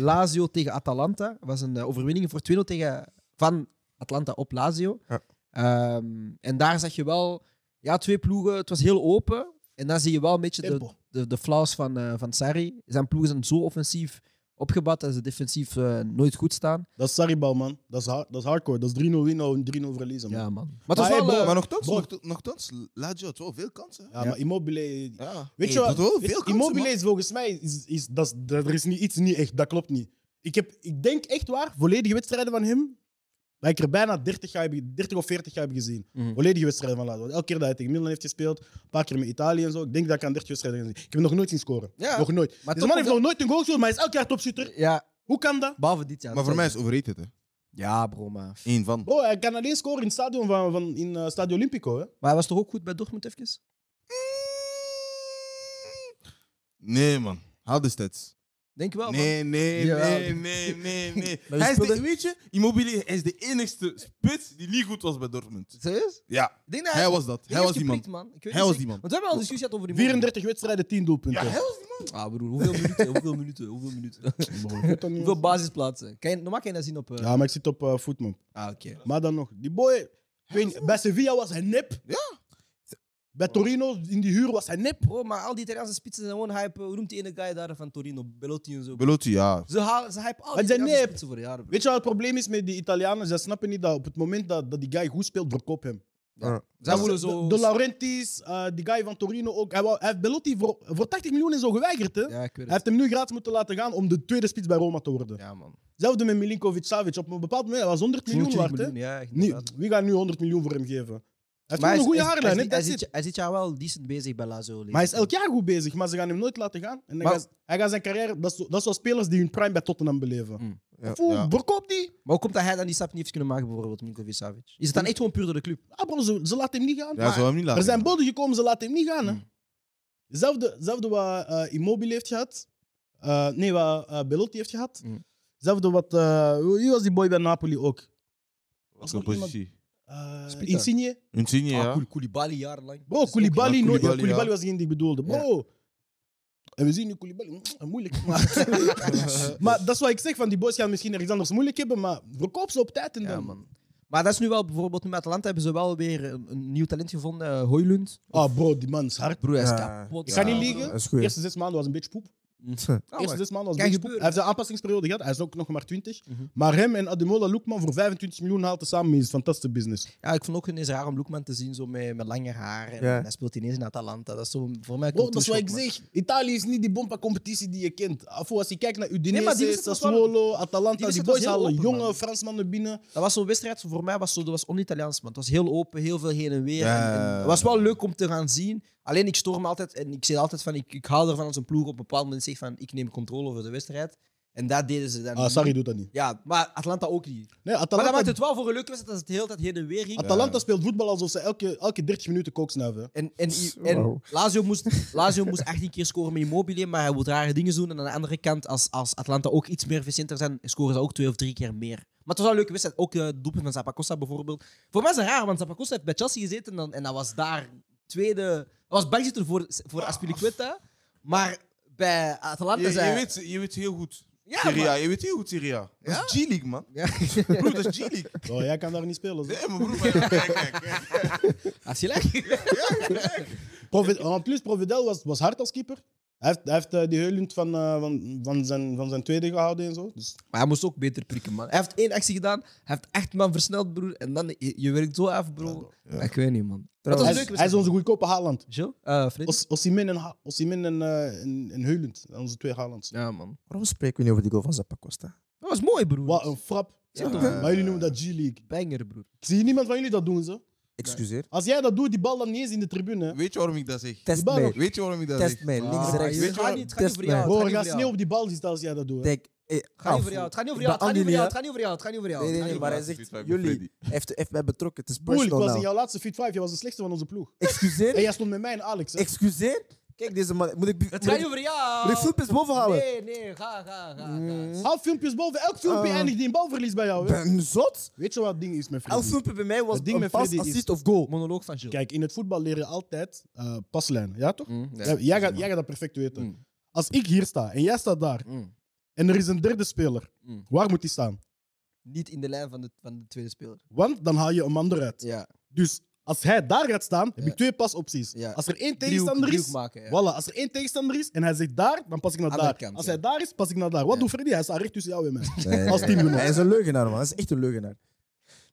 Speaker 1: Lazio tegen Atalanta. was een eh, overwinning voor 2-0 tegen, van Atlanta op Lazio.
Speaker 4: Ja.
Speaker 1: Ehm, en daar zag je wel ja, twee ploegen. Het was heel open. En dan zie je wel een beetje de,
Speaker 2: Tempo.
Speaker 1: de, de flaws van, eh, van Sarri. Zijn ploegen zijn zo offensief opgebouwd dat ze defensief eh, nooit goed staan.
Speaker 2: Dat is Saribal, man. Dat is, hard, dat is hardcore. Dat is 3-0 winnen of 3-0 verliezen, man. Ja,
Speaker 1: Ja, man. Maar het was
Speaker 2: Maar hey,
Speaker 1: wel...
Speaker 2: bro,
Speaker 1: eh,
Speaker 3: Maar nogthans,
Speaker 2: Bro.
Speaker 3: nocht- nogthans, Lazio had wel veel kansen. hè.
Speaker 2: maar Immobile...
Speaker 3: Ja.
Speaker 2: Weet je
Speaker 3: Hey,
Speaker 2: wat?
Speaker 3: dat had wel
Speaker 2: Weet-
Speaker 3: veel kansen,
Speaker 2: Immobile
Speaker 3: man.
Speaker 2: is volgens mij... Is, is, dat is- dat, er is niet, iets niet echt. Dat klopt niet. Ik, heb, ik denk echt waar, volledige wedstrijden van hem... Dat ik er bijna 30, jaar heb, 30 of 40 jaar heb gezien.
Speaker 1: Mhm.
Speaker 2: Volledige wedstrijden van Lazio. Elke keer dat hij tegen Milan heeft gespeeld, een paar keer met Italië en zo. Ik denk dat ik aan 30 wedstrijden heb gezien. Ik heb hem nog nooit zien scoren.
Speaker 1: Ja.
Speaker 2: Nog nooit.
Speaker 1: Maar
Speaker 2: Deze
Speaker 1: toch
Speaker 2: man heeft
Speaker 1: komt
Speaker 2: nog nooit een goal gescoord, maar hij is elk jaar topschutter.
Speaker 1: Ja,
Speaker 2: Hoe kan dat?
Speaker 1: behalve dit jaar.
Speaker 3: Maar voor mij is overrated, hè.
Speaker 1: Ja, bro, maar...
Speaker 3: Eén van.
Speaker 2: Bro, hij kan alleen scoren in het stadion van, van in, eh, Stadio Olimpico. Hè?
Speaker 1: Maar hij was toch ook goed bij Dortmund even?
Speaker 3: Nee, man. Haal de stats.
Speaker 1: Denk wel, man.
Speaker 3: Nee, nee,
Speaker 1: Jawel.
Speaker 3: nee, nee, nee, nee.
Speaker 4: Maar
Speaker 3: Hij is de,
Speaker 4: speelde-
Speaker 3: weet je, Immobile hij is de enigste spits die niet goed was bij Dortmund.
Speaker 1: Serieus?
Speaker 3: Ja,
Speaker 1: Ik denk dat
Speaker 3: hij was dat.
Speaker 1: ik denk
Speaker 3: Hij
Speaker 1: dat
Speaker 3: was die man.
Speaker 1: geprikt, man. Ik weet
Speaker 3: Hij
Speaker 1: niet zeker.
Speaker 3: was die man.
Speaker 1: Want we hebben al een discussie gehad over die man.
Speaker 2: 34 wedstrijden, 10 doelpunten.
Speaker 3: Ja, hij was
Speaker 1: Ah, broer, hoeveel minuten? Hoeveel minuten? Hoeveel minuten?
Speaker 2: Bro, ik weet dat niet,
Speaker 1: hoeveel
Speaker 2: man.
Speaker 1: basisplaatsen? Kan je, normaal kan je dat zien op... eh,
Speaker 2: ja, maar ik zit op eh Footman.
Speaker 1: Ah, oké.
Speaker 2: Maar dan nog, die boy, ik weet niet, bij Sevilla was hij nep. Ja. Bij Torino in die huur was hij nep.
Speaker 1: Bro, maar al die Italiaanse spitsen zijn gewoon hype. Hoe noemt die ene guy daar van Torino? Belotti en zo.
Speaker 3: Belotti, ja.
Speaker 1: Ze, halen, ze hype al
Speaker 2: Maar
Speaker 1: die
Speaker 2: die zijn
Speaker 1: Italiaanse
Speaker 2: nep.
Speaker 1: spitsen voor de jaren, bro.
Speaker 2: Weet je wat het probleem is met die Italianen? Ze snappen niet dat op het moment dat, dat die guy goed speelt, verkoop hem.
Speaker 1: Zij
Speaker 2: Dat
Speaker 1: willen
Speaker 2: is-
Speaker 1: zo...
Speaker 2: De, de Laurentiis, eh, die guy van Torino ook. Hij, wou- hij heeft Belotti voor, voor 80 miljoen en zo geweigerd. Hè?
Speaker 1: Ja, ik weet
Speaker 2: Hij
Speaker 1: het.
Speaker 2: heeft hem nu gratis moeten laten gaan om de tweede spits bij Roma te worden.
Speaker 1: Ja, man.
Speaker 2: Zelfde met Milinkovic-Savic. Op een bepaald moment hij was 100 miljoen
Speaker 1: 20
Speaker 2: waard. hè?
Speaker 1: miljoen, ja,
Speaker 2: Nee,
Speaker 1: inderdaad.
Speaker 2: wie gaat nu 100 miljoen voor hem geven? Hij heeft
Speaker 1: Maar
Speaker 2: gewoon een
Speaker 1: is-
Speaker 2: goede
Speaker 1: is-
Speaker 2: haarlijn.
Speaker 1: hij
Speaker 2: hè?
Speaker 1: is-
Speaker 2: That's
Speaker 1: hij
Speaker 2: it.
Speaker 1: zit- Hij zit jou wel decent bezig bij Lazio.
Speaker 2: Maar hij is elk jaar goed bezig, maar ze gaan hem nooit laten gaan. En dan
Speaker 1: Maar-
Speaker 2: gaat, hij gaat zijn carrière, dat is, zo- dat is zoals spelers die hun prime bij Tottenham beleven.
Speaker 1: Mm.
Speaker 4: Ja.
Speaker 2: Foe,
Speaker 3: Ja.
Speaker 2: verkoop die.
Speaker 1: Maar hoe komt dat hij dan die stap niet heeft kunnen maken, bijvoorbeeld, Milinkovic Savic? Is het dan echt gewoon puur door de club?
Speaker 2: Ah, bro, ze, ze laten hem niet gaan.
Speaker 3: Ja, zou hem niet laten.
Speaker 2: er zijn boden gekomen, ze laten hem niet gaan. Hè. Zelfde, zelfde wat eh Immobile heeft gehad. Eh, nee, wat eh, Belotti heeft gehad.
Speaker 1: Mm.
Speaker 2: Zelfde wat... eh, wie was die boy bij Napoli ook?
Speaker 3: Wat een positie.
Speaker 2: Eh,
Speaker 1: Spita.
Speaker 2: Insigne.
Speaker 3: Insigne,
Speaker 1: Ah,
Speaker 3: ja.
Speaker 1: Koul- Koulibaly jarenlang.
Speaker 2: Bro,
Speaker 1: Dat is
Speaker 2: Koulibaly,
Speaker 3: Ja,
Speaker 2: nooit-
Speaker 3: Koulibaly,
Speaker 2: ja, Koulibaly
Speaker 3: ja.
Speaker 2: was degene die ik bedoelde. Bro. En we zien nu Koulibaly. mm, Moeilijk. Maar, maar dat is wat ik zeg. Van die boys gaan misschien ergens anders moeilijk hebben, maar verkoop ze op tijd en
Speaker 1: ook-
Speaker 2: dan.
Speaker 1: Ja, man. Maar dat is nu wel, bijvoorbeeld, nu met Atalanta hebben ze wel weer een, een nieuw talent gevonden, eh, Hoylund.
Speaker 2: Ah, bro, die man is hard.
Speaker 1: Broer, hij is
Speaker 4: Ja.
Speaker 1: kapot.
Speaker 2: Ik ga
Speaker 1: Ja,
Speaker 2: niet
Speaker 1: bro.
Speaker 2: liegen.
Speaker 4: Dat is
Speaker 2: De
Speaker 4: goed.
Speaker 2: eerste zes maanden was een beetje poep.
Speaker 1: Ah,
Speaker 2: eerste
Speaker 1: maar-
Speaker 2: zes maanden was
Speaker 1: kan
Speaker 2: een beetje poep. Hij
Speaker 1: gebeuren.
Speaker 2: heeft een aanpassingsperiode gehad. Hij is ook nog maar 20.
Speaker 1: Mhm.
Speaker 2: Maar hem en Ademola Loekman voor 25 miljoen haalt samen is fantastische business.
Speaker 1: Ja, ik vond ook ineens raar om Loekman te zien zo met, met langer haar. En,
Speaker 4: Ja.
Speaker 1: en hij speelt ineens in Atalanta. Dat is zo, voor mij
Speaker 2: Bro,
Speaker 1: komt
Speaker 2: dat is
Speaker 1: toen
Speaker 2: wat ik
Speaker 1: shock, man.
Speaker 2: zeg. Italië is niet die bompa-competitie die je kent. Afo, als je kijkt naar
Speaker 1: Nee,
Speaker 2: Udinese,
Speaker 1: maar die wedstrijd was wel-
Speaker 2: Sassuolo,
Speaker 1: die
Speaker 2: Atalanta, die,
Speaker 1: wedstrijd was
Speaker 2: boys
Speaker 1: heel
Speaker 2: halen
Speaker 1: open,
Speaker 2: jonge
Speaker 1: man.
Speaker 2: Fransmannen binnen.
Speaker 1: Dat was zo'n wedstrijd, voor mij was zo, dat was on-Italiaans, man. Het was heel open, heel veel heen en weer.
Speaker 3: Ja.
Speaker 1: En- en het was wel leuk om te gaan zien. Alleen ik stoor me altijd en ik zeg altijd van, ik, ik hou ervan als een ploeg op een bepaald moment zegt van, ik neem controle over de wedstrijd. En dat deden ze dan
Speaker 2: Ah,
Speaker 1: niet.
Speaker 2: sorry, doet dat niet.
Speaker 1: Ja, maar Atlanta ook niet.
Speaker 2: Nee,
Speaker 1: Maar dat
Speaker 2: Atalanta,
Speaker 1: maakt het wel voor een leuke wedstrijd dat ze het de hele tijd heen en weer ging.
Speaker 2: Atalanta speelt voetbal alsof ze elke, elke 30 minuten kooksnuiven.
Speaker 1: En, en, en
Speaker 4: Wauw.
Speaker 1: Lazio, moest, Lazio moest 18 keer scoren met Immobile, maar hij moet rare dingen doen. En aan de andere kant, als, als Atlanta ook iets meer efficiënter zijn, scoren ze ook twee of drie keer meer. Maar het was wel een leuke wedstrijd. Ook eh, het doelpunt van Zappacosta bijvoorbeeld. Voor mij is het raar, want Zappacosta heeft bij Chelsea gezeten en, dan, en dat was daar tweede... Hij was bankzitter voor, voor Aspilicueta, maar bij Atalanta
Speaker 3: Je, je,
Speaker 1: zijn...
Speaker 3: weet, ze- je weet ze heel goed.
Speaker 1: ja,
Speaker 3: Serie A,
Speaker 1: maar-
Speaker 3: je weet heel goed Serie A. Dat
Speaker 1: Ja?
Speaker 3: is G-League, man.
Speaker 1: Ja.
Speaker 3: Broer, dat is G-League.
Speaker 2: Oh, jij kan daar niet spelen. zo.
Speaker 3: Nee, mijn broer, maar ja, kijk, kijk, kijk.
Speaker 1: Als Ah, je lijkt.
Speaker 2: Provi- en plus, Providel was, was hard als keeper. Hij heeft, hij heeft eh, die heulend van, eh, van, van, zijn, van zijn tweede gehouden en zo. Dus
Speaker 1: Maar hij moest ook beter prikken, man. Hij heeft één actie gedaan, hij heeft echt man versneld, broer. En dan, je, je werkt zo af, bro. Ik weet niet, man. Dat was
Speaker 2: hij,
Speaker 1: een leuke
Speaker 2: is, hij is
Speaker 1: wedstrijd.
Speaker 2: onze goedkope Haaland.
Speaker 1: Jill? Eh, Freddy?
Speaker 2: Os- Osimhen en, Ha- Osimhen en, eh, en, en Heulend. Dat zijn Onze twee Haalands.
Speaker 1: Ja, man.
Speaker 4: Waarom spreken we niet over die goal van Zappacosta?
Speaker 1: Dat was mooi, broer.
Speaker 2: Wat een frap.
Speaker 1: Ja.
Speaker 2: Maar jullie noemen dat G-League.
Speaker 1: banger, broer.
Speaker 2: Ik zie niemand van jullie dat doen. Zo.
Speaker 4: Excuseer.
Speaker 2: Als jij dat doet, die bal dan niet eens in de tribune. hè.
Speaker 3: Weet je waarom ik dat zeg?
Speaker 4: Test
Speaker 2: bal
Speaker 4: mij.
Speaker 2: op-
Speaker 3: Weet je waarom ik dat
Speaker 4: Test
Speaker 3: zeg?
Speaker 4: mij. Links,
Speaker 1: Ah,
Speaker 4: rechts.
Speaker 1: je- het gaat niet- het gaat niet
Speaker 4: Test
Speaker 1: voor jou.
Speaker 4: mij.
Speaker 1: gaat
Speaker 2: Bro, er
Speaker 1: niet
Speaker 2: gaat
Speaker 1: voor
Speaker 2: sneeuw
Speaker 1: jou.
Speaker 2: op die bal zitten als jij dat doet. hè.
Speaker 4: Denk, eh,
Speaker 1: Het gaat niet
Speaker 4: af.
Speaker 1: over jou, het gaat niet over
Speaker 4: Ik
Speaker 1: jou, het
Speaker 4: ben
Speaker 1: gaat niet over
Speaker 4: Andy,
Speaker 1: jou,
Speaker 4: hè?
Speaker 1: het gaat niet over jou, het gaat niet over jou.
Speaker 4: Nee, nee,
Speaker 1: het
Speaker 4: nee,
Speaker 1: gaat
Speaker 4: maar hij
Speaker 1: niet
Speaker 3: Freddy.
Speaker 4: zegt, jullie, hij heeft, hij heeft mij betrokken. Het is
Speaker 2: Boel, ik
Speaker 4: personal
Speaker 2: was in
Speaker 4: now.
Speaker 2: jouw laatste Fit 5. Je was de slechtste van onze ploeg. En
Speaker 4: Excuseer.
Speaker 2: jij stond met mij en Alex. hè.
Speaker 4: Excuseer. Kijk, deze man. Moet ik...
Speaker 1: over jou. Het
Speaker 4: moet
Speaker 1: gaat
Speaker 4: ik-
Speaker 1: niet over jou.
Speaker 4: moet ik filmpjes boven houden?
Speaker 1: Nee, nee, ga, ga, ga. ga.
Speaker 2: Haal filmpjes boven. Elk filmpje
Speaker 4: Ah.
Speaker 2: eindigt in een balverlies bij jou. hè.
Speaker 4: Ben zot?
Speaker 2: Weet je wat het ding is met
Speaker 4: Elf
Speaker 2: Freddy?
Speaker 4: filmpje bij mij was
Speaker 2: Het ding
Speaker 4: een
Speaker 2: met
Speaker 4: pas,
Speaker 2: Freddy is-
Speaker 4: assist of goal.
Speaker 1: Monoloog van Jill.
Speaker 2: Kijk, in het voetbal leer je altijd eh, paslijnen. Ja, toch?
Speaker 1: Mm, ja.
Speaker 2: Ja, jij, gaat, jij gaat dat perfect weten.
Speaker 1: Mm.
Speaker 2: Als ik hier sta en jij staat daar
Speaker 1: Mm.
Speaker 2: en er is een derde speler,
Speaker 1: Mm.
Speaker 2: waar moet die staan?
Speaker 1: Niet in de lijn van de, van de tweede speler.
Speaker 2: Want dan haal je een man eruit.
Speaker 1: Ja.
Speaker 2: Dus als hij daar gaat staan, heb
Speaker 1: Ja.
Speaker 2: ik twee pasopties.
Speaker 1: Ja.
Speaker 2: Als er
Speaker 1: Driehoek,
Speaker 2: één tegenstander
Speaker 1: driehoek
Speaker 2: is,
Speaker 1: maken. Ja.
Speaker 2: voilà, als er één tegenstander is en hij zit daar, dan pas ik naar
Speaker 1: Andere
Speaker 2: daar.
Speaker 1: kant,
Speaker 2: als
Speaker 1: ja.
Speaker 2: hij daar is, pas ik naar daar. Wat
Speaker 1: Ja.
Speaker 2: doet Freddy? Hij staat recht tussen jou en mij.
Speaker 4: Nee, nee,
Speaker 2: Als
Speaker 4: nee.
Speaker 2: teamgenoot.
Speaker 4: Hij is een leugenaar, man. Hij is echt een leugenaar.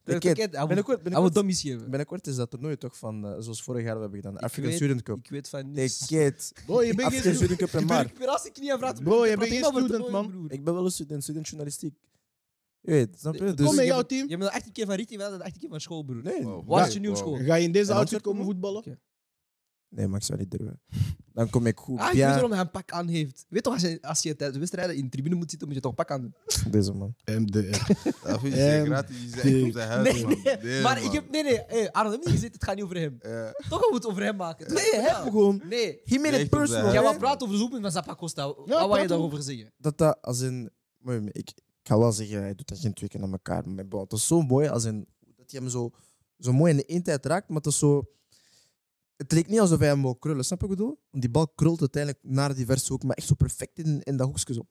Speaker 1: De
Speaker 4: De
Speaker 1: kid,
Speaker 4: kid.
Speaker 1: hij moet-
Speaker 4: Binnenkort,
Speaker 1: Hij moet
Speaker 4: binnenkort,
Speaker 1: dummies geven.
Speaker 4: binnenkort is dat toernooi toch van, eh, zoals vorig jaar we hebben gedaan, de African
Speaker 1: weet-
Speaker 4: Student Cup.
Speaker 1: Ik weet van
Speaker 4: De
Speaker 1: niks.
Speaker 4: kid.
Speaker 2: Bro, je bent
Speaker 4: African
Speaker 2: geen
Speaker 4: Student Cup en
Speaker 1: Ik ben
Speaker 4: maar.
Speaker 1: ik ben als ik niet aan vraag.
Speaker 2: Bro, je bent geen student, man.
Speaker 4: Ik ben wel een student, student journalistiek. Je weet, snap je?
Speaker 2: Kom met
Speaker 4: Dus,
Speaker 2: jouw team.
Speaker 1: Je bent de 18 keer van Rietje, wij zijn de 18 keer van school, broer.
Speaker 4: nee,
Speaker 1: Waar
Speaker 3: Wauw.
Speaker 1: is je nieuw
Speaker 3: Wauw.
Speaker 1: school?
Speaker 2: Ga je in deze
Speaker 4: En
Speaker 2: outfit
Speaker 4: Antwerpen
Speaker 2: komen
Speaker 4: ook?
Speaker 2: voetballen?
Speaker 4: nee, maar ik zou niet durven. Dan kom ik goed.
Speaker 1: Ah, ik weet
Speaker 4: ja,
Speaker 1: waarom hij een pak aan heeft. Weet toch, als je, als je tijdens wedstrijden in de tribune moet zitten, moet je toch een pak aan doen.
Speaker 4: deze man.
Speaker 2: MDR.
Speaker 3: Dat Ah, vind je
Speaker 2: Ehm,
Speaker 3: gratis. Je
Speaker 2: die-
Speaker 3: zegt op zijn huis,
Speaker 1: Nee,
Speaker 3: man.
Speaker 1: nee.
Speaker 3: Nee,
Speaker 1: maar
Speaker 3: man.
Speaker 1: ik heb... Nee, nee. Hey, Arno, heb niet gezegd, het gaat niet over hem.
Speaker 3: Eh,
Speaker 1: Toch, we moeten over hem maken.
Speaker 4: Nee, hem gewoon.
Speaker 1: Nee.
Speaker 4: He made it
Speaker 3: Echt op de-
Speaker 4: personal.
Speaker 3: Ja,
Speaker 1: Jij
Speaker 4: hè?
Speaker 1: wou praten over de zoepen van Zappa Costa. Wat wil
Speaker 2: praat
Speaker 1: je daarover zeggen?
Speaker 4: dat dat als een. mooi, maar Ik, ik ga wel zeggen, hij doet dat geen twee keer aan elkaar. Maar bon, het is zo mooi als een. Dat hij hem zo, zo mooi in de eentijd raakt, maar het is zo. Het leek niet alsof hij hem wou krullen, snap je wat ik bedoel? Want die bal krult uiteindelijk naar die verse hoek, maar echt zo perfect in, in dat hoekje. Zo.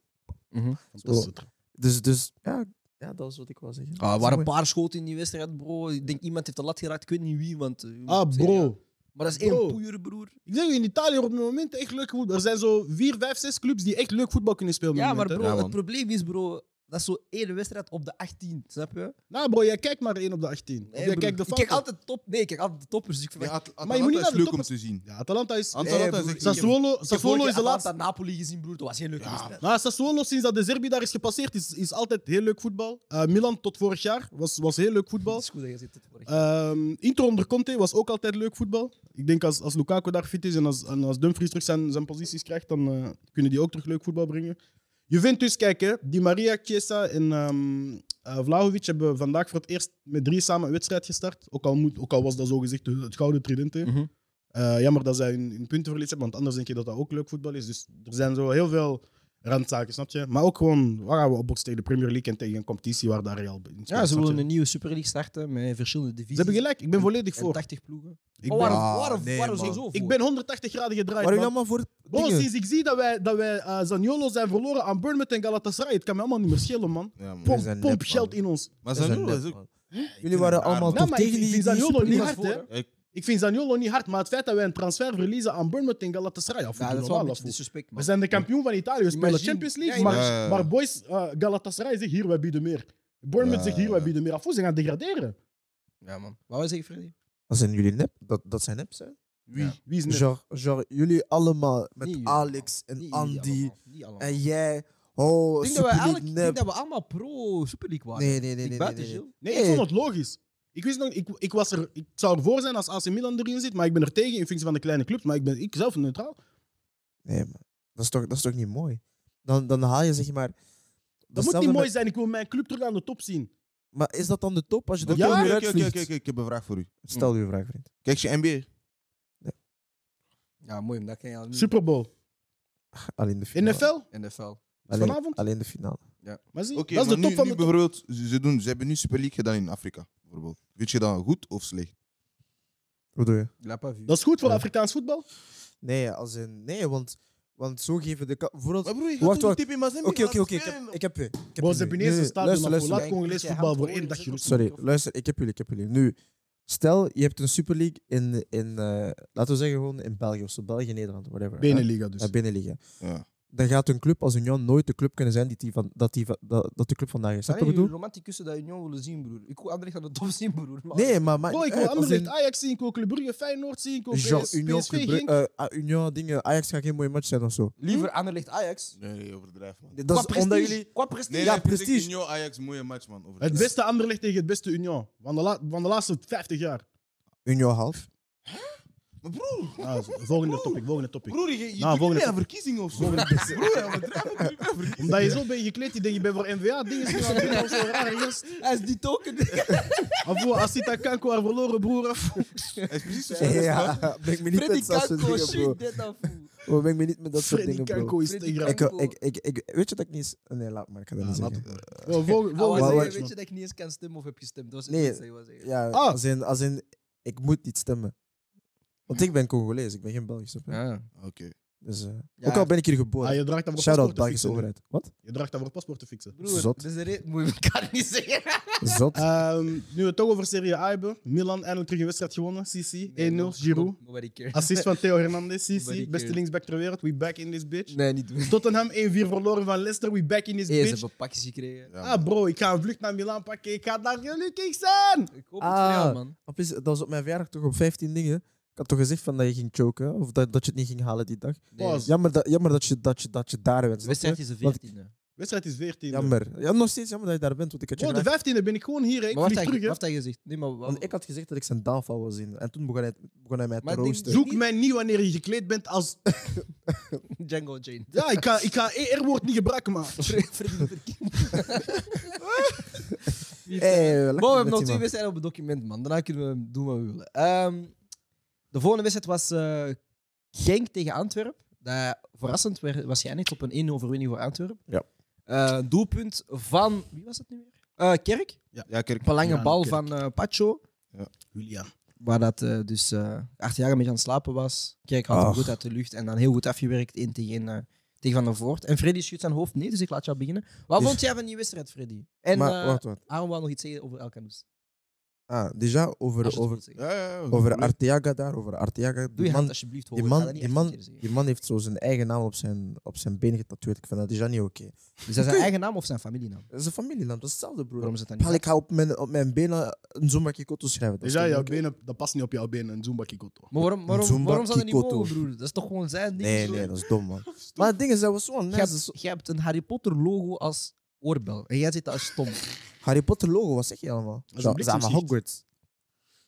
Speaker 4: Dus, dus ja, ja, dat is wat ik wou zeggen.
Speaker 1: Ah,
Speaker 4: Dat
Speaker 1: er
Speaker 4: is
Speaker 1: waren een
Speaker 4: mooi.
Speaker 1: paar schoten in die wedstrijd, bro. Ik denk iemand heeft de lat geraakt, ik weet niet wie. Want, eh, je
Speaker 2: Ah,
Speaker 1: moet zeggen, ja.
Speaker 2: bro.
Speaker 1: Maar dat is één
Speaker 2: Bro.
Speaker 1: poeier, broer.
Speaker 2: Ik zeg je, in Italië op het moment echt leuk voetbal. Er zijn zo vier, vijf, zes clubs die echt leuk voetbal kunnen spelen. op het
Speaker 1: Ja, maar
Speaker 2: moment, hè.
Speaker 1: bro,
Speaker 3: Ja,
Speaker 1: het
Speaker 3: man.
Speaker 1: probleem is, bro, dat is zo één wedstrijd op de 18, snap je?
Speaker 2: Nou, bro, jij kijkt maar één op de 18.
Speaker 1: Nee,
Speaker 2: jij
Speaker 1: broer.
Speaker 2: kijkt de
Speaker 1: ik kijk
Speaker 2: fouten.
Speaker 1: altijd top. Nee, ik kijk altijd de toppers. Dus ik
Speaker 3: ja,
Speaker 1: verwacht-
Speaker 3: At-
Speaker 2: Maar je moet niet naar
Speaker 3: Atalanta is
Speaker 2: de
Speaker 3: leuk om
Speaker 2: toppers-
Speaker 3: te zien.
Speaker 2: Ja, Atalanta is...
Speaker 3: Atalanta
Speaker 1: broer, ik
Speaker 3: is echt niet-
Speaker 2: Sassuolo,
Speaker 1: ik heb vorige
Speaker 2: Sassuolo is de
Speaker 1: keer
Speaker 2: laatste.
Speaker 1: Atalanta Napoli gezien, broer. Dat was heel leuk. wedstrijd.
Speaker 2: Nou, Sassuolo, sinds dat de Zerbi daar is gepasseerd, is, is altijd heel leuk voetbal. Eh, Milan tot vorig jaar was, was heel leuk voetbal.
Speaker 1: Dat is goed dat je zit. het vorige.
Speaker 2: Ehm Inter onder Conte was ook altijd leuk voetbal. Ik denk als, als Lukaku daar fit is en als, en als Dumfries terug zijn, zijn posities krijgt, dan eh, kunnen die ook terug leuk voetbal brengen. Juventus, kijk hè. Di Maria, Chiesa en ehm eh, Vlahovic hebben vandaag voor het eerst met drie samen een wedstrijd gestart. Ook al, moet, ook al was dat zogezegd de- het gouden tridente.
Speaker 1: Mhm.
Speaker 2: Eh, jammer dat zij hun, hun puntenverlies hebben, want anders denk je dat dat ook leuk voetbal is. Dus er zijn zo heel veel randzaken, snap je? Maar ook gewoon, waar gaan we opboksen tegen de Premier League en tegen een competitie waar daar Real in
Speaker 1: Ja,
Speaker 2: speelt,
Speaker 1: ze
Speaker 2: snap
Speaker 1: willen
Speaker 2: je?
Speaker 1: een nieuwe Super League starten met verschillende divisies.
Speaker 2: Ze hebben gelijk, ik ben volledig
Speaker 1: En
Speaker 2: voor.
Speaker 1: 80 ploegen.
Speaker 2: Ik
Speaker 1: oh,
Speaker 2: ben-
Speaker 1: waarom,
Speaker 3: Ah,
Speaker 1: waarom,
Speaker 3: nee,
Speaker 1: waarom
Speaker 3: man.
Speaker 1: sowieso
Speaker 2: Ik
Speaker 1: voor?
Speaker 2: ben 180 graden gedraaid.
Speaker 4: Waren
Speaker 2: man.
Speaker 4: jullie allemaal voor
Speaker 2: Bro,
Speaker 4: dingen?
Speaker 2: sinds ik zie dat wij, dat wij eh, Zaniolo zijn verloren aan Bournemouth en Galatasaray, het kan me allemaal niet meer schelen, man.
Speaker 3: Ja, man.
Speaker 4: Pom.
Speaker 2: Pomp,
Speaker 4: zijn nep,
Speaker 2: pomp
Speaker 4: man.
Speaker 2: geld in ons.
Speaker 3: Maar
Speaker 4: Dat is
Speaker 3: Zaniolo
Speaker 4: net,
Speaker 3: is ook...
Speaker 4: man.
Speaker 3: Ik vind
Speaker 4: Jullie
Speaker 3: hem
Speaker 4: waren
Speaker 3: raar,
Speaker 4: allemaal
Speaker 3: man.
Speaker 2: Ja,
Speaker 4: toch
Speaker 2: maar ik
Speaker 4: tegen
Speaker 2: vind
Speaker 4: die, die
Speaker 2: Zaniolo
Speaker 4: Super
Speaker 2: niet
Speaker 4: League?
Speaker 2: hard, hè?
Speaker 3: Ik-
Speaker 2: Ik vind Zaniolo niet hard, maar het feit dat wij een transfer verliezen aan Bournemouth en Galatasaray, ja, vind
Speaker 1: Ja,
Speaker 2: ik
Speaker 1: dat is wel
Speaker 2: normaal,
Speaker 1: een beetje
Speaker 2: of hoe?
Speaker 1: disrespect,
Speaker 2: We
Speaker 1: man.
Speaker 2: zijn de kampioen van Italië, we spelen
Speaker 1: Imagine.
Speaker 2: Champions League,
Speaker 1: Ja,
Speaker 2: maar,
Speaker 3: imagine.
Speaker 2: maar boys, eh, Galatasaray zegt hier, wij bieden meer. Bournemouth
Speaker 3: Ja,
Speaker 2: zegt hier, wij
Speaker 3: ja.
Speaker 2: bieden meer. Afvoer, ze gaan degraderen.
Speaker 1: Ja, man. Wat was ik, Freddy?
Speaker 4: Dat zijn jullie nep. Dat, dat zijn nep, hè?
Speaker 2: Wie? Wie is net?
Speaker 4: Genre, genre, jullie allemaal met
Speaker 1: Niet jullie
Speaker 4: Alex en
Speaker 1: Niet jullie
Speaker 4: Andy
Speaker 1: allemaal, Niet allemaal.
Speaker 4: en jij. Oh,
Speaker 1: Ik denk dat we
Speaker 4: Super League
Speaker 1: eigenlijk ik denk
Speaker 4: nep.
Speaker 1: dat we allemaal pro Super League waren.
Speaker 4: Nee, nee, nee,
Speaker 1: Ik
Speaker 4: nee. nee,
Speaker 1: buiten,
Speaker 4: nee, nee.
Speaker 1: Gilles.
Speaker 2: Nee,
Speaker 4: Nee.
Speaker 2: ik vond het logisch. Ik, wist nog, ik, ik, was er, ik zou ervoor zijn als AC Milan erin zit, maar ik ben er tegen in functie van de kleine clubs. Maar ik ben ik zelf neutraal.
Speaker 4: Nee, man. Dat is toch, dat is toch niet mooi? Dan, dan haal je zeg maar.
Speaker 2: Dat moet niet mooi zijn. Ik wil mijn club terug aan de top zien.
Speaker 4: Maar is dat dan de top als je de
Speaker 2: Ja,
Speaker 4: top
Speaker 2: oké,
Speaker 4: weer
Speaker 3: Oké, oké, oké,
Speaker 4: uitvliegt?
Speaker 3: oké, ik heb een vraag voor u.
Speaker 4: Stel je vraag, vriend.
Speaker 3: Kijk je NBA?
Speaker 1: Ja, mooi, maar dat ken
Speaker 4: Hmm.
Speaker 1: je al niet.
Speaker 2: Super Bowl.
Speaker 4: Alleen de finale.
Speaker 2: NFL?
Speaker 1: NFL.
Speaker 4: Alleen,
Speaker 2: vanavond?
Speaker 4: alleen de finale.
Speaker 2: Maar zie,
Speaker 3: Oké,
Speaker 2: dat is de
Speaker 3: maar
Speaker 2: top
Speaker 3: nu,
Speaker 2: van
Speaker 3: nu
Speaker 2: de top.
Speaker 3: bijvoorbeeld, ze, ze doen, ze hebben nu Super League gedaan in Afrika, bijvoorbeeld. Vind je dat goed of slecht?
Speaker 4: Hoe doe je?
Speaker 1: La pas vu.
Speaker 2: Dat is goed voor
Speaker 4: Ja.
Speaker 2: Afrikaans voetbal.
Speaker 4: Nee, als in, nee want, want zo geven de. ka- Vooral,
Speaker 3: Maar broer, je
Speaker 4: Wacht,
Speaker 3: gaat toch
Speaker 4: wacht.
Speaker 3: niet in Mazembe
Speaker 4: Oké, oké,
Speaker 3: laten
Speaker 4: oké. Ik
Speaker 3: spelen?
Speaker 4: heb- ik heb je. Ik heb
Speaker 2: Bro,
Speaker 4: je
Speaker 2: ze
Speaker 4: nu.
Speaker 2: hebben ineens
Speaker 4: Nee,
Speaker 2: een stadion
Speaker 4: luister,
Speaker 2: naar voor. Laat
Speaker 4: luister.
Speaker 2: Congolees voetbal voor één dagje rust.
Speaker 4: Sorry, luister, ik heb jullie, ik heb jullie. Nu, stel je hebt een Super League in, in eh, laten we zeggen gewoon in België of zo, België, Nederland, whatever. hè?
Speaker 2: Beneliga dus.
Speaker 4: Ja, Beneliga.
Speaker 3: Ja.
Speaker 4: Dan gaat een club als Union nooit de club kunnen zijn die die van, dat, die, van- dat, dat de club vandaag is. Snap je
Speaker 1: Alleen
Speaker 4: wat ik
Speaker 1: jullie
Speaker 4: bedoel?
Speaker 1: romanticussen dat Union willen zien, broer. Ik wil Anderlecht aan de top zien, broer. Maar-
Speaker 4: Nee, maar maakt
Speaker 2: Bro, ik
Speaker 4: niet
Speaker 2: wil
Speaker 4: uit, Eh, als
Speaker 2: Anderlecht,
Speaker 4: in-
Speaker 2: Ajax zien, ik wil Club Brugge, Feyenoord zien, ik wil
Speaker 4: Jean,
Speaker 2: PS,
Speaker 4: Union,
Speaker 2: PSV,
Speaker 4: Club-
Speaker 2: Genk.
Speaker 4: eh, ah, Union, dingen, Ajax gaat geen mooie match zijn of zo.
Speaker 1: Liever Anderlecht Ajax.
Speaker 3: Nee, nee, overdrijf, man.
Speaker 4: Dat is omdat jullie...
Speaker 1: Qua prestige.
Speaker 3: Nee,
Speaker 4: Ja,
Speaker 3: nee, vind ik
Speaker 4: prestige.
Speaker 3: Union Ajax, mooie match, man.
Speaker 2: Het
Speaker 3: Overdrijf.
Speaker 2: beste Anderlecht tegen het beste Union. Van de, la- van de laatste 50 jaar.
Speaker 4: Union half.
Speaker 3: Maar broer,
Speaker 2: Ah, zo. volgende topic, volgende topic.
Speaker 3: broer, je, je
Speaker 2: Nou,
Speaker 3: doet
Speaker 2: volgende
Speaker 3: niet
Speaker 2: top.
Speaker 3: aan verkiezingen of zo.
Speaker 2: Volgende
Speaker 3: Broer, overdrijf, het doet niet aan verkiezingen.
Speaker 2: Omdat je zo bent gekleed, ik denk je bent voor NVA dingen gaan doen of zo rare gast.
Speaker 1: Hij is die token.
Speaker 2: Afvoer, Asita Kanko haar verloren, broer. Afvoer.
Speaker 3: Het is precies zo.
Speaker 4: Ja, breng me niet
Speaker 1: Freddy
Speaker 4: met dat soort
Speaker 1: Kanko,
Speaker 4: dingen, bro.
Speaker 1: shit, dit af.
Speaker 4: Oh, Breng me niet met dat soort
Speaker 2: Freddy
Speaker 4: dingen, bro.
Speaker 2: Kanko is
Speaker 1: Freddy
Speaker 2: te graag.
Speaker 4: Ik,
Speaker 1: Kanko.
Speaker 4: ik, ik, ik, weet je dat ik niet... eens- Nee, laat maar, ik ga dat
Speaker 2: Ja,
Speaker 4: niet
Speaker 2: laat
Speaker 4: zeggen.
Speaker 2: Wel, vol-
Speaker 1: Ah, wou
Speaker 2: volgende
Speaker 1: zeggen,
Speaker 4: wou-
Speaker 2: match,
Speaker 1: Weet
Speaker 2: man.
Speaker 1: je dat ik niet eens kan stemmen of heb gestemd? Dat was
Speaker 4: Nee.
Speaker 1: het nee. wou zeggen.
Speaker 4: Ja,
Speaker 2: Ah.
Speaker 4: als, in, als in, ik moet niet stemmen. Want ik ben Congolees, ik ben geen Belgisch. snap je?
Speaker 3: Oké.
Speaker 4: Dus, eh,
Speaker 1: Ja.
Speaker 4: Ook al ben ik hier
Speaker 2: Ah,
Speaker 4: geboren.
Speaker 2: je draagt dat voor
Speaker 4: Shout-out
Speaker 2: paspoort te
Speaker 4: Belgische
Speaker 2: fixen. hè.
Speaker 4: overheid. Wat?
Speaker 2: Je draagt dat voor paspoort te fixen.
Speaker 1: Broer,
Speaker 4: Zot.
Speaker 1: dat is de reden. Moet je elkaar niet zeggen.
Speaker 4: Zot.
Speaker 2: Ehm, nu we het toch over Serie A hebben. Milan eindelijk terug een wedstrijd gewonnen. CC, 1-0, Giroud.
Speaker 1: Nobody cares.
Speaker 2: Assist van Theo Hernandez,
Speaker 1: Nobody
Speaker 2: CC. Beste
Speaker 1: cares.
Speaker 2: linksback ter wereld, we back in this bitch.
Speaker 1: Nee, niet doen.
Speaker 2: Tottenham 1-4 verloren van Leicester, we back in this
Speaker 1: Hey, ze
Speaker 2: bitch.
Speaker 1: hebben pakjes gekregen.
Speaker 3: Ja,
Speaker 2: Ah bro, ik ga een vlucht naar Milan pakken, ik ga daar gelukkig zijn!
Speaker 1: Ik hoop
Speaker 4: Ah.
Speaker 1: het wel, man.
Speaker 4: Op is- dat was op mijn verjaardag toch op 15 dingen. Ik had toch gezegd van dat je ging choken, hè? of dat, dat je het niet ging halen die dag.
Speaker 1: Nee,
Speaker 2: Pause.
Speaker 4: Jammer dat, jammer dat, je, dat, je, dat je daar bent.
Speaker 1: De
Speaker 4: snap je?
Speaker 1: wedstrijd is de 14e.
Speaker 2: wedstrijd is dus- 14.
Speaker 4: Jammer. Ja, nog steeds jammer dat je daar bent, want ik had je
Speaker 2: Oh, de
Speaker 4: gevraagd-
Speaker 2: 15e ben ik gewoon hier. hè. Ik
Speaker 1: Maar wat
Speaker 2: vlieg
Speaker 1: had je-
Speaker 2: terug.
Speaker 1: wat
Speaker 2: hè.
Speaker 1: had je gezegd? Nee, maar,
Speaker 4: Want ik had gezegd dat ik zijn downfall wil zien. En toen begon hij, begon hij mij te
Speaker 1: Maar die-
Speaker 4: roosten.
Speaker 2: Zoek mij niet wanneer je gekleed bent als.
Speaker 1: Django Jane.
Speaker 2: Ja, ik ga, ik ga ER-woord niet gebruiken, maar.
Speaker 4: Hey,
Speaker 1: Bon, we hebben nog twee wedstrijden op het document, man. Daarna kunnen we doen wat we willen. Ehm, de volgende wedstrijd was eh Genk tegen Antwerpen. Dat, verrassend werd- was jij net op een 1-0 overwinning voor Antwerpen.
Speaker 4: Ja.
Speaker 1: Eh, doelpunt van... Wie was het nu weer? Eh, Kerk.
Speaker 3: Ja, Kerk.
Speaker 1: Op een lange
Speaker 2: Ja,
Speaker 1: bal
Speaker 2: Kerk.
Speaker 1: van eh Pacho.
Speaker 2: Julian.
Speaker 1: Waar dat eh, dus eh, acht jaar een beetje aan het slapen was. Kerk had hem
Speaker 4: Ach.
Speaker 1: goed uit de lucht en dan heel goed afgewerkt in tegen, eh, tegen Van der Voort. En Freddy schudt zijn hoofd nee, dus ik laat jou beginnen. Wat
Speaker 4: Dus-
Speaker 1: vond jij van die wedstrijd, Freddy? En
Speaker 4: maar,
Speaker 1: eh,
Speaker 4: wacht, wacht.
Speaker 1: Aaron wil nog iets zeggen over Elkanus.
Speaker 4: Ah, déjà
Speaker 1: Als
Speaker 4: over,
Speaker 1: je het
Speaker 4: over,
Speaker 1: wilt zeggen.
Speaker 3: Ja, ja, ja.
Speaker 4: over Arteaga daar, over Arteaga.
Speaker 1: Doe je
Speaker 4: Die
Speaker 1: hand
Speaker 4: man,
Speaker 1: alsjeblieft hoor.
Speaker 4: die man, die man, die man heeft zo zijn eigen naam op zijn, op zijn been getatoeëerd. Ik vind dat déjà niet oké.
Speaker 1: Is dat zijn eigen naam of zijn familienaam?
Speaker 4: Dat is een familienaam, dat is hetzelfde, broer.
Speaker 1: Waarom is het dan
Speaker 4: Pal,
Speaker 1: niet?
Speaker 4: ik ga op mijn, op mijn benen een Zumba Kikoto schrijven. Dat
Speaker 2: Dus
Speaker 4: is
Speaker 2: ja,
Speaker 4: toch
Speaker 2: jouw
Speaker 4: niet oké?
Speaker 2: benen, dat past niet op jouw benen, een Zumba Kikoto.
Speaker 1: Maar waarom, waarom,
Speaker 4: Zumba
Speaker 1: waarom zou dat niet
Speaker 4: Kikoto.
Speaker 1: mogen, broer? Dat is toch gewoon zijn ding?
Speaker 4: Nee,
Speaker 1: zo?
Speaker 4: nee, dat is dom, man. maar het ding is, dat was zo'n
Speaker 1: Jij hebt,
Speaker 4: nice...
Speaker 1: jij hebt een Harry Potter logo als oorbel. En jij zit daar als stom.
Speaker 4: Harry Potter logo, wat zeg je allemaal?
Speaker 2: een
Speaker 4: Za- Zeg maar
Speaker 2: bliksemschicht.
Speaker 4: Hogwarts.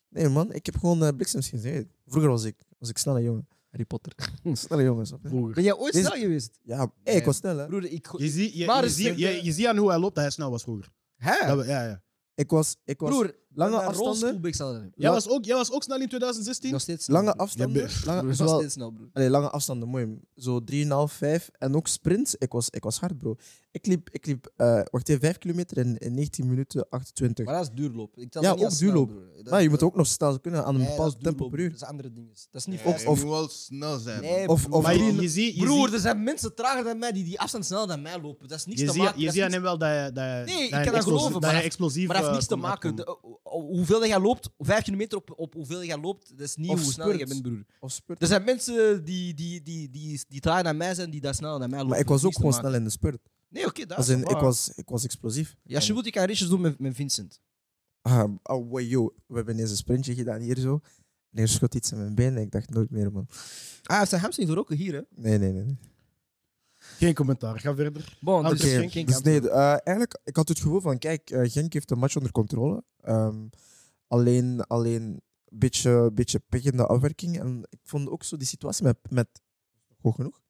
Speaker 4: Nee, man, ik heb gewoon eh, bliksems gezien. Vroeger was ik, was ik snelle jongen.
Speaker 1: Harry Potter.
Speaker 4: Snelle jongen, snap je?
Speaker 2: Vroeger.
Speaker 1: Ben jij ooit
Speaker 4: Deze-
Speaker 1: snel geweest?
Speaker 4: Ja, hey, ik was snel, hè.
Speaker 1: Broer, ik... go-
Speaker 2: Je ziet je,
Speaker 1: Maar
Speaker 2: je,
Speaker 1: is
Speaker 2: ziet-
Speaker 1: het- eh,
Speaker 2: je, je ziet aan hoe hij loopt dat hij snel was vroeger.
Speaker 1: Hè?
Speaker 2: Dat we- ja, ja.
Speaker 4: Ik was, ik was
Speaker 1: Broer,
Speaker 4: lange
Speaker 1: een
Speaker 4: afstanden,
Speaker 1: rolstoelbeek zal dat hebben.
Speaker 2: Jij,
Speaker 4: La-
Speaker 2: was ook, jij was ook snel in 2016?
Speaker 1: Nog steeds snel,
Speaker 4: lange
Speaker 1: broer.
Speaker 4: afstanden,
Speaker 2: bent-
Speaker 4: lange,
Speaker 1: Broer, nog
Speaker 4: zowel-
Speaker 1: steeds snel, broer.
Speaker 4: allee, lange afstanden, mooi. Zo 3,5, 5 en ook sprints. Ik was, ik was hard, bro. Ik liep, ik liep eh, wacht even, 5 kilometer in, in 19 minuten 28.
Speaker 1: Maar dat is duurloop. Ik tel
Speaker 4: Ja,
Speaker 1: dat niet
Speaker 4: ook
Speaker 1: als snel,
Speaker 4: duurloop.
Speaker 1: broer. Dat-
Speaker 4: maar je moet
Speaker 1: dat-
Speaker 4: ook nog snel kunnen aan een
Speaker 1: Nee, dat
Speaker 4: bepaald
Speaker 1: is
Speaker 4: tempo
Speaker 1: duurloop,
Speaker 4: per uur.
Speaker 1: Dat is andere dingen. Dat is niet...
Speaker 3: Of,
Speaker 1: fast.
Speaker 3: of, je moet wel snel zijn.
Speaker 1: Nee,
Speaker 3: man.
Speaker 4: Of, of
Speaker 2: maar je,
Speaker 4: drie-
Speaker 2: je ziet, je
Speaker 1: Broer,
Speaker 2: ziet,
Speaker 1: er zijn mensen trager dan mij die die afstand sneller dan mij lopen. Dat is niks
Speaker 2: je
Speaker 1: te
Speaker 2: ziet,
Speaker 1: maken.
Speaker 2: je
Speaker 1: dat is
Speaker 2: ziet aan
Speaker 1: niks-
Speaker 2: hem wel dat hij, dat hij,
Speaker 1: Nee, ik
Speaker 2: dat hij
Speaker 1: kan dat
Speaker 2: explosie-
Speaker 1: geloven, maar
Speaker 2: dat hij
Speaker 1: dat-
Speaker 2: explosief
Speaker 1: Maar dat heeft
Speaker 2: eh,
Speaker 1: niets te
Speaker 2: kon
Speaker 1: maken.
Speaker 2: uitkomen.
Speaker 1: De- o- o- hoeveel jij loopt, vijf kilometer op, op hoeveel jij loopt, dat is niet
Speaker 4: Of
Speaker 1: hoe snel jij
Speaker 4: spurt.
Speaker 1: bent, broer.
Speaker 4: of spurt.
Speaker 1: Er zijn mensen die, die, die, die, die trager dan mij zijn, die daar sneller dan mij lopen.
Speaker 4: Maar ik was ook
Speaker 1: Dat
Speaker 4: gewoon
Speaker 1: heeft niets te
Speaker 4: snel in de spurt.
Speaker 1: maken. Nee, oké, daar.
Speaker 4: Als in, ik, was, ik was explosief.
Speaker 1: Ja, als je wilt, ik kan ritjes doen met, met Vincent.
Speaker 4: Ah, oh, wow, yo. We hebben eens een sprintje gedaan hier zo. En er schot iets in mijn been en ik dacht nooit meer, man.
Speaker 1: Ah, hij heeft zijn hamstring verrokken hier, hè.
Speaker 4: Nee, nee, nee. nee.
Speaker 2: Geen commentaar, ga verder.
Speaker 1: Bon,
Speaker 2: Ah,
Speaker 1: dus
Speaker 2: oké.
Speaker 1: geen- geen
Speaker 4: Dus
Speaker 1: kant.
Speaker 4: nee, eh, eigenlijk, ik had het gevoel van, kijk, eh, Genk heeft de match onder controle. Ehm, alleen, alleen een beetje, beetje pech in de afwerking. En ik vond ook zo die situatie met, met hoog genoeg,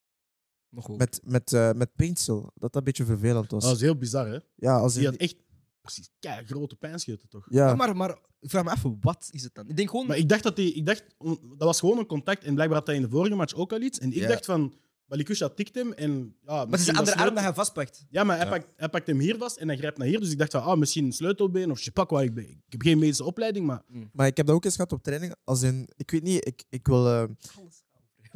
Speaker 1: Nog wel.
Speaker 4: met, met, eh met Paintsel, dat dat een beetje vervelend was.
Speaker 2: Dat is heel bizar, hè?
Speaker 4: ja, als in-
Speaker 2: Die had echt precies kei grote pijnscheuten, toch?
Speaker 1: Ja,
Speaker 4: ja,
Speaker 1: maar, maar ik vraag me af, wat is het dan? Ik denk gewoon...
Speaker 2: Maar ik dacht dat hij, ik dacht, om- dat was gewoon een contact en blijkbaar had hij in de vorige match ook al iets. En ik
Speaker 3: Ja.
Speaker 2: dacht van, Balikusha tikt hem en. Ja,
Speaker 1: maar het is de
Speaker 2: misschien
Speaker 1: andere
Speaker 2: dat
Speaker 1: arm dat
Speaker 2: sleutel-
Speaker 1: hij vastpakt.
Speaker 2: Ja, maar hij,
Speaker 3: Ja.
Speaker 2: Pakt, hij pakt hem hier vast en hij grijpt naar hier. Dus ik dacht van, ah, misschien een sleutelbeen of je pak waar ik ben. Ik heb geen medische opleiding, maar
Speaker 4: maar ik heb dat ook eens gehad op training. Als in, ik weet niet, ik, ik wil... eh,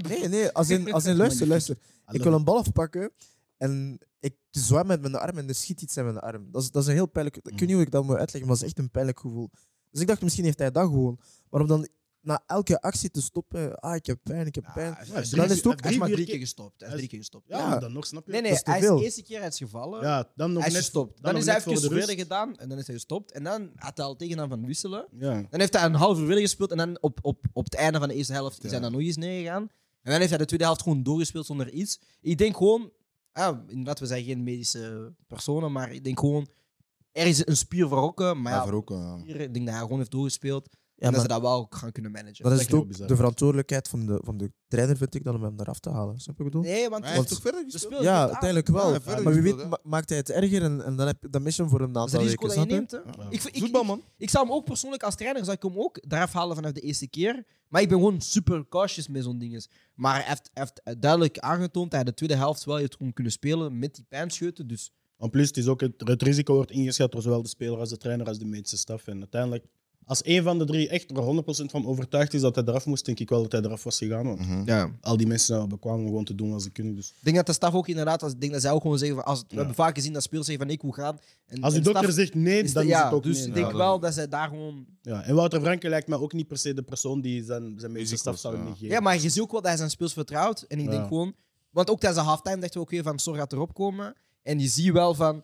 Speaker 4: nee, nee, als in, als in luister, luister. Ik wil een bal afpakken en ik zwaai met mijn arm en er schiet iets in mijn arm. Dat is, dat is een heel pijnlijk... Ik weet niet hoe ik dat moet uitleggen, maar dat is echt een pijnlijk gevoel. Dus ik dacht, misschien heeft hij dat gewoon. Maar om dan na elke actie te stoppen... Ah, ik heb pijn, ik heb pijn.
Speaker 2: Ja, drie-
Speaker 4: dan is het
Speaker 1: Hij
Speaker 4: ook-
Speaker 1: is
Speaker 2: drie,
Speaker 1: maar
Speaker 2: vier
Speaker 1: drie
Speaker 2: keer-
Speaker 1: keer gestopt. Hij is
Speaker 2: Hij
Speaker 1: drie
Speaker 2: is-
Speaker 1: keer gestopt.
Speaker 2: Ja,
Speaker 4: Ja.
Speaker 2: maar dan nog, snap je?
Speaker 1: Nee, nee,
Speaker 4: dat is te
Speaker 1: hij is de
Speaker 4: veel.
Speaker 1: eerste keer uitgevallen.
Speaker 2: Ja, dan nog
Speaker 1: hij is
Speaker 2: net.
Speaker 1: gestopt. Dan,
Speaker 2: nog
Speaker 1: is hij
Speaker 2: net
Speaker 1: even
Speaker 2: voor de
Speaker 1: verder
Speaker 2: rust.
Speaker 1: gedaan en dan is hij gestopt. En dan had hij al tegen hem van wisselen.
Speaker 2: Ja.
Speaker 1: Dan heeft hij een half uur willen gespeeld en dan op, op, op het einde van de eerste helft
Speaker 3: Ja.
Speaker 1: is hij dan nog eens neergegaan. En dan heeft hij de tweede helft gewoon doorgespeeld zonder iets. Ik denk gewoon, ah, inderdaad, we zijn geen medische personen, maar ik denk gewoon, er is een spier verrokken, maar ja,
Speaker 3: Ja, voor ook, eh,
Speaker 1: hier, ik denk dat hij gewoon heeft doorgespeeld.
Speaker 4: Ja,
Speaker 1: en dat
Speaker 4: maar
Speaker 1: ze dat wel gaan kunnen managen.
Speaker 4: dat is
Speaker 2: dat
Speaker 4: het
Speaker 2: is heel
Speaker 4: ook
Speaker 2: bizar.
Speaker 4: de verantwoordelijkheid van de, van de trainer, vind ik, dan om hem eraf te halen. Snap je wat ik bedoel?
Speaker 1: Nee, want
Speaker 3: Maar hij heeft
Speaker 1: de
Speaker 3: toch verder
Speaker 1: speler
Speaker 3: gespeeld?
Speaker 1: speelt
Speaker 4: Ja,
Speaker 1: aan.
Speaker 4: uiteindelijk wel.
Speaker 3: Ja, verder
Speaker 4: maar wie
Speaker 3: gespeeld,
Speaker 4: weet
Speaker 3: hè.
Speaker 4: ma- maakt hij het erger en, en dan, heb, dan mis je hem voor een
Speaker 1: Dat is
Speaker 4: aantal
Speaker 1: het risico dat je
Speaker 4: weken, snap
Speaker 1: neemt. hè.
Speaker 3: Ja.
Speaker 1: Ik, ik,
Speaker 3: Voetbal, man.
Speaker 1: Ik zou hem ook persoonlijk als trainer zou ik hem ook eraf halen vanaf de eerste keer. Maar ik ben gewoon super cautious met zo'n dinges. Maar hij heeft, hij heeft duidelijk aangetoond dat hij de tweede helft wel heeft gewoon kunnen spelen met die pijnscheuten. Dus
Speaker 2: En plus, het, is ook het, het risico wordt ingeschat door zowel de speler als de trainer als de medische staf. En uiteindelijk, als één van de drie echt er 100% van overtuigd is dat hij eraf moest, denk ik wel dat hij eraf was gegaan. Want
Speaker 3: mhm.
Speaker 1: ja.
Speaker 2: al die mensen zijn bekwaam om gewoon te doen wat ze kunnen. Dus.
Speaker 1: ik denk dat de staf ook inderdaad, als, ik denk dat zij ook gewoon zeggen, van, als, we hebben vaak gezien dat spelers zeggen van ik hoe gaan. En,
Speaker 2: Als de
Speaker 1: en
Speaker 2: dokter
Speaker 1: staf
Speaker 2: zegt nee,
Speaker 1: is
Speaker 2: dan
Speaker 1: de-
Speaker 2: is
Speaker 1: ja,
Speaker 2: het ook
Speaker 1: Dus
Speaker 2: nee.
Speaker 1: ik
Speaker 2: ja.
Speaker 1: denk wel dat zij daar gewoon...
Speaker 2: Ja, En Wouter Franke lijkt mij ook niet per se de persoon die zijn, zijn medische
Speaker 3: Risico's,
Speaker 2: staf zou
Speaker 3: ja.
Speaker 2: negeren.
Speaker 1: Ja, maar je ziet ook wel dat hij zijn speels vertrouwt. En ik
Speaker 2: Ja.
Speaker 1: denk gewoon... Want ook tijdens de halftime dachten we, oké, van Sor gaat erop komen. En je ziet wel van...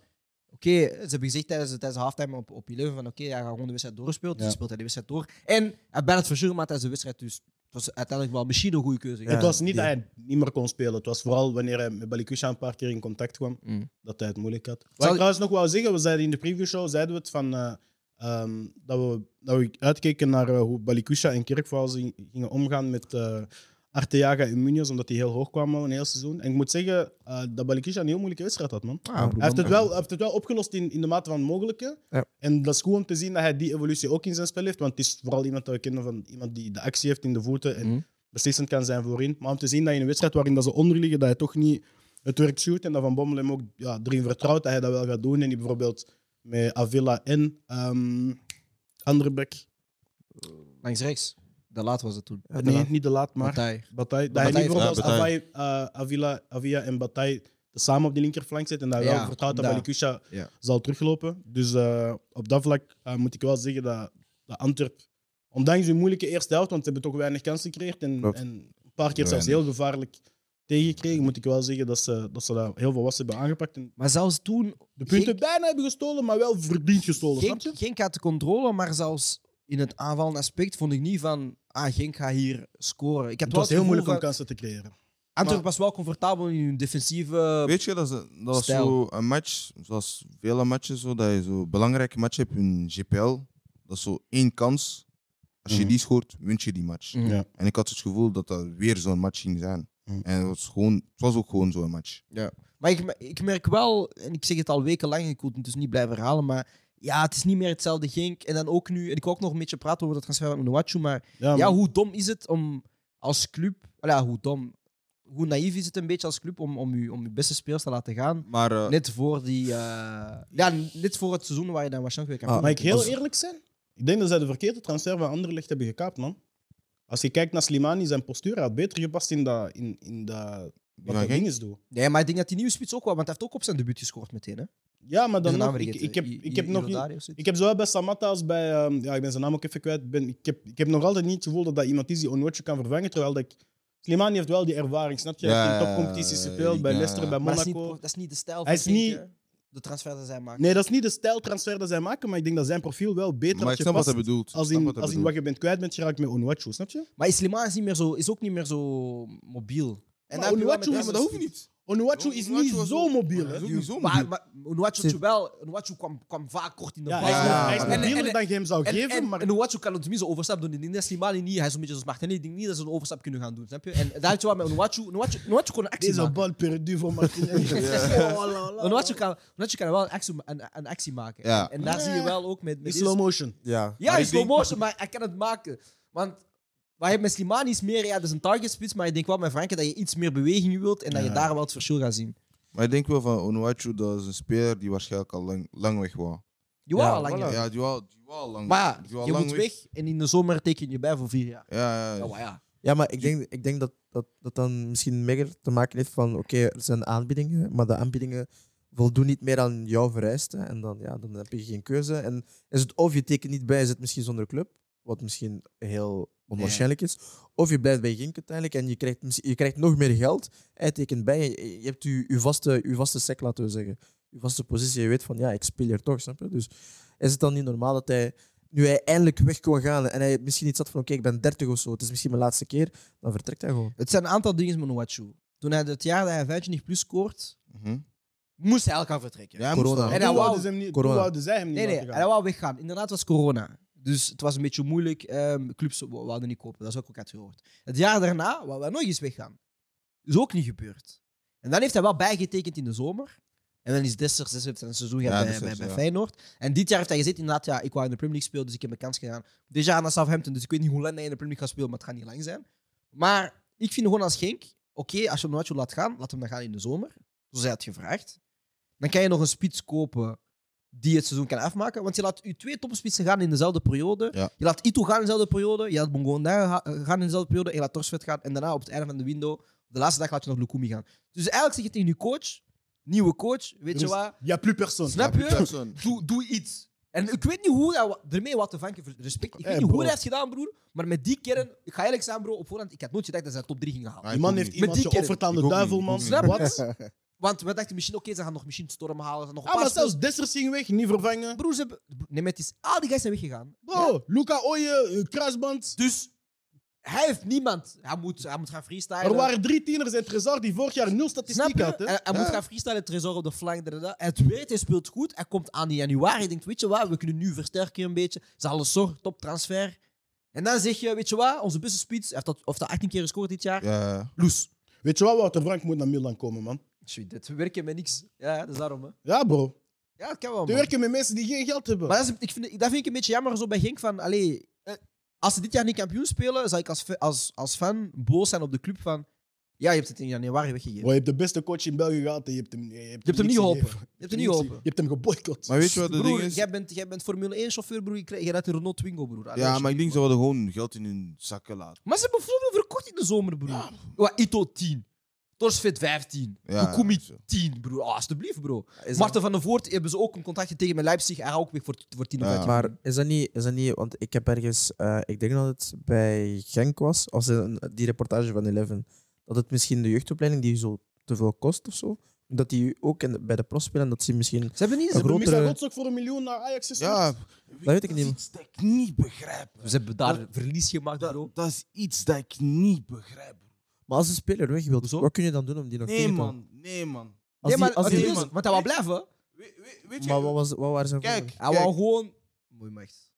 Speaker 1: Oké, ze hebben gezegd tijdens, tijdens de halftime op, op 11 van oké, hij gaat gewoon de wedstrijd doorspelen. Dus
Speaker 2: Ja.
Speaker 1: hij speelt hij de wedstrijd door. En hij bijna het verschil, maar tijdens de wedstrijd dus was uiteindelijk wel misschien een goede keuze.
Speaker 4: Ja.
Speaker 2: het was niet
Speaker 4: die-
Speaker 2: dat hij niet meer kon spelen. Het was vooral wanneer hij met Balikusha een paar keer in contact kwam,
Speaker 1: Mm.
Speaker 2: dat hij het moeilijk had. Wat
Speaker 1: Zal
Speaker 2: ik
Speaker 1: ik-
Speaker 2: trouwens nog wou zeggen, we zeiden in de preview-show zeiden we het van, eh, ehm, dat, we, dat we uitkeken naar eh, hoe Balikusha en Kirkvouw gingen omgaan met eh Arteaga en Munoz, omdat die heel hoog kwamen al een heel seizoen. En ik moet zeggen eh, dat Balikusha een heel moeilijke wedstrijd had, man.
Speaker 4: Ah,
Speaker 2: Hij heeft het wel, hij heeft het wel opgelost in, in de mate van het mogelijke.
Speaker 4: Ja.
Speaker 2: En dat is goed om te zien dat hij die evolutie ook in zijn spel heeft. Want het is vooral iemand dat we kennen van iemand die de actie heeft in de voeten en
Speaker 1: Mhm.
Speaker 2: beslissend kan zijn voorin. Maar om te zien dat in een wedstrijd waarin dat ze onderliggen, dat hij toch niet het werk shoot en dat Van Bommel hem ook ja, erin vertrouwt dat hij dat wel gaat doen. En die bijvoorbeeld met Avila en ehm Anderbeck,
Speaker 1: Langs rechts. De laat was het toen.
Speaker 4: Ja,
Speaker 2: nee,
Speaker 4: daarna.
Speaker 2: niet de laat, maar
Speaker 1: Partij.
Speaker 2: Bataille. Dat hij
Speaker 1: Bataille
Speaker 2: niet bijvoorbeeld
Speaker 3: heeft-
Speaker 2: als Avila, Avila, Avila en Bataille samen op die linkerflank zitten en dat hij
Speaker 1: Ja,
Speaker 2: wel vertrouwt dat
Speaker 1: ja.
Speaker 2: Balikusha
Speaker 1: Ja.
Speaker 2: zal teruglopen. Dus eh, op dat vlak eh, moet ik wel zeggen dat, dat Antwerp, ondanks hun moeilijke eerste helft, want ze hebben toch weinig kansen gecreëerd en,
Speaker 4: Klopt.
Speaker 2: en een paar keer
Speaker 3: Heel
Speaker 2: zelfs heel gevaarlijk tegengekregen, moet ik wel zeggen dat ze dat, ze dat heel volwassen hebben aangepakt. En
Speaker 1: Maar zelfs toen.
Speaker 2: de punten bijna hebben gestolen, maar wel verdiend gestolen, snap
Speaker 1: Genk,
Speaker 2: je?
Speaker 1: Genk had de controle, maar zelfs in het aanvallende aspect vond ik niet van. Ah, Genk gaat hier scoren. Ik had
Speaker 2: Het
Speaker 1: wel
Speaker 2: was heel moeilijk om
Speaker 1: gevoel van-
Speaker 2: kansen te creëren.
Speaker 1: Antwerpen was wel comfortabel in hun defensieve.
Speaker 3: Weet je, dat is, dat was
Speaker 1: Stijl.
Speaker 3: zo een match, zoals vele matches, zo, dat je zo'n belangrijke match hebt in GPL. Dat is zo één kans. Als je
Speaker 2: Mhm.
Speaker 3: die scoort, wint je die match.
Speaker 1: Mhm.
Speaker 2: Ja.
Speaker 3: En ik had het gevoel dat dat weer zo'n match ging zijn.
Speaker 2: Mhm.
Speaker 3: En het was, gewoon, het was ook gewoon zo'n match.
Speaker 1: Maar ik, me- ik merk wel, en ik zeg het al wekenlang, ik wil het dus niet blijven herhalen, maar ja, het is niet meer hetzelfde Genk. En dan ook nu, en ik wil ook nog een beetje praten over dat transfer van Onuachu, maar ja,
Speaker 2: Ja, maar-
Speaker 1: hoe dom is het om als club, well, ja, hoe dom, hoe naïef is het een beetje als club om, om, je, om je beste spelers te laten gaan,
Speaker 3: Maar eh,
Speaker 1: net voor die, eh, ja, net voor het seizoen waar je dan waarschijnlijk weer kan
Speaker 4: Ah,
Speaker 2: Mag ik heel
Speaker 4: Als-
Speaker 2: eerlijk zijn? Ik denk dat zij de verkeerde transfer van Anderlecht hebben gekaapt, man. Als je kijkt naar Slimani, zijn postuur hij had beter gepast in dat, in, in dat, wat dat
Speaker 3: van Genk?
Speaker 2: ding is doen.
Speaker 1: Nee, maar ik denk dat die nieuwe spits ook wel, want hij heeft ook op zijn debuut gescoord meteen. Hè?
Speaker 2: Ja, maar dan
Speaker 1: Zijn naam
Speaker 2: nog, ik,
Speaker 1: vergeten.
Speaker 2: ik heb,
Speaker 1: I-
Speaker 2: ik heb
Speaker 1: I-
Speaker 2: nog niet...
Speaker 1: Irodari of zoiets.
Speaker 2: Ik heb zowel bij Samatta als bij... ehm, ja, ik ben zijn naam ook even kwijt. Ik Ben, ik, heb, ik heb nog altijd niet het gevoel dat dat iemand is die Onootje kan vervangen, terwijl dat ik... Slimani heeft wel die ervaring, snap je? Hij heeft
Speaker 3: Ja,
Speaker 2: in topcompetities
Speaker 3: ja,
Speaker 2: gespeeld, bij
Speaker 3: ja,
Speaker 2: Leicester,
Speaker 3: ja.
Speaker 2: bij
Speaker 1: Maar dat is, niet,
Speaker 2: Monaco.
Speaker 1: dat is niet de stijl van
Speaker 2: Hij is
Speaker 1: Genk,
Speaker 2: niet-
Speaker 1: hè, de transfer dat zij maken.
Speaker 2: Nee, dat is niet de stijltransfer dat zij maken, maar ik denk dat zijn profiel wel beter
Speaker 3: maar
Speaker 2: had
Speaker 3: ik snap wat hij
Speaker 2: gepast
Speaker 3: bedoelt.
Speaker 2: als
Speaker 3: Ik snap
Speaker 2: in,
Speaker 3: wat hij
Speaker 2: als in
Speaker 3: bedoelt.
Speaker 2: wat je bent kwijt bent geraakt met Onootje, snap je?
Speaker 1: Maar Islimaan is, niet meer zo, is ook niet meer zo mobiel. En daar
Speaker 2: Maar
Speaker 1: heb je wel met
Speaker 2: Onuachu
Speaker 1: hem
Speaker 2: is-
Speaker 1: een
Speaker 2: maar dat
Speaker 1: spits.
Speaker 2: hoeft niet. Onuachu is niet
Speaker 3: was
Speaker 2: zo
Speaker 3: ook-
Speaker 2: mobiel,
Speaker 3: Hij
Speaker 2: hè?
Speaker 3: is ook niet zo mobiel.
Speaker 1: Maar, maar Onuachu had je wel, Onuachu kwam, kwam vaak kort in de
Speaker 2: Ja,
Speaker 1: bal.
Speaker 2: hij is,
Speaker 3: Ja,
Speaker 2: hij is
Speaker 3: maar-
Speaker 2: mobieler
Speaker 1: En- en-
Speaker 2: dan je hem zou
Speaker 1: En,
Speaker 2: geven,
Speaker 1: en,
Speaker 2: maar...
Speaker 1: en Onuachu kan het tenminste overstap doen. In Slimani niet. Hij is een beetje zo smart. En ik denk niet dat ze een overstap kunnen gaan doen. Snap je? En daar had je wel met Onuachu. Onuachu, Onuachu kon een actie
Speaker 2: Deze
Speaker 1: maken.
Speaker 2: bal perdu voor Martinelli.
Speaker 1: Onuachu kan, Onuachu kan wel een actie, een, een actie maken.
Speaker 3: Ja.
Speaker 1: En, en daar zie je wel ook met...
Speaker 2: In
Speaker 1: met
Speaker 2: slow motion.
Speaker 4: Ja.
Speaker 1: ja,
Speaker 3: Maar
Speaker 1: in
Speaker 3: ik
Speaker 1: slow
Speaker 3: denk-
Speaker 1: motion, maar hij kan het maken. Want waar je met Slimani is meer... Ja, dat is een targetspits. Maar ik denk wel met Franke dat je iets meer beweging wilt. En dat je
Speaker 2: Ja.
Speaker 1: daar wel het verschil gaat zien.
Speaker 3: Maar ik denk wel van Onuachu, dat is een speler die waarschijnlijk al lang, lang weg was.
Speaker 1: Je wou
Speaker 4: Ja,
Speaker 1: al langer.
Speaker 3: Ja, die was die was al lang
Speaker 1: Maar ja,
Speaker 3: die was al
Speaker 1: je
Speaker 3: lang
Speaker 1: moet weg Nou, en in de zomer teken je bij voor vier jaar.
Speaker 3: Ja,
Speaker 1: Ja,
Speaker 3: ja, ja.
Speaker 1: maar ja.
Speaker 4: Ja, maar ik denk, ik denk dat, dat dat dan misschien meer te maken heeft van oké, er zijn aanbiedingen, maar de aanbiedingen voldoen niet meer aan jouw vereisten. En dan, ja, dan heb je geen keuze. En is het of je tekent niet bij, is het misschien zonder club, wat misschien heel onwaarschijnlijk is. Of je blijft bij Gink uiteindelijk en je krijgt, misschien- je krijgt nog meer geld. Hij tekent bij, je, je hebt je, je, vaste, je vaste sec, laten we zeggen. Je vaste positie, je weet van ja, ik speel hier toch, snap je? Dus is het dan niet normaal dat hij, nu hij eindelijk weg kon gaan en hij misschien iets had van oké, ik ben 30 of zo, het is misschien mijn laatste keer, dan vertrekt hij gewoon.
Speaker 1: Het zijn een aantal dingen met Noachu. Toen hij het jaar dat hij 25 plus scoort,
Speaker 3: Mhm.
Speaker 1: moest hij elkaar vertrekken.
Speaker 3: Ja, hij
Speaker 4: Corona.
Speaker 3: moest
Speaker 1: En
Speaker 3: al-
Speaker 1: hij
Speaker 2: Toen
Speaker 1: wou-
Speaker 2: wouden ze hem niet- toen
Speaker 4: Corona.
Speaker 2: wouden zij hem niet
Speaker 1: nee, nee,
Speaker 2: laten
Speaker 1: hij
Speaker 2: gaan.
Speaker 1: wou weggaan. Inderdaad, was corona. Dus het was een beetje moeilijk. Ehm, clubs wou- wouden niet kopen. Dat is wat ik ook had gehoord. Het jaar daarna wou hij nog eens weggaan. Is ook niet gebeurd. En dan heeft hij wel bijgetekend in de zomer. En dan is Dessers, Dessers heeft zijn seizoen gehad
Speaker 3: Ja,
Speaker 1: bij,
Speaker 3: Dessers,
Speaker 1: bij, bij
Speaker 3: ja.
Speaker 1: Feyenoord. En dit jaar heeft hij gezeten, inderdaad, ja, ik wou in de Premier League spelen, dus ik heb mijn kans gedaan. Dit jaar naar Southampton, dus ik weet niet hoe lang hij in de Premier League gaat spelen, maar het gaat niet lang zijn. Maar ik vind gewoon als Genk, oké, als je nou Noatje laat gaan, laat hem dan gaan in de zomer. Zoals hij had gevraagd. Dan kan je nog een spits kopen die het seizoen kan afmaken. Want je laat je twee topspitsen gaan in dezelfde periode.
Speaker 3: Ja.
Speaker 1: Je laat Ito gaan in dezelfde periode. Je laat Bongonda ha- gaan in dezelfde periode. En je laat Torsvet gaan. En daarna op het einde van de window, de laatste dag, laat je nog Lukumi gaan. Dus eigenlijk zeg je tegen je coach, nieuwe coach, weet je
Speaker 2: Dus-
Speaker 1: wat?
Speaker 2: Ja, plus persoon.
Speaker 1: Snap
Speaker 3: Peter
Speaker 1: je?
Speaker 3: Jackson.
Speaker 1: Doe, doe iets. En ik weet niet hoe hij wa- ermee wat te vanken. voor- Respect. Ik weet
Speaker 2: Eh,
Speaker 1: niet hoe
Speaker 2: bro.
Speaker 1: hij heeft gedaan, broer. Maar met die kern, ik ga eerlijk zijn, bro. Op voorhand, ik had nooit gedacht dat ze de top 3 gingen halen.
Speaker 3: Ja,
Speaker 2: Die
Speaker 3: ik
Speaker 2: man
Speaker 3: ook
Speaker 2: heeft
Speaker 3: niet.
Speaker 1: Met
Speaker 2: iemand
Speaker 1: die kerel.
Speaker 2: geofferd aan
Speaker 3: Ik
Speaker 2: de
Speaker 3: ook
Speaker 2: duivel,
Speaker 3: niet, ik
Speaker 2: man.
Speaker 3: ook
Speaker 1: niet. Snap
Speaker 2: Wat?
Speaker 1: Want we dachten misschien, oké, ze gaan nog misschien Storm halen. Ze gaan nog een
Speaker 2: Ah,
Speaker 1: paar
Speaker 2: maar
Speaker 1: spelers-
Speaker 2: zelfs Dessers ging weg, niet vervangen.
Speaker 1: Broer, ze hebben... Nee, maar het is... Al die guys zijn weggegaan.
Speaker 2: Bro, Luca Ooyen, eh, kruisband.
Speaker 1: Dus Hij heeft niemand. Hij moet, hij moet gaan freestylen.
Speaker 2: Er waren drie tieners in Trezor die vorig jaar
Speaker 1: Snap
Speaker 2: nul statistiek
Speaker 1: je?
Speaker 2: hadden.
Speaker 1: Hij, hij moet gaan freestylen, Trezor op de flank. da, da, da. Het weet, hij speelt goed. Hij komt aan in januari. Hij denkt, weet je wat, we kunnen nu versterken een beetje. Zalesor, toptransfer. En dan zeg je, weet je wat, onze beste spits, hij heeft dat, of dat 18 keer gescoord dit jaar.
Speaker 3: Ja.
Speaker 1: Loes.
Speaker 2: Weet je wat, Wouter Frank moet naar Milan komen, man.
Speaker 1: Tjoe, dit werken met niks. Ja, dat is daarom. Hè.
Speaker 2: Ja, bro.
Speaker 1: Ja, dat kan wel,
Speaker 2: Te
Speaker 1: man.
Speaker 2: werken met mensen die geen geld hebben.
Speaker 1: Maar dat, is- ik vind, dat vind ik een beetje jammer zo bij Genk van, allee, eh, als ze dit jaar niet kampioen spelen, zou ik als, fa- als, als fan boos zijn op de club van, ja, je hebt het in januari weggegeven.
Speaker 2: Bro, je hebt de beste coach in België gehad en je hebt hem, je hebt
Speaker 1: Je hebt hem niet
Speaker 2: niks
Speaker 1: geholpen.
Speaker 2: gegeven.
Speaker 1: Je hebt er niet geholpen.
Speaker 2: Je hebt hem geboycott.
Speaker 3: Maar weet je wat het ding
Speaker 1: Broer,
Speaker 3: is?
Speaker 1: jij bent, jij bent Formule 1 chauffeur, broer. Je krijgt- je rijdt een Renault Twingo, broer. Ah, Allee,
Speaker 3: Ja, maar
Speaker 1: alsjeblieft,
Speaker 3: ik denk
Speaker 1: man.
Speaker 3: ze hadden gewoon geld in hun zakken laten.
Speaker 1: Maar ze hebben veel verkocht in de zomer, broer. Wat, Ito 10. Torsfit 15.
Speaker 3: Ja,
Speaker 1: Ja, Kukumi
Speaker 3: dat is zo.
Speaker 1: 10, broer. Ah, alsjeblieft, bro.
Speaker 4: Is dat-
Speaker 1: Marten van der Voort hebben ze ook een contractje tegen met Leipzig. Hij gaat ook weer voor, voor 10 of
Speaker 3: Ja.
Speaker 1: 15.
Speaker 4: Maar is dat, niet, is dat niet, want ik heb ergens, eh, ik denk dat het bij Genk was, als in die reportage van Eleven, dat het misschien de jeugdopleiding die zo te veel kost of zo, dat die ook in, de- bij de pros spelen en dat ze misschien.
Speaker 1: Ze hebben niet eens...
Speaker 4: Een
Speaker 2: Hebben
Speaker 4: grotere-
Speaker 2: Mika Rots ook voor een miljoen naar Ajax gestuurd?
Speaker 3: Ja,
Speaker 4: Dat weet ik niet.
Speaker 3: iets dat ik niet begrijp.
Speaker 1: Ze hebben daar verlies gemaakt,
Speaker 3: Dat,
Speaker 1: bro.
Speaker 3: dat is iets dat ik niet begrijp.
Speaker 4: Maar als een speler weg wil,
Speaker 1: Hoezo?
Speaker 4: wat kun je dan doen om die nog
Speaker 3: Nee,
Speaker 4: tegen te houden?
Speaker 3: man. Nee, man.
Speaker 4: Als
Speaker 1: Nee,
Speaker 4: die-
Speaker 1: maar
Speaker 4: als
Speaker 1: als
Speaker 4: die-
Speaker 3: nee, man.
Speaker 1: want hij wou blijven.
Speaker 3: We- we- weet je,
Speaker 4: maar wat, was, wat waren zijn
Speaker 3: kijk,
Speaker 4: voorbeelden?
Speaker 1: Hij
Speaker 3: kijk.
Speaker 1: wou gewoon... Mooi macht.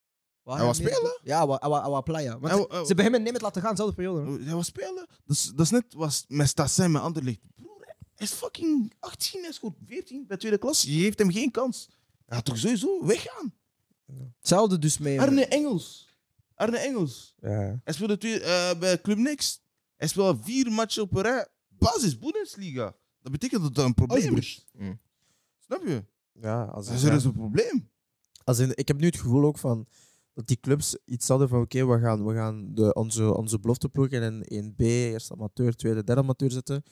Speaker 1: Wou
Speaker 3: Hij wou
Speaker 1: meer
Speaker 3: spelen?
Speaker 1: doen? Ja, hij wou- hij wou- hij wou playa. Want
Speaker 3: Hij wou- hij
Speaker 1: ze hebben hem en Nemeth laten gaan, dezelfde periode. hè.
Speaker 3: Hij was spelen. Dat is, dat is net was met Stassen, met Anderlecht. Broer, hij is fucking 18, hij is goed 14 bij tweede klas. Je geeft hem geen kans. Hij gaat toch sowieso weggaan.
Speaker 1: Hetzelfde dus mee.
Speaker 3: Arne Engels. Arne Engels.
Speaker 4: Ja.
Speaker 3: Hij speelde twee, eh, bij Club Next. Hij speelde vier matchen op een rij. Basis Bundesliga. Dat betekent dat dat een probleem is.
Speaker 2: Alsbrug.
Speaker 3: Snap je?
Speaker 4: Ja, als
Speaker 3: Dat is
Speaker 4: ja.
Speaker 3: er is een probleem.
Speaker 4: Als in, ik heb nu het gevoel ook van dat die clubs iets hadden van oké, we gaan, we gaan de, onze, onze belofteploegen in 1B, eerst amateur, tweede, derde amateur zetten.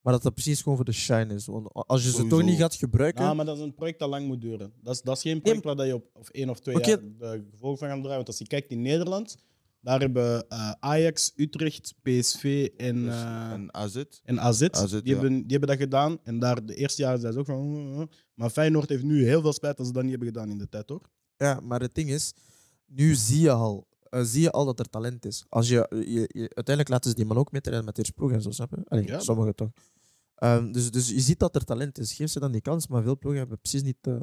Speaker 4: Maar dat dat precies gewoon voor de shine is. Want als je ze
Speaker 3: Sowieso.
Speaker 4: toch niet gaat gebruiken...
Speaker 2: Ja, maar dat is een project dat lang moet duren. Dat is, dat is geen project waar dat je op of één of twee
Speaker 4: Oké.
Speaker 2: jaar de gevolgen van gaat draaien. Want als je kijkt in Nederland, daar hebben eh, Ajax, Utrecht, PSV en, eh,
Speaker 3: en Dus AZ.
Speaker 2: en AZ,
Speaker 3: AZ,
Speaker 2: die,
Speaker 3: ja.
Speaker 2: hebben, die hebben dat gedaan. En daar de eerste jaren zijn ze ook van... "Oh, oh, oh." Maar Feyenoord heeft nu heel veel spijt dat ze dat niet hebben gedaan in de tijd, hoor.
Speaker 4: Ja, maar het ding is, nu zie je al, eh, zie je al dat er talent is. Als je, je, je- uiteindelijk laten ze die man ook meetrainen met haar ploeg en zo, snap je? Allee,
Speaker 2: Ja.
Speaker 4: sommigen toch. Ehm, dus, dus je ziet dat er talent is. Geef ze dan die kans, maar veel ploegen hebben precies niet... eh,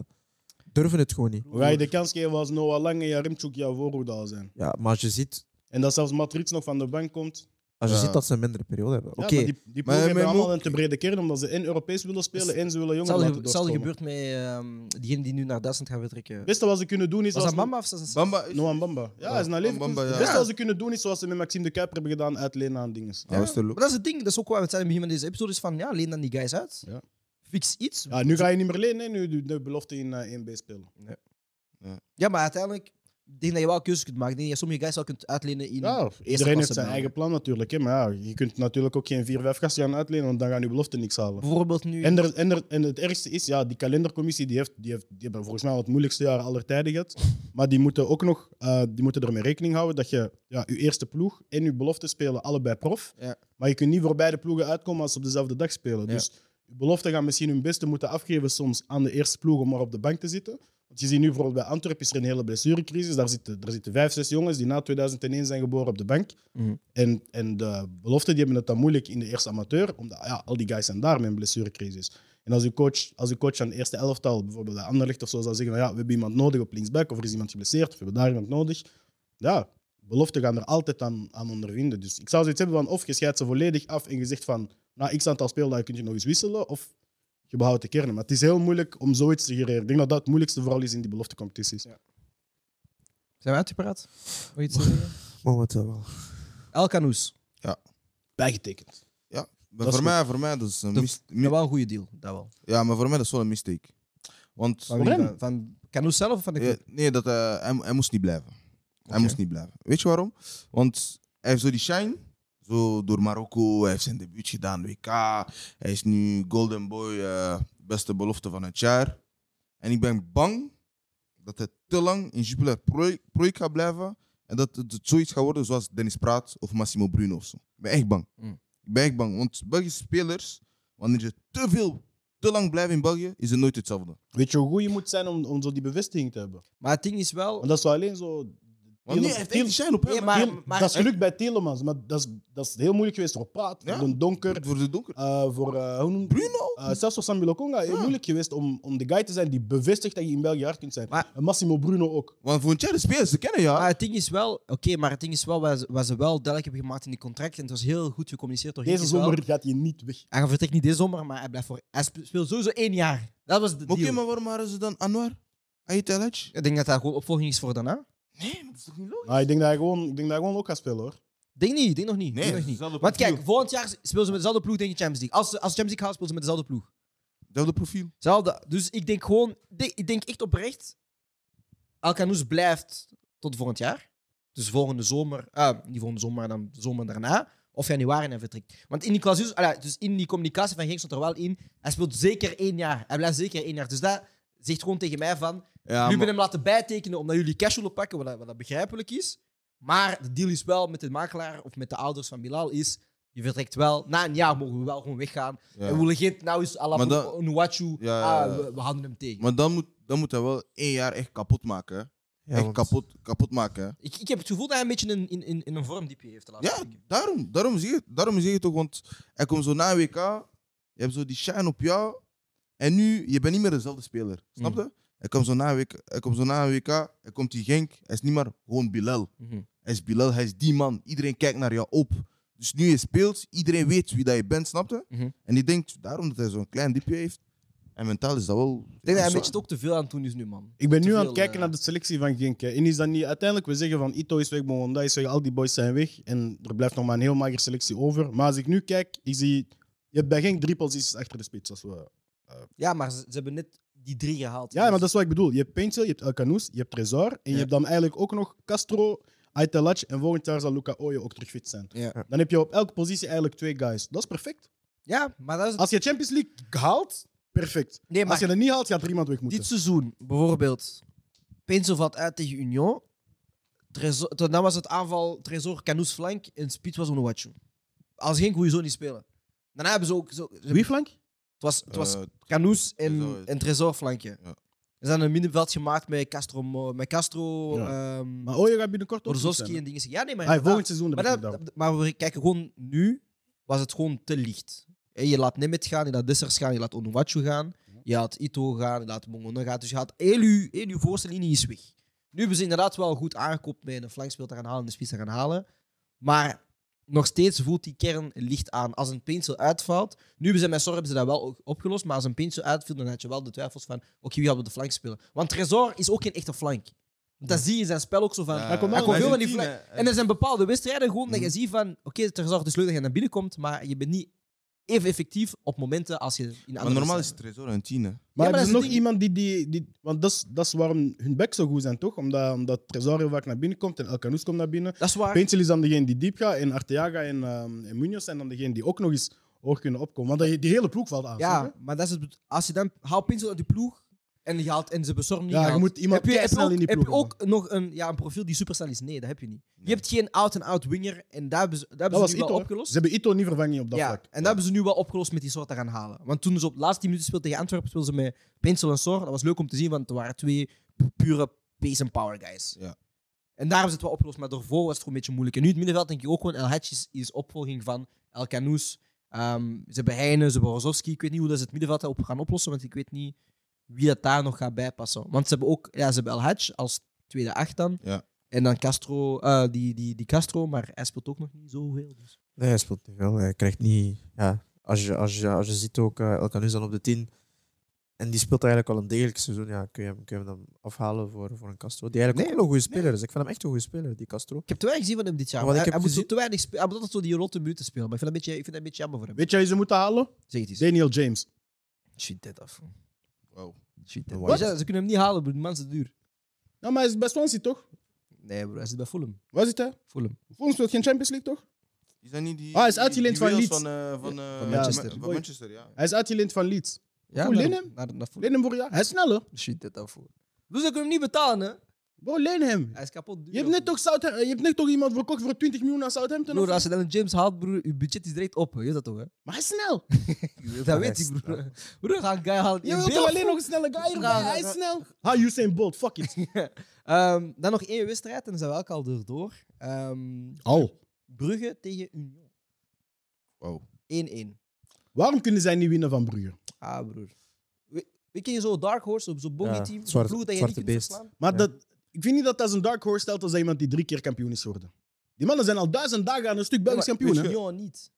Speaker 4: durven het gewoon niet.
Speaker 2: We gaan je de kans geven als Noah Lang en Jarimchuk jouw voorhoede al zijn.
Speaker 4: Ja, maar als je ziet,
Speaker 2: En dat zelfs Matrix nog van de bank komt.
Speaker 4: als je
Speaker 3: Ja.
Speaker 4: ziet dat ze een mindere periode hebben.
Speaker 2: Ja,
Speaker 4: Oké,
Speaker 2: maar die, die
Speaker 3: Maar-
Speaker 2: ploegen hebben
Speaker 3: maar-
Speaker 2: allemaal een te brede kern, omdat ze en Europees willen spelen en ze willen jongeren
Speaker 1: Hetzelfde, hetzelfde
Speaker 2: laten doorkomen.
Speaker 1: gebeurt met ehm, diegene die nu naar Duitsland gaat vertrekken.
Speaker 2: Het beste wat ze kunnen doen is...
Speaker 1: Was
Speaker 2: als
Speaker 1: dat Mamba of was dat-
Speaker 3: Bamba is...
Speaker 2: Noam Bamba. Ja,
Speaker 3: Ja,
Speaker 2: hij is naar
Speaker 3: Noam
Speaker 2: Leverkusen.
Speaker 3: Bamba, ja.
Speaker 2: Het beste
Speaker 1: Ja.
Speaker 2: wat ze kunnen doen is zoals ze met Maxime de Kuiper hebben gedaan, uitlenen aan dingen.
Speaker 3: Ja, was te
Speaker 1: Maar dat is het ding, dat is ook waar we het zeiden in het begin van deze episode, is van ja, leen dan die guys uit.
Speaker 2: Ja.
Speaker 1: Fix iets. Ja.
Speaker 2: Ja, nu ga je niet meer lenen, hè, nu de, de belofte in eh, 1B spelen.
Speaker 1: maar uiteindelijk, ik denk dat je wel keuzes kunt maken. Ik denk dat je sommige guys wel kunt uitlenen in...
Speaker 2: Ja, iedereen
Speaker 1: klasse
Speaker 2: heeft zijn
Speaker 1: België.
Speaker 2: eigen plan natuurlijk, hè, maar ja, je kunt natuurlijk ook geen 4-5 gasten gaan uitlenen, want dan gaan je belofte niks halen.
Speaker 1: Bijvoorbeeld nu...
Speaker 2: En, er, en, er- en het ergste is, ja, die kalendercommissie die heeft, die heeft, die hebben volgens mij al het moeilijkste jaar aller tijden gehad. Maar die moeten ook nog, eh, die moeten ermee rekening houden dat je ja, je eerste ploeg en je belofte spelen allebei prof.
Speaker 1: Ja.
Speaker 2: Maar je kunt niet voor beide ploegen uitkomen als ze op dezelfde dag spelen.
Speaker 1: Ja.
Speaker 2: Dus je belofte gaan misschien hun beste moeten afgeven soms aan de eerste ploeg om maar op de bank te zitten. Want je ziet nu bijvoorbeeld bij Antwerpen is er een hele blessurecrisis. Daar zitten, daar zitten vijf, zes jongens die na 2001 zijn geboren op de bank.
Speaker 1: Mhm.
Speaker 2: En, en de belofte die hebben het dan moeilijk in de eerste amateur, omdat ja, al die guys zijn daar met een blessurecrisis. En als uw coach, als uw coach aan de eerste elftal, bijvoorbeeld bij Anderlecht of zo, zou zeggen van ja, we hebben iemand nodig op linksback, of er is iemand geblesseerd, of we hebben daar iemand nodig. Ja, beloften gaan er altijd aan, aan ondervinden. Dus ik zou zoiets hebben van of je scheidt ze volledig af en je zegt van nou, x aantal speeldagen kun je nog eens wisselen, of je behoudt de kernen. Maar het is heel moeilijk om zoiets te gereren. Ik denk dat dat het moeilijkste vooral is in die beloftecompetities.
Speaker 1: Zijn we uitgepraat? Wil je iets zeggen?
Speaker 4: momenteel wel.
Speaker 1: El Canoes.
Speaker 2: Bijgetekend.
Speaker 3: Maar
Speaker 2: Dat is
Speaker 3: voor, mij, voor mij dat is een
Speaker 1: De-
Speaker 3: mis- mi-
Speaker 1: Dat wel een goede deal, dat wel.
Speaker 3: Ja, maar voor mij dat is wel een mistake. Want
Speaker 1: Van, wie?
Speaker 2: Waarom?
Speaker 1: Van- van Canoes zelf of van de
Speaker 3: Ja,
Speaker 1: club?
Speaker 3: nee, dat, eh, hij, hij moest niet blijven. Hij moest niet blijven. Weet je waarom? Want hij heeft zo die shine. Zo door Marokko. Hij heeft zijn debuut gedaan, WK. Hij is nu Golden Boy, eh, beste belofte van het jaar. En ik ben bang dat hij te lang in Jupiler Pro- Pro gaat blijven. En dat het zoiets gaat worden zoals Dennis Praat of Massimo Bruno of zo. Ik ben echt bang.
Speaker 1: Mm.
Speaker 3: Ik ben echt bang. Want Belgische spelers, wanneer ze te veel, te lang blijven in België, is het nooit hetzelfde.
Speaker 2: Weet je hoe goed je moet zijn om, om zo die bevestiging te hebben?
Speaker 1: Maar het ding is wel...
Speaker 2: Want dat is wel alleen zo
Speaker 3: Want nu
Speaker 2: Tielemans-
Speaker 3: heeft hij zijn op hem.
Speaker 1: Nee,
Speaker 3: hè.
Speaker 1: maar-
Speaker 2: Tiel- dat is gelukt bij Telemans, maar dat is, dat is heel moeilijk geweest voor Praat,
Speaker 3: Ja.
Speaker 2: voor Den Donker,
Speaker 3: Voor de donker.
Speaker 2: eh, voor eh, hoe noem-
Speaker 3: Bruno?
Speaker 2: eh, zelfs voor Samuel Okonga. Heel
Speaker 3: Ja.
Speaker 2: moeilijk geweest om, om de guy te zijn die bevestigt dat je in België hard kunt zijn.
Speaker 1: Maar-
Speaker 2: En Massimo Bruno ook.
Speaker 3: Want voor een Tjerde spelers, ze kennen ja.
Speaker 1: Maar het ding Ah, is wel, oké, maar het ding is wel wat, ze- wat ze wel duidelijk hebben gemaakt in die contract. En het was heel goed gecommuniceerd door
Speaker 2: Deze
Speaker 1: Henk, is wel-
Speaker 2: zomer gaat hij niet weg.
Speaker 1: Hij vertrekt niet deze zomer, maar hij, blijft voor, hij spe- speelt sowieso één jaar. Dat was de
Speaker 3: Maar Oké,
Speaker 1: deal.
Speaker 3: maar waarom hadden ze dan Anwar? Ait El Hadj?
Speaker 1: Ik denk dat hij gewoon opvolging is voor daarna.
Speaker 3: Nee, maar dat is toch niet logisch?
Speaker 2: Nou, ik, denk dat hij gewoon, ik denk dat hij gewoon ook gaat spelen hoor.
Speaker 1: Denk niet, denk nog niet.
Speaker 3: Nee,
Speaker 1: denk
Speaker 3: dat
Speaker 1: nog
Speaker 3: is
Speaker 1: niet.
Speaker 3: hetzelfde
Speaker 1: Want
Speaker 3: profiel.
Speaker 1: kijk, volgend jaar spelen ze met dezelfde ploeg tegen de Champions League. Als ze als Champions League gaan, spelen ze met dezelfde ploeg.
Speaker 3: Hetzelfde profiel.
Speaker 1: Zelfde. Dus ik denk gewoon, de- ik denk echt oprecht, Alcanoes blijft tot volgend jaar. Dus volgende zomer, ah, niet volgende zomer, maar dan de zomer daarna. Of januari en hij vertrekt. Want in die, clausus, ah, dus in die communicatie van Genk stond er wel in, hij speelt zeker één jaar. Hij blijft zeker één jaar. Dus dat zegt gewoon tegen mij van,
Speaker 3: Ja,
Speaker 1: nu
Speaker 3: maar-
Speaker 1: ben hem laten bijtekenen omdat jullie cash willen pakken, wat, wat dat begrijpelijk is. Maar de deal is wel met de makelaar of met de ouders van Bilal is, je vertrekt wel. Na een jaar mogen we wel gewoon weggaan.
Speaker 3: ja.
Speaker 1: En we willen geen, nou is
Speaker 3: Maar
Speaker 1: Alain
Speaker 3: dan-
Speaker 1: Onuachu,
Speaker 3: Ja, ja, ja.
Speaker 1: ah, we, we houden hem tegen.
Speaker 3: Maar dan moet, dan moet hij wel één jaar echt kapot maken. hè.
Speaker 4: Ja,
Speaker 3: echt
Speaker 4: want-
Speaker 3: kapot, kapot maken. hè.
Speaker 1: ik, ik heb het gevoel dat hij een beetje een, in, in, in een vormdiepje heeft de laatste
Speaker 3: Ja,
Speaker 1: weken.
Speaker 3: daarom. Daarom zeg, je, daarom zeg je toch, want hij komt zo na een WK. Je hebt zo die shine op jou. En nu, je bent niet meer dezelfde speler.
Speaker 1: Mm.
Speaker 3: Snap je? Hij komt zo na een WK. Hij komt zo na een WK. Hij komt die Genk. Hij is niet meer gewoon Bilal.
Speaker 1: Mhm.
Speaker 3: Hij is Bilal. Hij is die man. Iedereen kijkt naar jou op. Dus nu je speelt, iedereen weet wie dat je bent, snap je?
Speaker 1: Mhm.
Speaker 3: En ik denk daarom dat hij zo'n klein diepje heeft. En mentaal is dat wel...
Speaker 1: Ik denk dat hij
Speaker 3: zwaar.
Speaker 1: een beetje het ook te veel aan het doen is nu, man.
Speaker 2: Ik ben
Speaker 1: Te
Speaker 2: nu aan
Speaker 1: veel,
Speaker 2: het kijken
Speaker 1: eh,
Speaker 2: naar de selectie van Genk. hè. En is dat niet uiteindelijk, we zeggen van Ito is weg, Mwanda is weg, al die boys zijn weg. En er blijft nog maar een heel mager selectie over. Maar als ik nu kijk, ik zie, je hebt bij Genk drie posities achter de spits. Als we...
Speaker 1: Ja, maar ze, ze hebben net die drie gehaald.
Speaker 2: Ja, maar dat is wat ik bedoel. Je hebt Pencil, je hebt El Canoes, je hebt Trezor. En je hebt dan eigenlijk ook nog Castro, Aitelac. En volgend jaar zal Luca Oye ook terug fit zijn.
Speaker 1: Ja.
Speaker 2: Dan heb je op elke positie eigenlijk twee guys. Dat is perfect.
Speaker 1: Ja, maar dat is...
Speaker 2: Als je Champions League haalt, perfect.
Speaker 1: Nee, maar
Speaker 2: Als je dat niet haalt, gaat er iemand weg moeten.
Speaker 1: Dit seizoen, bijvoorbeeld, Pencil valt uit tegen Union. Trezor, toen- dan was het aanval Trezor, Canoes flank en Spits was Onuachu. Als geen goede zo niet spelen. Daarna hebben ze ook... Zo, ze-
Speaker 2: Wie flank?
Speaker 1: het was, het was
Speaker 3: Eh,
Speaker 1: Canoes en,
Speaker 3: Trezor.
Speaker 1: en Trezor flankje.
Speaker 3: Ja.
Speaker 1: Ze zijn een middenveld gemaakt met Castro, Mo- met Castro
Speaker 2: Ja.
Speaker 1: ehm,
Speaker 2: Maar Oye gaat binnenkort ook terug
Speaker 1: Orzowski
Speaker 2: zijn.
Speaker 1: en dingen. Ja, nee, maar...
Speaker 2: Ah,
Speaker 1: inderdaad.
Speaker 2: volgend seizoen.
Speaker 1: Maar,
Speaker 2: heb ik het
Speaker 1: dat, dat- maar we kijken gewoon nu, was het gewoon te licht. Hé, Je laat Nemeth gaan, je laat Dessers gaan, je laat Onuwachu gaan, je laat Ito gaan, je laat Mongondo gaan. Dus je had heel je, heel je voorste linie is weg. Nu hebben ze inderdaad wel goed aangekoopt met een flankspeel te gaan halen en de spits te gaan halen. Maar nog steeds voelt die kern licht aan. Als een pencil uitvalt, nu hebben ze met Sor hebben ze dat wel ook opgelost, maar als een pencil uitviel, dan had je wel de twijfels van, oké, wie gaat op de flank spelen? Want Trezor is ook geen echte flank. Want dat zie je in zijn spel ook zo van.
Speaker 3: Ja,
Speaker 2: Hij komt
Speaker 1: Hij
Speaker 2: wel
Speaker 1: komt
Speaker 2: een
Speaker 1: veel van die
Speaker 5: tien,
Speaker 1: flank.
Speaker 5: hè.
Speaker 1: En er zijn bepaalde wedstrijden gewoon dat je
Speaker 2: Mhm.
Speaker 1: ziet van... Oké, Trezor, het is leuk dat je naar binnen komt, maar je bent niet even effectief op momenten als je in andere
Speaker 3: Maar normaal is
Speaker 1: wedstrijden-
Speaker 3: Trezor een tien, hè.
Speaker 2: Maar,
Speaker 1: Ja, maar
Speaker 2: er is
Speaker 1: dat is het
Speaker 2: nog
Speaker 1: ding.
Speaker 2: iemand die, die, die want dat is, dat is waarom hun bek zo goed zijn, toch? Omdat, omdat Trezor heel vaak naar binnen komt en El Canoes komt naar binnen.
Speaker 1: Dat is waar.
Speaker 2: Pencil is dan degene die diep gaat en Arteaga en, ehm en Munoz zijn dan degene die ook nog eens hoog kunnen opkomen. Want die, die hele ploeg valt aan. snap
Speaker 1: Ja,
Speaker 2: je?
Speaker 1: maar dat is het, als je dan... Haal Pinsel uit die ploeg en je haalt en ze bezorgen niet
Speaker 2: Ja, je
Speaker 1: gehaald.
Speaker 2: moet iemand
Speaker 1: heb je, heb je
Speaker 2: keisnel
Speaker 1: ook,
Speaker 2: in die
Speaker 1: heb je
Speaker 2: ploeg
Speaker 1: ook nog een, ja, een profiel die supersnel is? Nee, dat heb je niet. Je
Speaker 3: Nee.
Speaker 1: hebt geen out-and-out winger en daar hebben ze, daar
Speaker 2: Dat
Speaker 1: hebben
Speaker 2: was
Speaker 1: ze nu
Speaker 2: Ito.
Speaker 1: wel
Speaker 2: hè.
Speaker 1: opgelost.
Speaker 2: Ze hebben Ito niet vervangen op dat
Speaker 1: ja,
Speaker 2: vlak.
Speaker 1: en dat hebben ze nu wel opgelost met die soort te gaan halen. Want toen ze op de laatste 10 minuten speelden tegen Antwerpen, speelden ze met Pinsel en Sor. Dat was leuk om te zien, want het waren twee pu- pure pace en power guys.
Speaker 3: Ja.
Speaker 1: En daar hebben ze het wel opgelost, maar daarvoor was het gewoon een beetje moeilijk. En nu in het middenveld denk ik ook gewoon, El Hatch is, is opvolging van El Canoes. Ehm, ze hebben Heijnen, ze hebben Rozovski. Ik weet niet hoe dat ze het middenveld op gaan oplossen, want ik weet niet wie dat daar nog gaat bijpassen. Want ze hebben ook, ja, ze hebben El Hatch als tweede acht dan.
Speaker 3: Ja.
Speaker 1: En dan Castro, eh, die, die, die Castro, maar hij speelt ook nog niet zoveel. Dus.
Speaker 4: Nee, hij speelt niet veel. Hij krijgt niet... Ja, als, je, als, je, als je ziet ook eh, El Canoes dan op de 10. En die speelt eigenlijk al een degelijk seizoen. Ja, kun je hem, kun je hem dan afhalen voor, voor een Castro. Die eigenlijk ook wel een goede speler is. Ik vind hem echt een goede speler, die Castro.
Speaker 1: Ik heb te weinig gezien van hem dit jaar.
Speaker 4: Ja, want
Speaker 1: hij,
Speaker 4: ik heb
Speaker 1: hij moet zo
Speaker 4: gezien-
Speaker 1: te weinig spelen. Hij moet altijd zo die rotte minuten spelen. Maar ik vind dat een beetje, ik vind dat een beetje jammer voor hem.
Speaker 2: Weet je wie ze moeten halen?
Speaker 1: Zeg het eens.
Speaker 2: Daniel James.
Speaker 1: Shit dit af. man.
Speaker 3: Wow.
Speaker 1: Shit dit
Speaker 4: Wat?
Speaker 1: af. Ze ze kunnen hem niet halen, bro. Die man is te duur.
Speaker 2: Ja, Nou, maar hij is bij Swansea, toch?
Speaker 1: Nee, bro. Hij zit bij Fulham.
Speaker 2: Waar zit hij?
Speaker 1: Fulham.
Speaker 2: Fulham speelt geen Champions League, toch?
Speaker 3: Is dat niet die...
Speaker 2: Ah, hij is
Speaker 3: die-
Speaker 2: uitgeleend
Speaker 3: die
Speaker 2: van
Speaker 3: Wales
Speaker 2: Leeds.
Speaker 3: Van, eh, van, eh,
Speaker 1: Van Manchester.
Speaker 3: Ma- Van Manchester, ja.
Speaker 2: Hij is uitgeleend van Leeds.
Speaker 1: Ja,
Speaker 2: Voor
Speaker 1: naar-
Speaker 2: Lennon?
Speaker 1: Naar, naar Fulham.
Speaker 2: Leen hem vorig jaar. Hij is snel, hè?
Speaker 1: Shit dit af. bro. Dus ze kunnen hem niet betalen, hè.
Speaker 2: Bro, leen hem.
Speaker 1: Hij is kapot duur.
Speaker 2: Je hebt, net
Speaker 1: bro.
Speaker 2: toch Southam- je hebt net toch iemand verkocht voor 20 miljoen aan Southampton? of
Speaker 1: Broer, als je dan een James haalt, broer, je budget is direct op. hè. Je weet dat toch, hè?
Speaker 2: zo? Maar hij is snel.
Speaker 1: Dat weet ik, broer. Broer, ga een guy halen. eh,
Speaker 2: Je wilt toch alleen nog een snelle guy erbij?
Speaker 1: Ja, ja,
Speaker 2: Hij
Speaker 1: ja.
Speaker 2: is snel. Ha, Usain Bolt, fuck it.
Speaker 1: Ehm, dan nog één wedstrijd en dan zijn we elk al erdoor. Ehm,
Speaker 2: Al.
Speaker 1: Brugge tegen Union.
Speaker 3: Wow.
Speaker 1: 1-1.
Speaker 2: Waarom kunnen zij niet winnen van Brugge?
Speaker 1: Ah, broer. We, we kennen zo'n Dark Horse op zo'n bogey
Speaker 4: Ja,
Speaker 1: team. zo'n
Speaker 4: zwarte-
Speaker 1: ploeg dat je niet
Speaker 4: zwarte
Speaker 1: kunt
Speaker 4: beest.
Speaker 1: verslaan.
Speaker 2: Maar
Speaker 4: Ja.
Speaker 2: dat, ik vind niet dat dat als een dark horse stelt als iemand die drie keer kampioen is geworden. Die mannen zijn al duizend dagen aan een stuk Belgisch
Speaker 1: Ja, maar
Speaker 2: kampioen. hè?
Speaker 1: Union niet.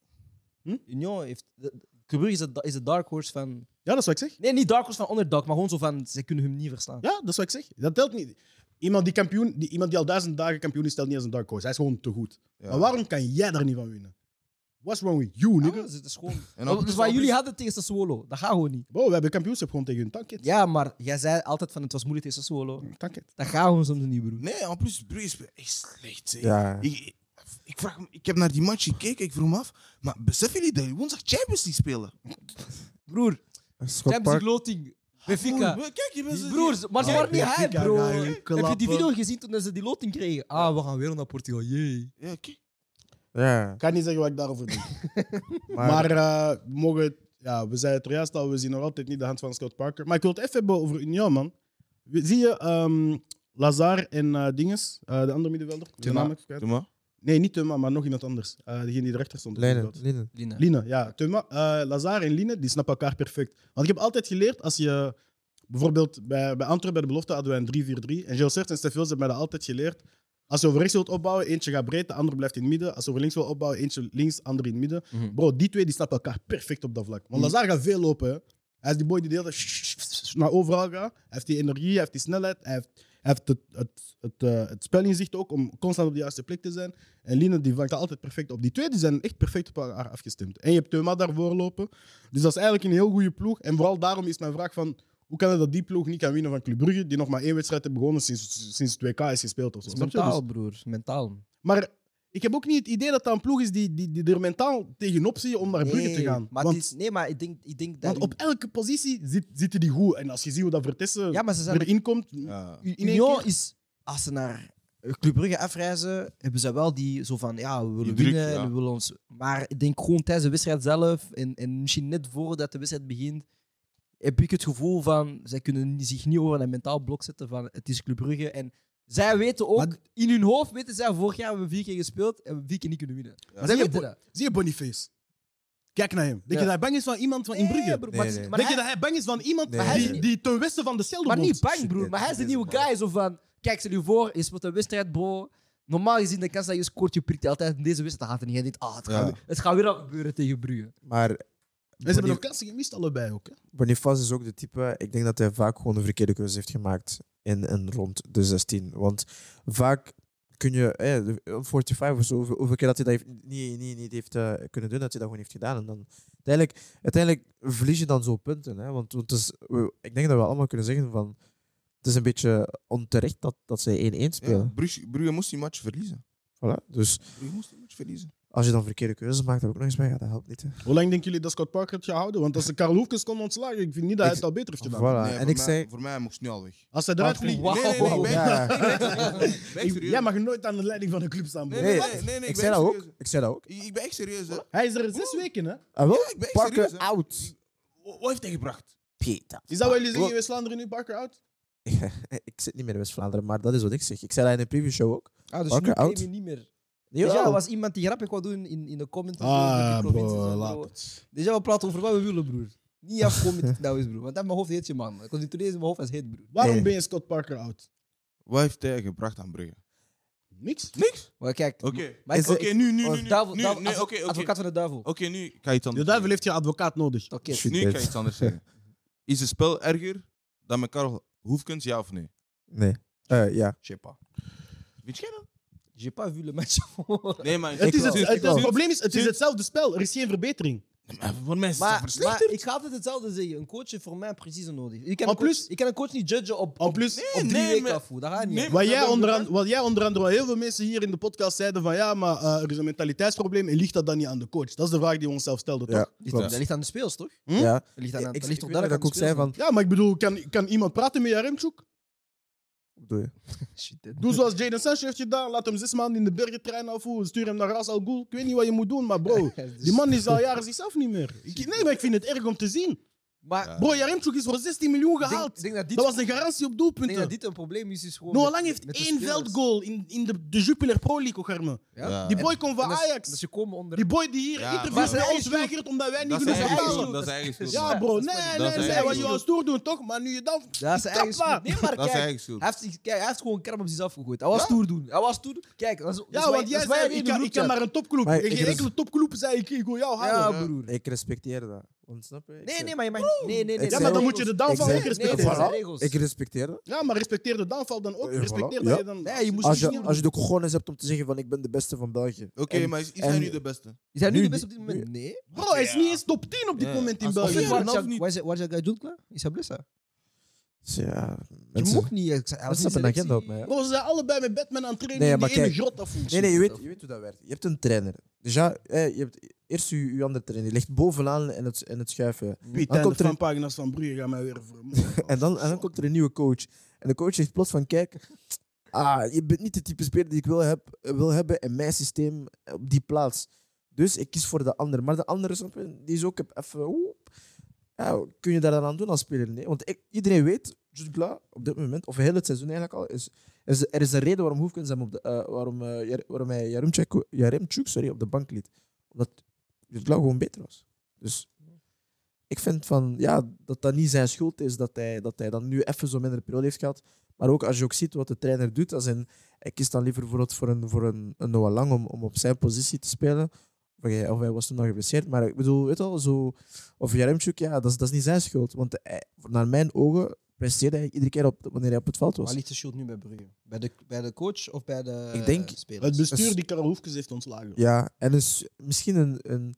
Speaker 2: Hm?
Speaker 1: Union heeft... de- de- Brugge is de, is de Dark Horse van...
Speaker 2: Ja, dat is wat ik zeg.
Speaker 1: Nee, niet Dark Horse van Underdog, maar gewoon zo van... Ze kunnen hem niet verslaan.
Speaker 2: Ja, dat is wat ik zeg. Dat telt niet. Iemand die, kampioen, die, iemand die al duizend dagen kampioen is, telt niet als een dark horse. Hij is gewoon te goed.
Speaker 3: Ja.
Speaker 2: Maar waarom kan jij daar niet van winnen? What's wrong with you,
Speaker 1: Ja,
Speaker 2: nigga?
Speaker 1: dus het is gewoon...
Speaker 3: En dan-
Speaker 1: Dat is wat jullie hadden tegen Sassuolo. Dat gaat gewoon niet.
Speaker 2: Bro, we hebben kampioenschap gewoon tegen hun tanket.
Speaker 1: Ja, maar jij zei altijd van het was moeilijk tegen Sassuolo.
Speaker 2: Tanket.
Speaker 1: Dat gaat gewoon soms niet, broer.
Speaker 3: Nee, en plus Brugge is echt slecht. zeg.
Speaker 4: Ja.
Speaker 3: Ik, ik- ik, vraag, me- ik heb naar die match gekeken, ik vroeg me af, maar beseffen jullie dat jullie woensdag Champions League spelen?
Speaker 1: Broer,
Speaker 4: Scott
Speaker 1: Champions
Speaker 4: Park.
Speaker 1: League loting.
Speaker 2: Ah,
Speaker 1: Benfica.
Speaker 3: Broer, Kijk, je bent
Speaker 1: Die Broers, maar ze waren niet hype, bro.
Speaker 2: ga je
Speaker 1: Heb je
Speaker 2: klappen.
Speaker 1: die video gezien toen ze die loting kregen? Ah, we gaan weer naar Portugal, jee.
Speaker 3: Ja, kijk.
Speaker 4: Ja.
Speaker 2: Ik kan niet zeggen wat ik daarover denk.
Speaker 4: Maar,
Speaker 2: maar eh, we mogen, ja, we zeiden het er juist al, we zien nog altijd niet de hand van Scott Parker. Maar ik wil het even hebben over Union, man. We- Zie je ehm, Lazar en eh Dinges, eh, de andere middenvelder? De
Speaker 3: Thema.
Speaker 2: naam heb ik kwijt.
Speaker 3: Doe maar.
Speaker 2: Nee, niet Thuma, maar nog iemand anders. Eh, degene die erachter stond. op het
Speaker 4: Leiden.
Speaker 2: veld.
Speaker 4: Leiden.
Speaker 1: Lina.
Speaker 2: Line, ja. Thuma, eh, Lazar en Line, die snappen elkaar perfect. Want ik heb altijd geleerd, als je... Bijvoorbeeld bij, bij Antwerpen, bij de belofte, hadden wij een 3-4-3. En Gilles Serts en Stefils hebben mij dat altijd geleerd. Als je over rechts wilt opbouwen, eentje gaat breed, de ander blijft in het midden. Als je over links wilt opbouwen, eentje links, ander in het midden.
Speaker 1: Mhm.
Speaker 2: Bro, die twee die snappen elkaar perfect op dat vlak. Want Lazar gaat veel lopen. Hè. Hij is die boy die de hele tijd naar overal gaat. Hij heeft die energie, hij heeft die snelheid, hij heeft, hij heeft het, het, het, eh, het spelinzicht ook om constant op de juiste plek te zijn. En Line die vangt dat altijd perfect op. Die twee die zijn echt perfect op elkaar afgestemd. En je hebt Teuma daarvoor lopen. Dus dat is eigenlijk een heel goede ploeg. En vooral daarom is mijn vraag van... Hoe kan het dat die ploeg niet kan winnen van Club Brugge, die nog maar één wedstrijd hebben gewonnen sinds, sinds het WK is gespeeld? Of zo.
Speaker 1: Dat is
Speaker 2: Snap je?
Speaker 1: mentaal,
Speaker 2: Dus-
Speaker 1: broer. Mentaal.
Speaker 2: maar ik heb ook niet het idee dat dat een ploeg is die, die, die er mentaal tegenop zie om naar Brugge te gaan.
Speaker 1: Maar,
Speaker 2: want,
Speaker 1: het is, nee, maar ik denk, ik denk dat...
Speaker 2: want op elke positie zit, zitten die goed. En als je ziet hoe dat Vertessen
Speaker 1: ja, maar ze zijn...
Speaker 2: erin komt...
Speaker 3: Ja.
Speaker 1: U-
Speaker 2: één
Speaker 1: Union is... Als ze naar eh, Club Brugge afreizen, hebben ze wel die zo van... Ja, we willen
Speaker 3: Die druk,
Speaker 1: winnen, en
Speaker 3: ja.
Speaker 1: we willen ons... Maar ik denk gewoon tijdens de wedstrijd zelf en, en misschien net voordat de wedstrijd begint, heb ik het gevoel van... Zij kunnen zich niet over een mentaal blok zetten van het is Club Brugge en... Zij weten ook,
Speaker 2: Maar-
Speaker 1: in hun hoofd weten zij, vorig jaar hebben we vier keer gespeeld en we hebben vier keer niet kunnen winnen.
Speaker 3: Maar
Speaker 1: Zij
Speaker 2: zie je
Speaker 1: weten
Speaker 2: Bo-
Speaker 1: dat.
Speaker 2: Zie je Boniface? Kijk naar hem. Denk je
Speaker 1: Ja.
Speaker 2: dat hij bang is van iemand van in Brugge?
Speaker 1: Nee, broer, maar
Speaker 4: Nee,
Speaker 1: ze-
Speaker 4: nee.
Speaker 1: maar
Speaker 2: Denk je
Speaker 1: hij-
Speaker 2: dat hij bang is van iemand
Speaker 4: Nee,
Speaker 2: die,
Speaker 1: nee.
Speaker 2: die ten westen van de cel
Speaker 1: Maar niet
Speaker 2: woont?
Speaker 1: bang, broer. Maar hij is de nieuwe guy. Zo van, kijk, stel je voor, je speelt een wedstrijd, bro. Normaal gezien, de kans dat je scoort, je prikt altijd. In deze wedstrijd gaat het niet. Hij denkt, ah, het, gaat,
Speaker 3: Ja.
Speaker 1: weer- het gaat weer al gebeuren tegen Brugge.
Speaker 4: maar
Speaker 2: En ze hebben nog
Speaker 4: Bonif-
Speaker 2: kansen gemist, allebei ook. Hè?
Speaker 4: Boniface is ook de type... Ik denk dat hij vaak gewoon de verkeerde keuze heeft gemaakt in en rond de 16. Want vaak kun je... Eh, de- een 45 of zo, hoeveel- hoeveel keer dat hij dat heeft, niet, niet, niet heeft eh, kunnen doen, dat hij dat gewoon heeft gedaan. En dan uiteindelijk, uiteindelijk verlies je dan zo punten. Hè? Want, want het is, we- ik denk dat we allemaal kunnen zeggen van... Het is een beetje onterecht dat, dat zij 1-1
Speaker 3: Ja,
Speaker 4: spelen.
Speaker 3: Brugge, Brugge moest die match verliezen.
Speaker 4: Voilà. Dus
Speaker 3: Brugge moest die match verliezen.
Speaker 4: als je dan verkeerde keuzes maakt, heb ik nog eens bij. Ja, dat helpt niet. Hè.
Speaker 2: Hoe lang denken jullie dat Scott Parker het gaat houden? Want als ze Karel Hoefkens kon ontslagen, ik vind niet dat hij het al beter heeft gedaan.
Speaker 4: Voilà.
Speaker 3: Nee,
Speaker 4: en
Speaker 3: voor
Speaker 4: ik
Speaker 3: mij-
Speaker 4: zei...
Speaker 3: Voor mij moest nu al weg.
Speaker 2: Als hij eruit vliegt...
Speaker 1: Wauw.
Speaker 3: Nee, nee, nee. ik ben-
Speaker 4: Ja.
Speaker 3: ik ben serieus. Ik ben
Speaker 2: Ik,
Speaker 3: serieus.
Speaker 2: jij mag nooit aan de leiding van een club staan. bro.
Speaker 3: Nee, nee,
Speaker 4: Nee,
Speaker 3: nee, nee,
Speaker 4: ik
Speaker 3: nee, ik
Speaker 4: zei
Speaker 3: ben
Speaker 4: dat ook.
Speaker 3: serieus.
Speaker 4: Ik zei dat ook.
Speaker 3: Ik ik ben echt serieus. hè.
Speaker 2: Hij is er zes weken, hè?
Speaker 4: Ah, wel?
Speaker 3: Ja, ik ben echt
Speaker 4: Parker
Speaker 3: serieus, hè.
Speaker 4: out.
Speaker 3: Wat wat heeft hij gebracht?
Speaker 4: Peter.
Speaker 2: Is dat wat jullie zeggen? We slaan er nu Parker uit?
Speaker 4: Eh, Ik zit niet meer in West-Vlaanderen, maar dat is wat ik zeg. Ik zei dat in de preview show ook.
Speaker 1: Ah, dus
Speaker 4: Oké,
Speaker 1: nu claim
Speaker 4: oud.
Speaker 1: je niet meer. Dus
Speaker 4: Jawel.
Speaker 1: ja, er was iemand die grapje wou doen in, in de comments. en zo,
Speaker 3: Ah,
Speaker 1: in de provincies en zo.
Speaker 2: Ah, het.
Speaker 1: Dus ja, we praten over wat we willen, broer. Niet afkomen met nou is, broer. Want dat in mijn hoofd heet je, man. Ik kon niet lezen in mijn hoofd als heet, broer.
Speaker 2: Waarom
Speaker 4: Nee.
Speaker 2: ben je Scott Parker out?
Speaker 3: Wat heeft hij gebracht aan Brugge?
Speaker 2: Niks.
Speaker 3: Niks.
Speaker 1: Maar kijk,
Speaker 3: Oké.
Speaker 1: maar ik-
Speaker 4: Is het-
Speaker 3: Oké, nu, nu,
Speaker 4: Oh,
Speaker 3: nu, nu.
Speaker 1: duivel-
Speaker 3: Nu,
Speaker 1: duivel-
Speaker 3: nee,
Speaker 1: advo-
Speaker 3: Oké, oké.
Speaker 1: advocaat van de duivel. Oké.
Speaker 3: Oké, nu kan je het
Speaker 2: De
Speaker 3: anders
Speaker 2: duivel
Speaker 3: doen.
Speaker 2: heeft je advocaat nodig.
Speaker 4: Shit,
Speaker 3: Nu kan je
Speaker 4: dit.
Speaker 3: iets anders zeggen. Is het spel erger dan met Karel Hoefkens, ja of nee?
Speaker 4: Nee. Eh, ja.
Speaker 3: Chepa. Weet jij dat?
Speaker 1: J'ai pas vu le match.
Speaker 3: Nee, maar
Speaker 2: Het, is het,
Speaker 4: wel.
Speaker 2: het,
Speaker 4: Ik wel.
Speaker 2: probleem is, het is hetzelfde spel. Er is geen verbetering.
Speaker 3: Maar Voor mij is het
Speaker 1: Maar,
Speaker 3: verslechterd.
Speaker 1: maar ik ga altijd hetzelfde zeggen. Een coach heeft voor mij precieze nodig. Ik kan,
Speaker 2: En
Speaker 1: een coach,
Speaker 2: plus-
Speaker 1: ik kan een coach niet judgen op,
Speaker 2: En
Speaker 1: op,
Speaker 2: plus,
Speaker 1: op drie
Speaker 3: nee,
Speaker 1: weken
Speaker 3: maar-
Speaker 1: afvoer. Oh, Dat gaat niet.
Speaker 3: nee,
Speaker 1: hè.
Speaker 3: maar-
Speaker 2: wat jij,
Speaker 3: dat-
Speaker 2: onder andere, wat jij onder andere, wat heel veel mensen hier in de podcast zeiden van ja, maar eh, er is een mentaliteitsprobleem en ligt dat dan niet aan de coach? Dat is de vraag die we onszelf stelden,
Speaker 4: Ja,
Speaker 2: toch?
Speaker 1: Dat
Speaker 4: klopt.
Speaker 1: ligt- Dat ligt aan de speels, toch? Dat
Speaker 4: Ja.
Speaker 1: ligt, aan,
Speaker 4: Ik,
Speaker 1: dat
Speaker 4: ik,
Speaker 1: ligt
Speaker 4: ik
Speaker 1: toch
Speaker 4: weet dat
Speaker 1: duidelijk
Speaker 4: ik ook zei
Speaker 1: aan de
Speaker 4: van...
Speaker 2: Ja, maar ik bedoel, kan, kan iemand praten met Jaremchuk?
Speaker 4: Doe je?
Speaker 1: speels, man.
Speaker 2: Doe zoals Jaden Sancho heeft gedaan. Laat hem zes maanden in de bergen trainen of hoe. Stuur hem naar Ras Al Ghul. Ik
Speaker 1: Dus-
Speaker 2: weet niet wat je moet doen, maar bro,
Speaker 1: Shit.
Speaker 2: die man is al jaren zichzelf niet meer. Ik- nee, maar ik vind het erg om te zien.
Speaker 1: Maar
Speaker 3: Ja.
Speaker 2: Bro, Jaremchuk is voor 16 miljoen
Speaker 1: ik,
Speaker 2: gehaald.
Speaker 1: denk, ik denk dat dit,
Speaker 2: dat was een garantie op
Speaker 1: ik denk dat
Speaker 2: doelpunten.
Speaker 1: dit een probleem is. is gewoon
Speaker 2: Noah
Speaker 1: met-
Speaker 2: Lang heeft
Speaker 1: met de
Speaker 2: één
Speaker 1: spelers.
Speaker 2: veldgoal in, in de, de Jupiler Pro League, ook, Herman.
Speaker 1: Ja.
Speaker 3: Ja.
Speaker 2: Die boy komt van
Speaker 1: Ah, En dat is-
Speaker 2: Ajax.
Speaker 1: dat Ze komen onder.
Speaker 2: Die boy die hier
Speaker 5: Ja,
Speaker 2: interviews
Speaker 5: maar-
Speaker 2: bij
Speaker 1: Dat
Speaker 2: ons
Speaker 1: is eigen
Speaker 2: weigert omdat wij niet
Speaker 5: Dat is
Speaker 2: kunnen
Speaker 5: zijn eigen
Speaker 2: betalen.
Speaker 5: schuld. Dat is zijn eigen schuld.
Speaker 1: Ja,
Speaker 2: Ja, bro.
Speaker 1: dat is Dus
Speaker 2: Nee,
Speaker 1: maar-
Speaker 2: nee,
Speaker 5: dat is
Speaker 2: nee.
Speaker 5: eigen
Speaker 2: Wat je wou
Speaker 5: schuld.
Speaker 2: stoer doen, toch? Maar nu je dan...
Speaker 1: Dat is zijn eigen
Speaker 2: Kappa.
Speaker 1: schuld. Nee, maar
Speaker 3: Dat is
Speaker 1: kijk,
Speaker 3: zijn eigen schuld.
Speaker 1: Hij heeft, zich- kijk, hij heeft gewoon kerm op zichzelf gegooid. Hij was stoer doen. Hij was stoer doen. Kijk, dat is, dat
Speaker 2: Ja,
Speaker 1: is
Speaker 2: want
Speaker 1: wij- dat
Speaker 2: jij
Speaker 1: is wij
Speaker 2: zei,
Speaker 1: in
Speaker 2: ik
Speaker 1: de
Speaker 2: kan, ik
Speaker 1: groep
Speaker 2: kan
Speaker 1: chat.
Speaker 2: maar een topclub.
Speaker 4: Maar
Speaker 2: Geen
Speaker 4: ik-
Speaker 2: enkele topclub zei ik, ik wil jou halen.
Speaker 1: Ja, broer.
Speaker 4: Ik respecteer dat. Want snap je? Ik
Speaker 1: Nee,
Speaker 4: zeg-
Speaker 1: nee, maar je mag niet. Nee, nee, nee.
Speaker 4: Ik
Speaker 2: Ja,
Speaker 1: dat
Speaker 2: maar
Speaker 1: zijn
Speaker 2: dan
Speaker 4: zeg-
Speaker 2: moet je de downfall
Speaker 4: zeg-
Speaker 2: ook
Speaker 4: nee,
Speaker 1: regels. Nee, nee,
Speaker 2: respecteren.
Speaker 1: dat zijn
Speaker 4: Voilà.
Speaker 1: regels.
Speaker 4: Ik respecteer dat.
Speaker 2: Ja, maar respecteer de downfall dan ook.
Speaker 4: Ja, voilà.
Speaker 2: Respecteer
Speaker 4: Ja.
Speaker 2: dat je dan...
Speaker 1: Nee, je moest
Speaker 4: Als
Speaker 1: het
Speaker 4: je,
Speaker 1: niet
Speaker 4: als je
Speaker 1: doen.
Speaker 4: de cojones hebt om te zeggen van ik ben de beste van België.
Speaker 3: Oké,
Speaker 4: En-
Speaker 3: maar is is
Speaker 4: en-
Speaker 3: hij nu de beste?
Speaker 1: Is hij nu de
Speaker 4: Nu-
Speaker 1: beste op dit moment? Nee.
Speaker 2: Bro, hij is niet eens top 10 op dit
Speaker 3: Ja.
Speaker 2: moment in
Speaker 3: Als-
Speaker 1: Of
Speaker 3: Of
Speaker 2: België.
Speaker 1: is
Speaker 3: niet,
Speaker 1: waar
Speaker 3: of
Speaker 1: is
Speaker 3: niet.
Speaker 1: waar is- waar is dat guy doet klaar? Is hij blessa?
Speaker 4: Ja,
Speaker 1: Je
Speaker 4: mensen,
Speaker 1: mocht niet. ik zei, hij was
Speaker 4: mensen
Speaker 1: niet
Speaker 4: hebben een agenda op
Speaker 1: selectie.
Speaker 4: mij. hè.
Speaker 2: Bro, ze zijn allebei met Batman aan het trainen
Speaker 4: Nee,
Speaker 2: in die
Speaker 4: maar
Speaker 2: ene
Speaker 4: kijk.
Speaker 2: grot afvoer.
Speaker 4: Nee, nee, je weet, je weet hoe dat werkt. Je hebt een trainer. Dus ja, eh, je hebt eerst je, je andere trainer. Die ligt bovenaan in het, in het schuiven.
Speaker 2: Piet
Speaker 4: Dan
Speaker 2: en de
Speaker 4: komt er-
Speaker 2: fanpagina's van Brugge gaan mij weer vermoorden.
Speaker 4: En dan, en dan komt er een nieuwe coach. En de coach zegt plots van, kijk... Ah, je bent niet de type speler die ik wil, heb, wil hebben in mijn systeem eh, op die plaats. Dus ik kies voor de ander. Maar de andere, snap je, die is ook heb even... oeh. Ja, kun je daar dan aan doen als speler? Nee, want ik- iedereen weet, Jude Gla, op dit moment, of heel het seizoen eigenlijk al, is, is, er is een reden waarom Hoefkens hem op de, eh, waarom, eh, Jar- waarom hij Jaremchuk, Jaremchuk sorry, op de bank liet. Omdat Jude Gla gewoon beter was. Dus ik vind van, ja, dat dat niet zijn schuld is dat hij, dat hij dan nu even zo'n minder periode heeft gehad. Maar ook als je ook ziet wat de trainer doet, als in, hij kiest dan liever bijvoorbeeld voor een, voor een, een Noah Lang om, om op zijn positie te spelen. Of hij, of hij was toen nog geblesseerd, maar ik bedoel, weet je wel, zo... Of Jaremchuk, ja, dat is, dat is niet zijn schuld. Want hij- naar mijn ogen presteerde hij iedere keer op, wanneer hij op het veld
Speaker 1: Waar
Speaker 4: was.
Speaker 1: ligt de schuld nu bij Brugge? Bij de, bij de coach of bij de
Speaker 4: Ik denk-
Speaker 1: eh, spelers?
Speaker 2: Het bestuur
Speaker 4: Dus-
Speaker 2: die Karel Hoefkes heeft ontslagen.
Speaker 4: Ja, en dus misschien een, een,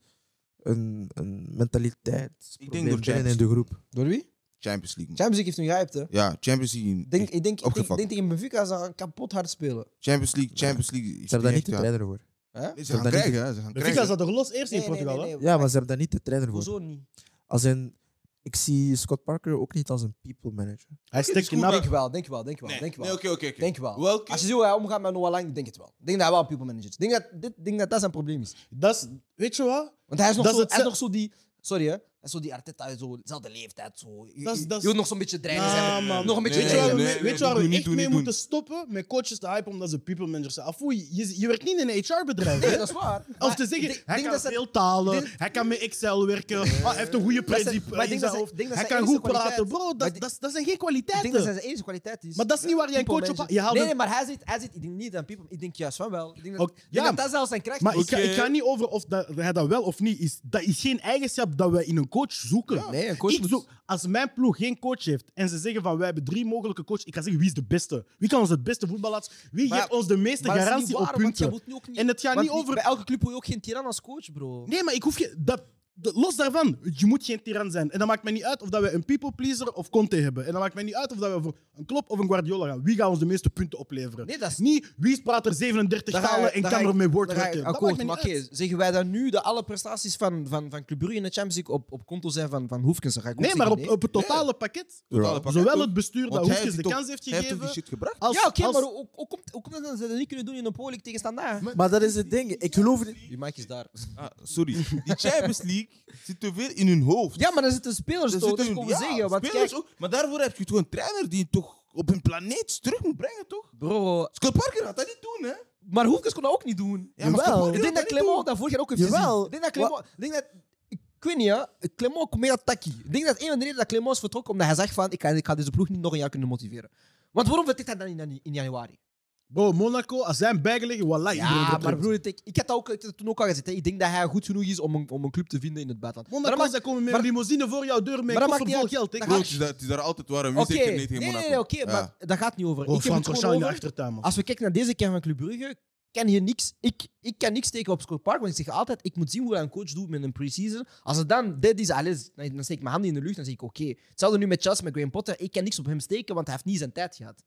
Speaker 4: een, een mentaliteit.
Speaker 3: Ik denk door
Speaker 4: binnen
Speaker 3: James.
Speaker 4: in de groep.
Speaker 1: Door wie?
Speaker 3: Champions League. man.
Speaker 1: Champions League heeft hem gehyped, hè?
Speaker 3: Ja, Champions League.
Speaker 1: Ik Denk, ik denk, ik denk,
Speaker 3: Opgevangen.
Speaker 1: ik denk tegen Benfica zou hij kapot hard spelen.
Speaker 3: Champions League, Champions League. is
Speaker 4: Ze hebben daar niet de
Speaker 3: echt, ja.
Speaker 4: trainer voor.
Speaker 1: Hè?
Speaker 3: Nee, Ze
Speaker 4: Ze hebben
Speaker 3: gaan
Speaker 4: daar niet-
Speaker 3: krijgen, hè, ze gaan
Speaker 2: Benfica
Speaker 3: krijgen.
Speaker 2: zat er los eerst in Portugal, hè?
Speaker 4: Ja, maar ze hebben daar niet de trainer voor.
Speaker 1: Hoezo niet?
Speaker 4: Als in, ik zie Scott Parker ook niet als een people manager.
Speaker 5: het
Speaker 2: Hij
Speaker 5: is
Speaker 2: steekt
Speaker 5: goed,
Speaker 2: knap.
Speaker 5: maar-
Speaker 1: Denk wel, denk wel, denk wel.
Speaker 5: Nee,
Speaker 1: denk wel.
Speaker 5: nee, oké, oké. oké.
Speaker 1: Denk wel.
Speaker 5: Welke?
Speaker 1: Als je ziet hoe hij omgaat met Noah Lang, denk het wel. Denk dat hij wel een people manager is. Denk dat, dit, denk dat dat zijn probleem is.
Speaker 2: Dat is- Weet je wat?
Speaker 1: Want hij is nog,
Speaker 2: Dat
Speaker 1: zo,
Speaker 2: is het
Speaker 1: hij is
Speaker 2: ze-
Speaker 1: nog zo die... Sorry, hè. Hij is zo die Arteta, zo, dezelfde leeftijd. Zo. Je,
Speaker 2: Dat is-
Speaker 1: je-
Speaker 2: dat is-
Speaker 1: je wilt nog zo'n beetje dreigen
Speaker 2: Nah,
Speaker 1: zijn.
Speaker 2: man.
Speaker 1: Nog een beetje
Speaker 5: Nee,
Speaker 2: Weet je
Speaker 1: dreigen.
Speaker 2: waar we,
Speaker 5: nee,
Speaker 2: mee-
Speaker 5: nee,
Speaker 2: weet je waar
Speaker 5: doe
Speaker 2: we
Speaker 5: niet,
Speaker 2: echt
Speaker 5: doe
Speaker 2: mee
Speaker 5: niet, doe
Speaker 2: moeten stoppen? Met coaches te hypen omdat ze people managers zijn. Afoe, je, je werkt niet in een HR-bedrijf.
Speaker 1: Nee, dat is waar.
Speaker 2: Of
Speaker 1: Maar
Speaker 2: te zeggen,
Speaker 1: ik denk-
Speaker 2: hij
Speaker 1: denk
Speaker 2: kan
Speaker 1: dat ze-
Speaker 2: veel talen,
Speaker 1: ik denk-
Speaker 2: hij kan met Excel werken, ah, hij heeft een goede
Speaker 1: zijn-
Speaker 2: principe
Speaker 1: maar ik denk
Speaker 2: in zijn
Speaker 1: dat ze-
Speaker 2: hoofd,
Speaker 1: ik denk dat
Speaker 2: hij
Speaker 1: zijn
Speaker 2: kan goed
Speaker 1: enige
Speaker 2: praten.
Speaker 1: kwaliteit-
Speaker 2: Bro,
Speaker 1: maar
Speaker 2: dat,
Speaker 1: ik-
Speaker 2: dat, dat zijn geen
Speaker 1: Ik denk dat zijn
Speaker 2: kwaliteiten.
Speaker 1: zijn enige kwaliteit is.
Speaker 2: Maar dat is niet waar jij een
Speaker 1: People
Speaker 2: coach op...
Speaker 1: manager.
Speaker 2: Je haalt
Speaker 1: nee, nee,
Speaker 2: een-
Speaker 1: maar hij zit, hij zit ik denk niet aan people. Ik denk juist van wel. Ik denk dat,
Speaker 2: Ook-
Speaker 1: ik denk
Speaker 2: ja,
Speaker 1: dat, dat zelfs zijn kracht
Speaker 2: Maar
Speaker 1: is.
Speaker 2: ik ga, ik ga niet over of dat, hij dat wel of niet is. Dat is geen eigenschap dat wij in een coach zoeken.
Speaker 1: Nee, een coach
Speaker 2: Ik
Speaker 1: moet-
Speaker 2: zoek- als mijn ploeg geen coach heeft en ze zeggen van wij hebben drie mogelijke coaches, ik kan zeggen wie is de beste? Wie kan ons het beste voetbal laten? Wie
Speaker 1: Maar-
Speaker 2: geeft ons de meeste
Speaker 1: Maar dat is niet
Speaker 2: garantie
Speaker 1: waar,
Speaker 2: op
Speaker 1: want je
Speaker 2: punten?
Speaker 1: moet nu ook niet-
Speaker 2: En het gaat
Speaker 1: want
Speaker 2: niet over-
Speaker 1: Bij elke club wil je ook geen tiran als coach, bro.
Speaker 2: Nee, maar ik hoef je. Dat, dat- los daarvan, je moet geen tiran zijn. En dat maakt mij niet uit of dat we een people pleaser of Conte hebben. En dat maakt mij niet uit of dat we voor een Klopp of een Guardiola gaan. Wie gaat ons de meeste punten opleveren?
Speaker 1: Nee, dat is-
Speaker 2: niet wie praat er 37
Speaker 1: Daar ga
Speaker 2: talen
Speaker 1: ik-
Speaker 2: en
Speaker 1: daar
Speaker 2: kan
Speaker 1: ga ik-
Speaker 2: er mee woord
Speaker 1: daar ga ik
Speaker 2: rekken. Dat maakt
Speaker 1: Akkoord,
Speaker 2: mij
Speaker 1: maar
Speaker 2: niet
Speaker 1: oké,
Speaker 2: uit.
Speaker 1: zeggen wij dan nu dat alle prestaties van, van, van Club Brugge in de Champions League op, op konto zijn van, van Hoefkens? Dan ga ik ook
Speaker 2: Nee, maar
Speaker 1: zeggen
Speaker 2: op, op het totale pakket.
Speaker 3: Totale pakket
Speaker 2: Zowel
Speaker 3: ook.
Speaker 2: het bestuur dat
Speaker 3: Want hij
Speaker 2: Hoefkens de
Speaker 3: heeft
Speaker 2: kans heeft
Speaker 3: Hij heeft toch die
Speaker 2: gegeven.
Speaker 3: shit gebracht?
Speaker 2: Als,
Speaker 1: Ja, oké,
Speaker 2: als-
Speaker 1: maar hoe, hoe, hoe komt, hoe komt het dat ze dat niet kunnen doen in een Polen tegen Standaard?
Speaker 4: Maar dat is het ding. Ik geloof niet...
Speaker 1: Je mic is daar.
Speaker 3: Ah, sorry. Die Champions League zit te veel in hun hoofd.
Speaker 1: Ja, maar daar zitten spelers
Speaker 3: Er
Speaker 1: toch, dat
Speaker 3: zitten-
Speaker 1: komen
Speaker 3: ja,
Speaker 1: zeggen. Want
Speaker 3: spelers
Speaker 1: kijk,
Speaker 3: ook. Maar daarvoor heb je toch een trainer die je toch op hun planeet terug moet brengen, toch?
Speaker 1: bro,
Speaker 3: Scott Parker had dat niet doen, hè?
Speaker 1: Maar Hoefkens kon dat ook niet doen.
Speaker 3: Ja, maar Jawel.
Speaker 1: Ik denk dat Clement dat vorig jaar ook heeft
Speaker 4: Jawel.
Speaker 1: gezien. Ik denk dat Clement... Ik denk dat... Ik ik weet niet, ja. Clement komt meer dan Taki. Ik denk dat een van de redenen dat Clement is vertrokken, omdat hij zegt van, ik ga, ik ga deze ploeg niet nog een jaar kunnen motiveren. Want waarom vertrekt hij dan in, in, in januari?
Speaker 2: Bro, Monaco, als zij hem bijgelegd, voilà. iedereen
Speaker 1: Ja,
Speaker 2: vertrekt.
Speaker 1: maar broer, ik, ik had dat ook, ik had dat toen ook al gezegd. hè. Ik denk dat hij goed genoeg is om een, om een club te vinden in het buitenland. Maar
Speaker 2: Monaco,
Speaker 1: dat maakt-
Speaker 2: zij komen met
Speaker 1: maar-
Speaker 2: een limousine voor jouw deur met
Speaker 1: maar dat maakt
Speaker 2: koffer vol
Speaker 1: niet
Speaker 2: geld. hè.
Speaker 1: Dat
Speaker 3: Bro,
Speaker 1: gaat-
Speaker 3: het is, daar- het is daar altijd warm. Wie
Speaker 1: Oké,
Speaker 3: zegt er nee tegen
Speaker 1: nee,
Speaker 3: Monaco?
Speaker 1: nee, oké,
Speaker 3: Ja.
Speaker 1: maar daar gaat het niet over.
Speaker 2: Bro,
Speaker 1: ik heb het
Speaker 2: Frank
Speaker 1: gewoon
Speaker 2: Rochard in de
Speaker 1: over- Ah.
Speaker 2: achtertuin, man.
Speaker 1: Als we kijken naar deze kern van Club Brugge, kan je niks. Ik, ik kan niks steken op Scott Park, want ik zeg altijd, ik moet zien hoe hij een coach doet met een pre-season. Als het dan dit is, alles, dan dan steek ik mijn handen in de lucht en zeg ik oké. Hetzelfde nu met Chelsea, met Graham Potter. Ik kan niks op hem steken, want hij heeft niet zijn tijd gehad.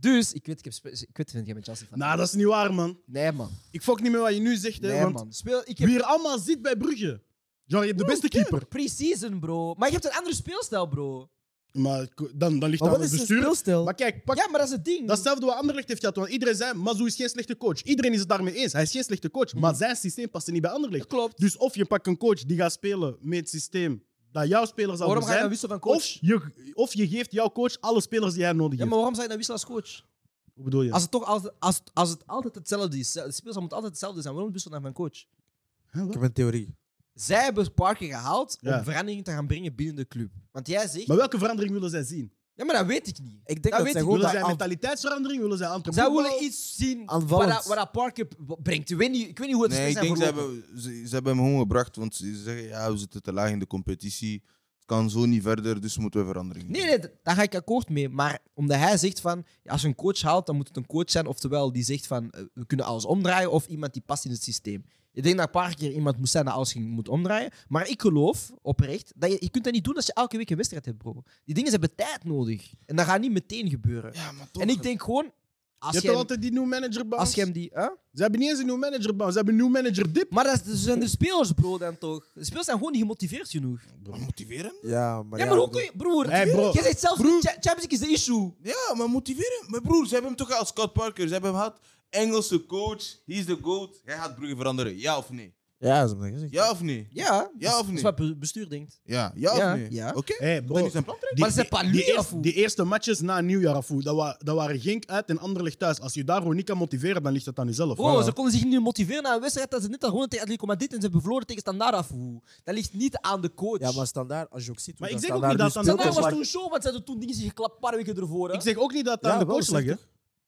Speaker 1: Dus, ik weet, ik heb, spe- ik weet vind jij met Chelsea van.
Speaker 2: Nou, dat is niet waar, man.
Speaker 1: Nee man,
Speaker 2: Ik fok niet meer wat je nu zegt, hè.
Speaker 1: nee
Speaker 2: want
Speaker 1: man. Speel, ik heb
Speaker 2: wie er allemaal zit bij Brugge. Genre, je hebt de beste keeper.
Speaker 1: pre-season bro, maar je hebt een andere speelstijl bro.
Speaker 2: Maar ko- dan, dan ligt
Speaker 4: Maar
Speaker 2: dat
Speaker 4: wat
Speaker 2: aan het
Speaker 4: is zijn
Speaker 2: bestuur.
Speaker 4: speelstijl?
Speaker 2: Maar kijk, pak
Speaker 1: Ja, maar dat is het ding.
Speaker 2: datzelfde wat Anderlecht heeft gehad. Want iedereen zei, Mazou is geen slechte coach. Iedereen is het daarmee eens. Hij is geen
Speaker 1: Mm.
Speaker 2: slechte coach. Maar zijn systeem past er niet bij Anderlecht.
Speaker 1: klopt.
Speaker 2: Dus of je pakt een coach die gaat spelen met het systeem dat jouw spelers
Speaker 1: Waarom
Speaker 2: zouden
Speaker 1: ga je dan
Speaker 2: zijn.
Speaker 1: wisselen van
Speaker 2: Of
Speaker 1: coach?
Speaker 2: je, of je geeft jouw coach alle spelers die hij nodig
Speaker 1: Ja,
Speaker 2: heeft.
Speaker 1: maar waarom zou je dan wisselen als coach?
Speaker 2: Hoe bedoel je?
Speaker 1: Als het toch altijd, als, als het altijd hetzelfde is, de speelzaal moet altijd hetzelfde zijn, waarom wisselen dan van coach?
Speaker 2: Hè, wat?
Speaker 4: Ik heb een theorie.
Speaker 1: Zij hebben Parker gehaald om
Speaker 2: Ja.
Speaker 1: verandering te gaan brengen binnen de club. Want jij zegt...
Speaker 2: Maar welke verandering willen zij zien?
Speaker 1: ja, maar dat weet ik niet.
Speaker 4: Ik denk
Speaker 1: dat
Speaker 4: dat,
Speaker 1: weet
Speaker 4: zij
Speaker 1: ik.
Speaker 4: gewoon
Speaker 2: Willen
Speaker 4: bij
Speaker 2: zij
Speaker 4: aan-
Speaker 2: mentaliteitsverandering? Willen zij
Speaker 1: Zij
Speaker 2: antropologie?
Speaker 1: willen iets zien waar
Speaker 4: Aanvallend.
Speaker 1: dat, waar dat Parker b- brengt. Ik weet niet, ik weet niet hoe het
Speaker 3: Nee,
Speaker 1: is.
Speaker 3: ik denk ze hebben, ze, ze hebben hem gewoon gebracht, want ze zeggen ja, we zitten te laag in de competitie. Het kan zo niet verder, dus moeten we verandering.
Speaker 1: Nee, nee, d- daar ga ik akkoord mee. Maar omdat hij zegt van, ja, als je een coach haalt, dan moet het een coach zijn. Oftewel, die zegt van, eh, we kunnen alles omdraaien. Of iemand die past in het systeem. Ik denk dat een paar keer iemand moet zijn dat alles ging- moet omdraaien. Maar ik geloof, oprecht, dat je, je kunt dat niet doen als je elke week een wedstrijd hebt, bro. Die dingen hebben tijd nodig. En dat gaat niet meteen gebeuren.
Speaker 3: Ja, maar toch.
Speaker 1: en ik denk gewoon,
Speaker 2: Je
Speaker 1: als
Speaker 2: hebt
Speaker 1: je,
Speaker 2: toch
Speaker 1: hem,
Speaker 2: altijd die new manager
Speaker 1: als
Speaker 2: bounce?
Speaker 1: je hem die... hè?
Speaker 2: Ze hebben niet eens een new manager bounce. Ze hebben een new manager dip.
Speaker 1: Maar dat, is- zijn de spelers, bro, dan toch. De spelers zijn gewoon niet gemotiveerd genoeg.
Speaker 3: Maar motiveer hem?
Speaker 4: Ja, maar
Speaker 1: ja,
Speaker 4: ja,
Speaker 1: maar hoe
Speaker 4: bedoel-
Speaker 1: kun je... Broer,
Speaker 2: Hey, bro.
Speaker 1: jij zegt zelf, Cha- Champions League is de issue.
Speaker 3: Ja, maar motiveer hem. Mijn broer, ze hebben hem toch als Scott Parker. Ze hebben hem gehad. Engelse coach, he is the GOAT. Hij gaat Brugge veranderen. Ja of nee?
Speaker 4: Ja, dat is mijn gezicht.
Speaker 3: Ja of nee?
Speaker 1: Ja,
Speaker 3: Ja of
Speaker 1: dat is
Speaker 3: nee?
Speaker 1: wat be- bestuur denkt.
Speaker 3: Ja, ja
Speaker 1: Ja,
Speaker 3: of nee?
Speaker 1: ja.
Speaker 3: Oké?
Speaker 2: Hey,
Speaker 3: Moet hij
Speaker 2: bro.
Speaker 3: nu zijn plan trekken?
Speaker 2: Die,
Speaker 1: Maar ze zijn
Speaker 2: die,
Speaker 1: pas
Speaker 2: die,
Speaker 1: nu,
Speaker 2: eerst-
Speaker 1: Afu.
Speaker 2: die eerste matches na nieuwjaar, Afu, dat, wa- dat waren Genk uit en Anderlecht thuis. Als je daar gewoon niet kan motiveren, dan ligt dat aan jezelf.
Speaker 1: Bro, ze konden zich niet motiveren na een wedstrijd dat ze net al gewoon tegen Atletico Madrid en ze hebben verloren tegen Standard af. Dat ligt niet aan de coach.
Speaker 4: Ja, maar standaard, als je ook ziet hoe
Speaker 2: Maar ik
Speaker 4: dat
Speaker 2: zeg ook
Speaker 4: standaard
Speaker 2: niet dat
Speaker 4: nu
Speaker 2: Standaard
Speaker 1: Standaard was
Speaker 4: speelt, maar-
Speaker 1: toen show, want ze hadden toen dingen zich geklapt een paar weken ervoor. hè.
Speaker 2: Ik zeg ook niet dat het aan
Speaker 4: Ja,
Speaker 2: de
Speaker 4: wel,
Speaker 2: coach
Speaker 4: zeg
Speaker 2: lag. hè.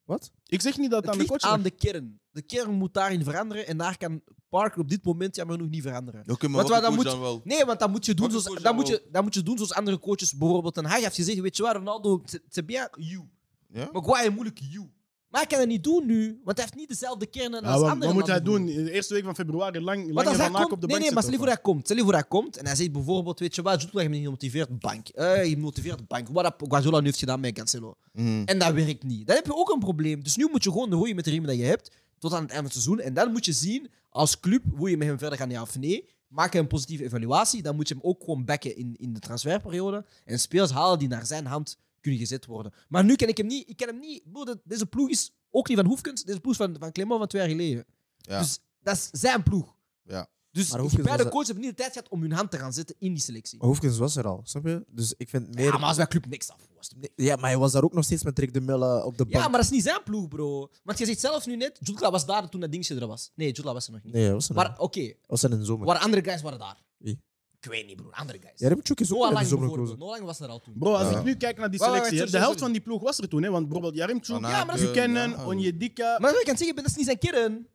Speaker 4: Wat?
Speaker 2: Ik zeg niet dat het
Speaker 1: het
Speaker 2: aan de
Speaker 1: ligt
Speaker 2: coach
Speaker 1: aan
Speaker 2: lag.
Speaker 1: de kern. De kern moet daarin veranderen en daar kan Parker op dit moment jammer genoeg niet veranderen.
Speaker 3: Oké, maar
Speaker 1: Wat
Speaker 3: wat
Speaker 1: we dan
Speaker 3: dan,
Speaker 1: moet-
Speaker 3: dan wel?
Speaker 1: Nee, want dat moet je doen,
Speaker 3: Wat is
Speaker 1: zoals,
Speaker 3: coach
Speaker 1: dat
Speaker 3: dan
Speaker 1: moet je, dat moet je doen zoals andere coaches. Bijvoorbeeld Ten Hag heeft gezegd, weet je waar, Ronaldo, c'est- c'est bien, you.
Speaker 3: Ja?
Speaker 1: Maguire, moeilijk, you. Maar hij kan dat niet doen nu, want hij heeft niet dezelfde kernen
Speaker 2: Ja,
Speaker 1: als
Speaker 2: wat,
Speaker 1: andere
Speaker 2: wat moet hij
Speaker 1: landen,
Speaker 2: doen?
Speaker 1: broer.
Speaker 2: De eerste week van februari lang,
Speaker 1: Maar
Speaker 2: lang
Speaker 1: als hij
Speaker 2: van Aak
Speaker 1: komt,
Speaker 2: op de
Speaker 1: nee,
Speaker 2: bank
Speaker 1: nee, maar stel je
Speaker 2: zitten,
Speaker 1: voor
Speaker 2: of
Speaker 1: hij komt. Stel je voor hij komt en hij zegt bijvoorbeeld, weet je wat, Jutla, je bent niet gemotiveerd, bank. Eh, je motiveert bank. Wat dat Guardiola nu heeft gedaan met Cancelo.
Speaker 3: Mhm.
Speaker 1: En dat werkt niet. Dan heb je ook een probleem. Dus nu moet je gewoon roeien met de riemen dat je hebt, tot aan het einde van het seizoen. En dan moet je zien, als club, hoe je met hem verder gaat, ja of nee. Maak een positieve evaluatie. Dan moet je hem ook gewoon bekken in, in de transferperiode. En spelers halen die naar zijn hand kunnen gezet worden. Maar nu ken ik hem niet. Ik ken hem niet. Broer, dat- deze ploeg is ook niet van Hoefkens. Deze ploeg is van, van Clement van twee jaar geleden.
Speaker 3: Ja.
Speaker 1: Dus dat is zijn ploeg.
Speaker 3: Ja.
Speaker 1: Dus
Speaker 4: Maar Hoefkens
Speaker 1: beide
Speaker 4: was- Oh,
Speaker 1: coaches hebben niet de tijd gehad om hun hand te gaan zetten in die selectie.
Speaker 4: Maar Hoefkens was er al, snap je? Dus ik vind meer...
Speaker 1: ja, maar als bij club niks af was.
Speaker 4: Nee, ja, maar hij was daar ook nog steeds met Rick de Mille op de bank.
Speaker 1: Ja, maar dat is niet zijn ploeg, bro. Want je zegt zelf nu net, Jutla was daar toen dat dingetje er was. Nee, Jutla was er nog niet.
Speaker 4: Nee, hij was er
Speaker 1: Maar
Speaker 4: niet.
Speaker 1: oké,
Speaker 4: was er in de zomer.
Speaker 1: waar andere guys waren daar?
Speaker 4: Wie?
Speaker 1: Ik weet niet, broer. Andere guys.
Speaker 4: Ja, Remchuk is ook
Speaker 1: Noah
Speaker 4: in de
Speaker 1: Lang
Speaker 4: zomer
Speaker 1: bijvoorbeeld.
Speaker 4: gekozen.
Speaker 1: Noah Lang was er al toen.
Speaker 2: Bro, als
Speaker 3: Ja.
Speaker 2: ik nu kijk naar die
Speaker 1: Wacht, wacht,
Speaker 2: selectie, hè,
Speaker 1: wacht,
Speaker 2: de
Speaker 1: sorry,
Speaker 2: helft
Speaker 1: sorry.
Speaker 2: van die ploeg was er toen. Hè, want bijvoorbeeld Jarimchuk,
Speaker 3: Van
Speaker 1: Ja, maar
Speaker 3: Aken,
Speaker 1: dat is-
Speaker 2: Buchanan,
Speaker 3: ja.
Speaker 2: Onyedika.
Speaker 1: Maar wat ik kan zeggen, ben, dat is niet zijn kern.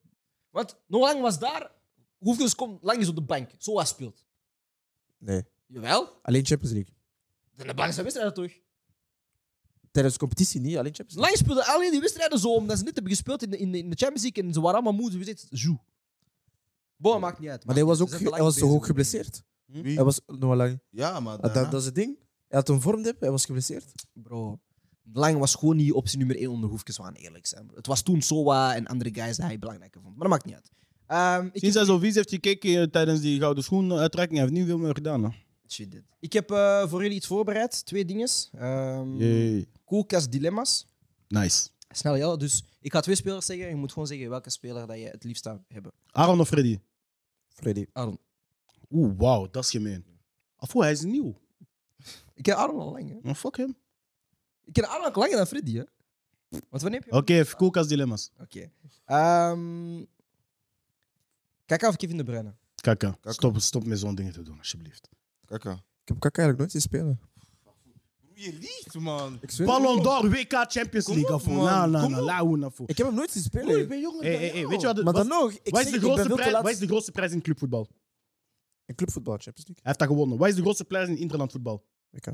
Speaker 1: Want Noah Lang was daar, Hoefkens komt lang eens op de bank. Zo was speelt.
Speaker 4: Nee,
Speaker 1: Jawel,
Speaker 4: alleen Champions League.
Speaker 1: dan de belangrijkste wedstrijd toch?
Speaker 4: Tijdens de competitie niet, alleen Champions League.
Speaker 1: Lang speelde alleen die wedstrijden zo, omdat ze net hebben gespeeld in de, in de, in de Champions League en ze waren allemaal moe. dus Ze zegt, joe. Boah, maakt niet uit.
Speaker 4: Maar
Speaker 1: maakt
Speaker 4: hij was
Speaker 1: niet
Speaker 4: ook
Speaker 1: uit. Ze zijn
Speaker 4: hij was
Speaker 1: lang
Speaker 4: toch ook
Speaker 1: bezig, broer.
Speaker 4: geblesseerd?
Speaker 3: Hm? Wie?
Speaker 4: Hij was Noah Lang.
Speaker 3: Ja, maar
Speaker 4: Dat,
Speaker 3: daarna-
Speaker 4: dat is het ding. Hij had een vormdip, hij was geblesseerd.
Speaker 1: Bro, Lang was gewoon niet optie nummer 1 onder Hoefkens, we gaan eerlijk zijn. Het was toen Sowa en andere guys die hij belangrijker vond. Maar dat maakt niet uit. Ehm, ik,
Speaker 2: Sinds hij zo vies heeft gekeken eh, tijdens die gouden schoen uitreiking, hij heeft niet veel meer gedaan. Hè.
Speaker 1: Shit, dit. ik heb eh, voor jullie iets voorbereid. Twee dinges. Ehm
Speaker 2: Jee.
Speaker 1: Koelkast dilemma's.
Speaker 2: Nice.
Speaker 1: Snel, ja. Dus ik ga twee spelers zeggen. Je moet gewoon zeggen welke speler dat je het liefst zou hebben.
Speaker 2: Aaron of Freddy?
Speaker 4: Freddy.
Speaker 2: Oeh, wauw, dat is gemeen. Afu, hij is nieuw.
Speaker 1: Ik ken Aaron al lang, hè.
Speaker 2: Oh, fuck hem.
Speaker 1: Ik ken Aaron ook langer dan Freddy, hè. Want wanneer heb je...
Speaker 2: Oké, even koelkast dilemma's.
Speaker 1: Oké. Ehm Kaka of Kevin De Bruyne?
Speaker 2: Kaka, stop, stop met zo'n dingen te doen, alsjeblieft.
Speaker 3: Kaka.
Speaker 4: Ik heb Kaka eigenlijk nooit zien spelen.
Speaker 3: Je liegt, man.
Speaker 4: Ik, zweer het.
Speaker 2: Ballon d'Or, WK, Champions
Speaker 3: Kom
Speaker 2: League, nou,
Speaker 3: op,
Speaker 2: Afu.
Speaker 3: man.
Speaker 2: Na, na,
Speaker 3: Kom
Speaker 2: na,
Speaker 3: op.
Speaker 2: lauwen, Afu.
Speaker 4: ik heb hem nooit zien spelen.
Speaker 3: Broer, ik ben jonger
Speaker 2: Hey,
Speaker 3: dan
Speaker 2: hey, hey,
Speaker 3: jou.
Speaker 2: weet je wat het
Speaker 4: maar
Speaker 2: was?
Speaker 4: dan nog, ik,
Speaker 2: Wat is, de
Speaker 4: zeg, ik ben
Speaker 2: grootste
Speaker 4: veel te
Speaker 2: prijs,
Speaker 4: laat.
Speaker 2: wat is de grootste prijs in clubvoetbal? Hij
Speaker 4: In clubvoetbal, Champions League. eh,
Speaker 2: heeft dat gewonnen. Wat is de grootste prijs in interlandvoetbal?
Speaker 4: WK.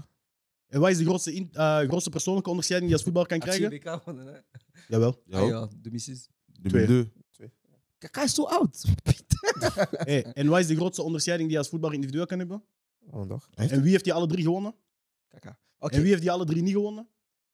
Speaker 2: En wat is de grootste, in- eh, grootste persoonlijke onderscheiding die je als voetbal kan krijgen?
Speaker 1: BK van hè?
Speaker 2: Jawel.
Speaker 1: Ah ja, de missies.
Speaker 2: Twee.
Speaker 3: Twee.
Speaker 1: Kaka is zo oud.
Speaker 2: Hey, en wat is de grootste onderscheiding die je als voetbal individueel kan hebben?
Speaker 4: Oh, dag.
Speaker 2: En wie heeft die alle drie gewonnen?
Speaker 1: Kaka.
Speaker 2: En wie heeft die alle drie niet gewonnen?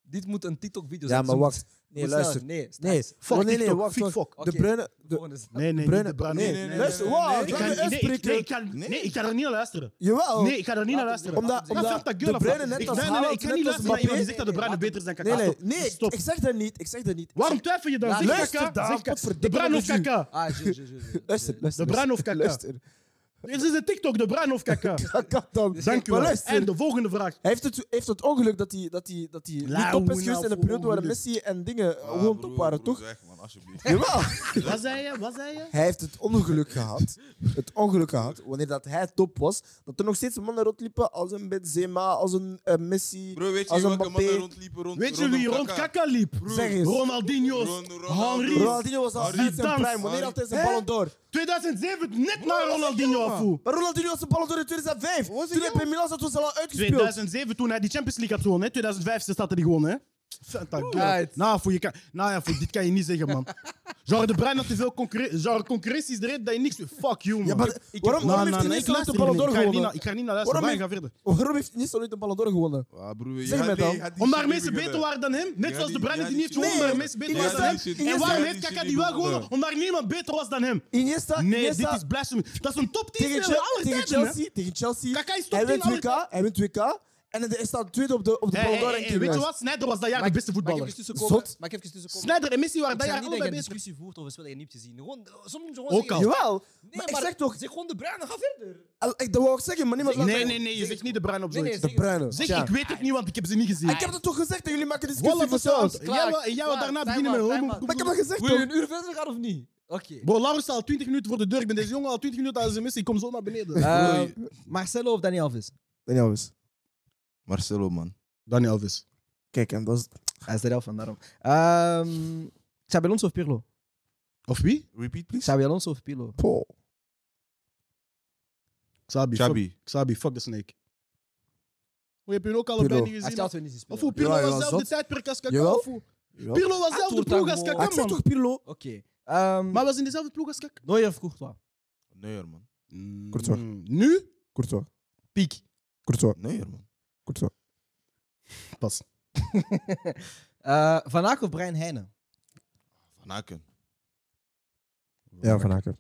Speaker 1: Dit moet een TikTok-video
Speaker 4: Ja,
Speaker 1: zijn.
Speaker 4: maar
Speaker 1: Ze
Speaker 4: wacht.
Speaker 1: moet-
Speaker 4: Nee,
Speaker 1: moet sneller.
Speaker 4: luister.
Speaker 1: Nee,
Speaker 4: Nee,
Speaker 2: Fuck
Speaker 4: oh, nee, nee,
Speaker 2: TikTok,
Speaker 4: wacht.
Speaker 2: fuck,
Speaker 4: wacht.
Speaker 2: fuck.
Speaker 4: De
Speaker 1: Oké.
Speaker 4: Bruyne... De,
Speaker 2: Nee, nee,
Speaker 4: Bruyne-
Speaker 2: niet de Bruine.
Speaker 4: nee,
Speaker 2: Nee, nee,
Speaker 4: luister.
Speaker 3: nee, nee,
Speaker 4: Wow,
Speaker 3: nee.
Speaker 2: Ik
Speaker 4: ik
Speaker 2: kan,
Speaker 4: ga
Speaker 2: nee, ik, nee, ik
Speaker 4: uitspreken.
Speaker 2: kan,
Speaker 3: Nee.
Speaker 2: nee, ik kan er niet naar luisteren.
Speaker 4: Jawel.
Speaker 2: Nee, ik kan er niet naar luisteren.
Speaker 4: Omdat,
Speaker 2: Dat
Speaker 4: omdat
Speaker 2: vindt dat
Speaker 4: de
Speaker 2: gulle
Speaker 4: Bruyne
Speaker 2: af.
Speaker 4: net
Speaker 2: Ik-
Speaker 4: als
Speaker 2: nee, nee, nee,
Speaker 4: Haaland,
Speaker 2: ik kan
Speaker 4: net
Speaker 2: niet
Speaker 4: als
Speaker 2: luisteren naar iemand die
Speaker 4: Mbappé.
Speaker 2: zegt dat de Bruine beter is dan Kaka.
Speaker 4: Nee, nee,
Speaker 2: Stop.
Speaker 4: nee, ik-
Speaker 2: Stop.
Speaker 4: ik zeg dat niet. Ik zeg dat niet. Ik
Speaker 2: Waarom
Speaker 4: zeg-
Speaker 2: twijfel je dan?
Speaker 4: Ja,
Speaker 2: Zeg
Speaker 4: luister
Speaker 2: Kaka,
Speaker 4: daar,
Speaker 2: zeg Kaka.
Speaker 4: godverdikke
Speaker 2: De Bruine of
Speaker 4: dat je-
Speaker 2: Kaka?
Speaker 1: Ah, zo, zo, zo, zo.
Speaker 4: Luister, luister.
Speaker 2: De Bruin of Kaka?
Speaker 4: Luister.
Speaker 2: Dit is een TikTok, de Bruinhof kaka.
Speaker 4: Dat kan dan.
Speaker 2: Dank u
Speaker 4: Maar
Speaker 2: wel.
Speaker 4: luister,
Speaker 2: En de volgende vraag.
Speaker 4: Hij heeft het, heeft het ongeluk dat hij, dat hij, dat hij niet
Speaker 2: Lauw,
Speaker 4: top is
Speaker 2: nou,
Speaker 4: geweest in een
Speaker 2: voor
Speaker 4: periode waar
Speaker 2: ongeluk.
Speaker 4: Messi en dingen eh, gewoon top waren, toch?
Speaker 3: Weg, man, alsjeblieft.
Speaker 4: Jawel.
Speaker 2: Wat zei je? Wat zei je?
Speaker 4: Hij heeft het ongeluk gehad. Het ongeluk gehad, wanneer dat hij top was, dat er nog steeds mannen rondliepen als een Benzema, als een eh, Messi.
Speaker 3: Bro, weet je
Speaker 4: Als
Speaker 3: wie
Speaker 4: een
Speaker 3: welke
Speaker 4: Mbappé.
Speaker 3: mannen rondliepen rond
Speaker 2: Weet je wie rond kaka liep?
Speaker 4: Zeg eens.
Speaker 2: Ronaldinho's,
Speaker 3: Ron- Ronaldo.
Speaker 2: Henry.
Speaker 4: Ronaldinho was al
Speaker 2: Die
Speaker 4: uit zijn
Speaker 2: dans.
Speaker 4: prime, wanneer dat hij zijn
Speaker 7: Hè?
Speaker 4: ballon door.
Speaker 2: 2007, net na Ronaldinho afvoer.
Speaker 4: Maar Ronaldinho was zijn ballon door in 2005. Toen hij bij Milan zat, was hij al uitgespeeld.
Speaker 2: 2007, toen hij die Champions League had gewonnen. Hè? 2005 ze staat hij die gewonnen, hè? Santa God. Nou, voor je kan, nou ja, voor dit kan je niet zeggen, man. Genre, de Bruin had te veel concurrentie. Genre, concurrentie is de reden dat je niks doet. Fuck you, man.
Speaker 4: Ja, maar waarom,
Speaker 2: Nou,
Speaker 4: waarom
Speaker 2: nou,
Speaker 4: heeft hij
Speaker 2: nee,
Speaker 4: niet
Speaker 2: ik
Speaker 4: zo
Speaker 2: luister
Speaker 4: de Ballon
Speaker 2: niet
Speaker 4: d'Or
Speaker 2: meer. Ik ga hier niet naar-
Speaker 4: gewonnen?
Speaker 2: Ik ga niet naar luisteren,
Speaker 4: Waarom
Speaker 2: maar ga verder.
Speaker 4: Waarom heeft hij niet zo de Ballon d'Or gewonnen?
Speaker 3: Ja, broer, je
Speaker 4: Zeg
Speaker 3: had
Speaker 4: mij
Speaker 3: die-
Speaker 4: dan.
Speaker 3: je had die
Speaker 2: Omdat
Speaker 3: shit
Speaker 2: mensen
Speaker 3: niet
Speaker 2: beter
Speaker 3: gedaan.
Speaker 2: waren dan hem. Net
Speaker 3: Ja,
Speaker 2: zoals de
Speaker 3: die-
Speaker 2: Bruin
Speaker 3: ja,
Speaker 2: die
Speaker 3: die
Speaker 2: niet
Speaker 3: shit-
Speaker 2: won, maar
Speaker 4: Nee,
Speaker 2: mensen beter
Speaker 4: die
Speaker 2: waren
Speaker 4: shit-
Speaker 2: dan
Speaker 4: die
Speaker 2: hem.
Speaker 4: shit-
Speaker 2: En waarom
Speaker 4: die
Speaker 2: heeft
Speaker 3: shit
Speaker 2: Kaka
Speaker 3: niet
Speaker 2: die wel
Speaker 3: gewonnen.
Speaker 2: gewonnen? Omdat er niemand beter was dan hem.
Speaker 4: Iniesta,
Speaker 2: Nee, dit
Speaker 4: Iniesta
Speaker 2: is blasphemy. Dat is een top 10
Speaker 4: tegen,
Speaker 2: speler
Speaker 4: Chel-
Speaker 2: aller
Speaker 4: tegen
Speaker 2: tijden, hè?
Speaker 4: Chelsea, tegen Chelsea.
Speaker 2: Kaka is top
Speaker 4: Hij
Speaker 2: 10
Speaker 4: wint
Speaker 2: aller
Speaker 4: WK, hij wint WK. En hij staat tweede op de, op de
Speaker 2: Hey,
Speaker 4: Ballon
Speaker 2: hey,
Speaker 4: d'Or
Speaker 2: hey, hey, Weet je
Speaker 4: ranking.
Speaker 2: wat? Snyder was dat jaar de beste
Speaker 1: Mag ik
Speaker 2: voetballer.
Speaker 1: even tussenkomen?
Speaker 4: Zot.
Speaker 1: Mag ik even tussenkomen?
Speaker 2: Snyder en Messi waren
Speaker 1: Ik
Speaker 2: dat jaar
Speaker 1: zeg niet dus- dat je
Speaker 2: allebei
Speaker 1: een
Speaker 2: bezig.
Speaker 1: discussie voert over spel en niet te zien. Gewoon, eh, soms moet je
Speaker 2: Ook
Speaker 1: gewoon
Speaker 2: al.
Speaker 1: zeggen...
Speaker 4: Jawel.
Speaker 1: Nee,
Speaker 4: maar ik zeg toch,
Speaker 1: Zeg gewoon de bruine, ga verder.
Speaker 4: al- ik, dat wou ik zeggen, maar niemand laat
Speaker 2: Nee,
Speaker 4: mij-
Speaker 2: nee, nee, je zegt niet de bruin op
Speaker 1: Nee, nee,
Speaker 2: zoiets.
Speaker 1: zeg-
Speaker 4: De bruine.
Speaker 2: Zeg,
Speaker 4: Tja.
Speaker 2: ik weet het niet, want ik heb ze niet gezien.
Speaker 4: Ik heb dat toch gezegd dat jullie maken discussie
Speaker 2: Wallah,
Speaker 4: voor
Speaker 2: verstaan.
Speaker 4: zelfs.
Speaker 1: Klaar,
Speaker 2: Jij wou
Speaker 1: klaar,
Speaker 2: daarna
Speaker 1: time
Speaker 2: beginnen
Speaker 1: out,
Speaker 2: met
Speaker 1: time
Speaker 2: homo.
Speaker 1: out.
Speaker 4: Maar ik heb dat gezegd
Speaker 1: Wil je
Speaker 4: toch?
Speaker 1: een uur verder gaan of niet? Oké.
Speaker 2: Bro, Laurens staat al 20 minuten voor de deur. Ik ben deze jongen al 20 minuten aan zijn missie. Ik kom zo naar beneden.
Speaker 1: Eh, Marcelo of Dani Alves?
Speaker 4: Nee, jongens.
Speaker 3: Marcelo, man.
Speaker 2: Daniel Elvis.
Speaker 4: Kijk, en dat is...
Speaker 1: Hij is er elf van, daarom. Ehm Xabi Alonso of Pirlo?
Speaker 2: Of wie?
Speaker 3: Repeat, please.
Speaker 1: Xabi Alonso of Pirlo?
Speaker 4: Poh.
Speaker 2: Xabi. Xabi.
Speaker 3: Chabi.
Speaker 2: Xabi, fuck the snake. Hoe heb je ook allebei
Speaker 4: Pirlo.
Speaker 2: niet
Speaker 1: Als
Speaker 2: gezien?
Speaker 1: je
Speaker 2: man?
Speaker 1: altijd niet gespeeld.
Speaker 2: Of hoe Pirlo
Speaker 4: Ja, ja,
Speaker 2: was zelf
Speaker 4: zot.
Speaker 2: de tijdperk als Kaká?
Speaker 4: Jawel.
Speaker 2: of hoe-
Speaker 4: Jawel.
Speaker 2: Pirlo was zelf de
Speaker 1: Antwoord
Speaker 2: ploeg
Speaker 1: dan
Speaker 2: als
Speaker 1: gewoon.
Speaker 4: Ah, ik
Speaker 2: Kaká,
Speaker 4: zeg
Speaker 2: man.
Speaker 4: toch Pirlo?
Speaker 1: Oké. Ehm
Speaker 2: Maar was in dezelfde ploeg als Kaká?
Speaker 1: Neuer of Courtois?
Speaker 3: Neuer, man.
Speaker 4: Courtois.
Speaker 2: Mm, Nu?
Speaker 4: Courtois.
Speaker 1: Piek.
Speaker 4: Courtois.
Speaker 3: Neuer, man.
Speaker 4: Courtois.
Speaker 2: Pas.
Speaker 1: Eh van Aak of Brian Heijnen?
Speaker 3: Van Aken.
Speaker 4: Ja, Van Aken.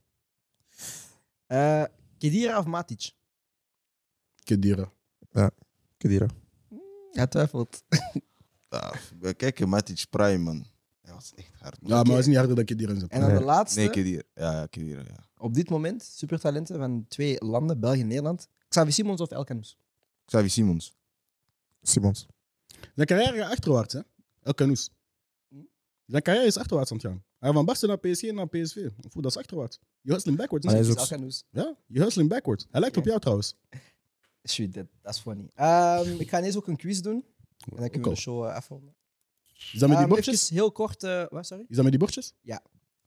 Speaker 1: Eh Kedira of Matic?
Speaker 2: Kedira.
Speaker 4: Kedira.
Speaker 1: Ja, twijfelt.
Speaker 3: Ah, we kijken, Matic Prime, man. Hij was echt hard. man.
Speaker 2: Ja, maar het is niet harder dat Kedira in zijn
Speaker 1: En dan
Speaker 4: Nee.
Speaker 1: de laatste,
Speaker 3: Nee, Kedir. Ja, ja, Kedir, ja.
Speaker 1: op dit moment, supertalenten van twee landen, België en Nederland. Xavi Simons of Elkanus?
Speaker 2: Ah,
Speaker 3: Xavi Simons.
Speaker 4: Simons.
Speaker 2: Zijn carrière gaat achterwaarts, hè? El Canoes.
Speaker 1: Hm?
Speaker 2: Zijn carrière is achterwaarts aan het gaan. Hij van Barca naar PSG en naar PSV. Of hoe, dat is achterwaarts. Je hustling backwards.
Speaker 4: Maar
Speaker 2: hè?
Speaker 4: hij is
Speaker 1: Dus
Speaker 4: ook-
Speaker 1: Elkanus.
Speaker 2: Ja, je hustling backwards. Hij lijkt op jou trouwens.
Speaker 1: Shoot, dat dat is funny. Ehm ik ga ineens ook een quiz doen. En dan
Speaker 2: Ook
Speaker 1: kunnen
Speaker 2: al.
Speaker 1: we de show eh, afronden.
Speaker 2: Is dat met die
Speaker 1: Ehm,
Speaker 2: bordjes?
Speaker 1: even heel kort, eh, wat, sorry?
Speaker 2: Is dat met die bordjes?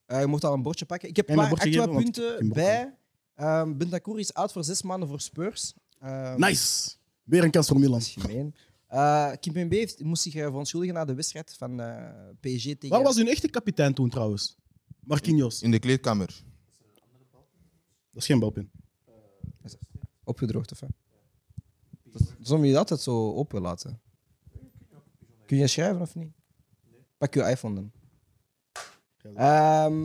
Speaker 1: Eh, je mocht al een bordje pakken. Ik heb
Speaker 2: Kan
Speaker 1: een
Speaker 2: je
Speaker 1: paar
Speaker 2: me een
Speaker 1: extra
Speaker 2: bordje geven? Want
Speaker 1: punten
Speaker 2: ik heb geen
Speaker 1: bij. Ehm Bentancur is oud voor zes maanden voor Spurs. Ehm,
Speaker 2: Nice! Weer een kans voor Milan.
Speaker 1: Dat is gemeen. Eh Kimpembe heeft- moest zich eh, verontschuldigen na de wedstrijd van eh, PSG tegen...
Speaker 2: Waar was hun echte kapitein toen trouwens? Marquinhos.
Speaker 3: In de kleedkamer.
Speaker 2: Dat is geen balpin.
Speaker 1: Opgedroogd, of hè? Zullen we je altijd zo open laten? Kun je schrijven of niet? Pak je iPhone dan. Ehm,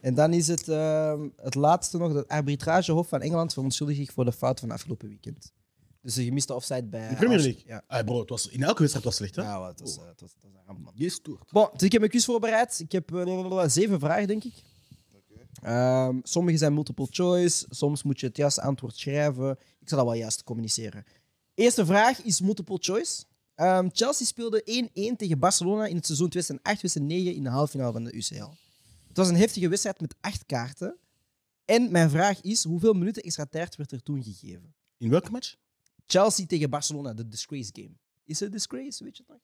Speaker 1: en dan is het, ehm, het laatste nog. Het arbitragehof van Engeland verontschuldigt zich voor de fout van afgelopen weekend. Dus de gemiste offside bij...
Speaker 2: De Premier
Speaker 1: Arsenal.
Speaker 2: League.
Speaker 1: Ja.
Speaker 2: Ah, bro, het was, in elke wedstrijd was het slecht, hè?
Speaker 1: Ja, wat, dat is, eh, dat is, dat is een ramp, man.
Speaker 2: Jezus, toer.
Speaker 1: Bon, dus ik heb mijn quiz voorbereid. Ik heb eh, blablabla, zeven vragen, denk ik. Ehm, sommige zijn multiple choice, soms moet je het juiste antwoord schrijven. Ik zal dat wel juist communiceren. Eerste vraag is multiple choice. Ehm, Chelsea speelde 1-1 tegen Barcelona in het seizoen 2008-2009 in de halve finale van de UCL. Het was een heftige wedstrijd met acht kaarten. En mijn vraag is, hoeveel minuten extra tijd werd er toen gegeven?
Speaker 2: In welke match?
Speaker 1: Chelsea tegen Barcelona, de disgrace game. Is het disgrace, weet je het nog?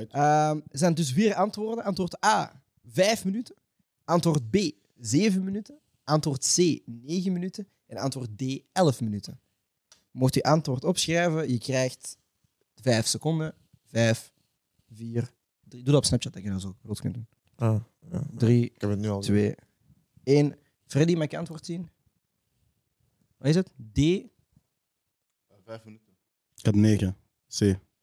Speaker 2: Right.
Speaker 1: Ehm, er zijn dus vier antwoorden. Antwoord A, vijf minuten. Antwoord B, zeven minuten. Antwoord C, negen minuten. En antwoord D, elf minuten. Mocht je antwoord opschrijven, je krijgt vijf seconden. Vijf, vier, drie. Doe dat op Snapchat, dat je dat zo groot kunt doen.
Speaker 4: Ah, ja.
Speaker 1: Drie,
Speaker 7: Ik heb het nu al.
Speaker 1: twee, één. Freddy, mag ik je antwoord zien? Wat is het? D.
Speaker 3: Vijf minuten.
Speaker 2: Ik had 9. C.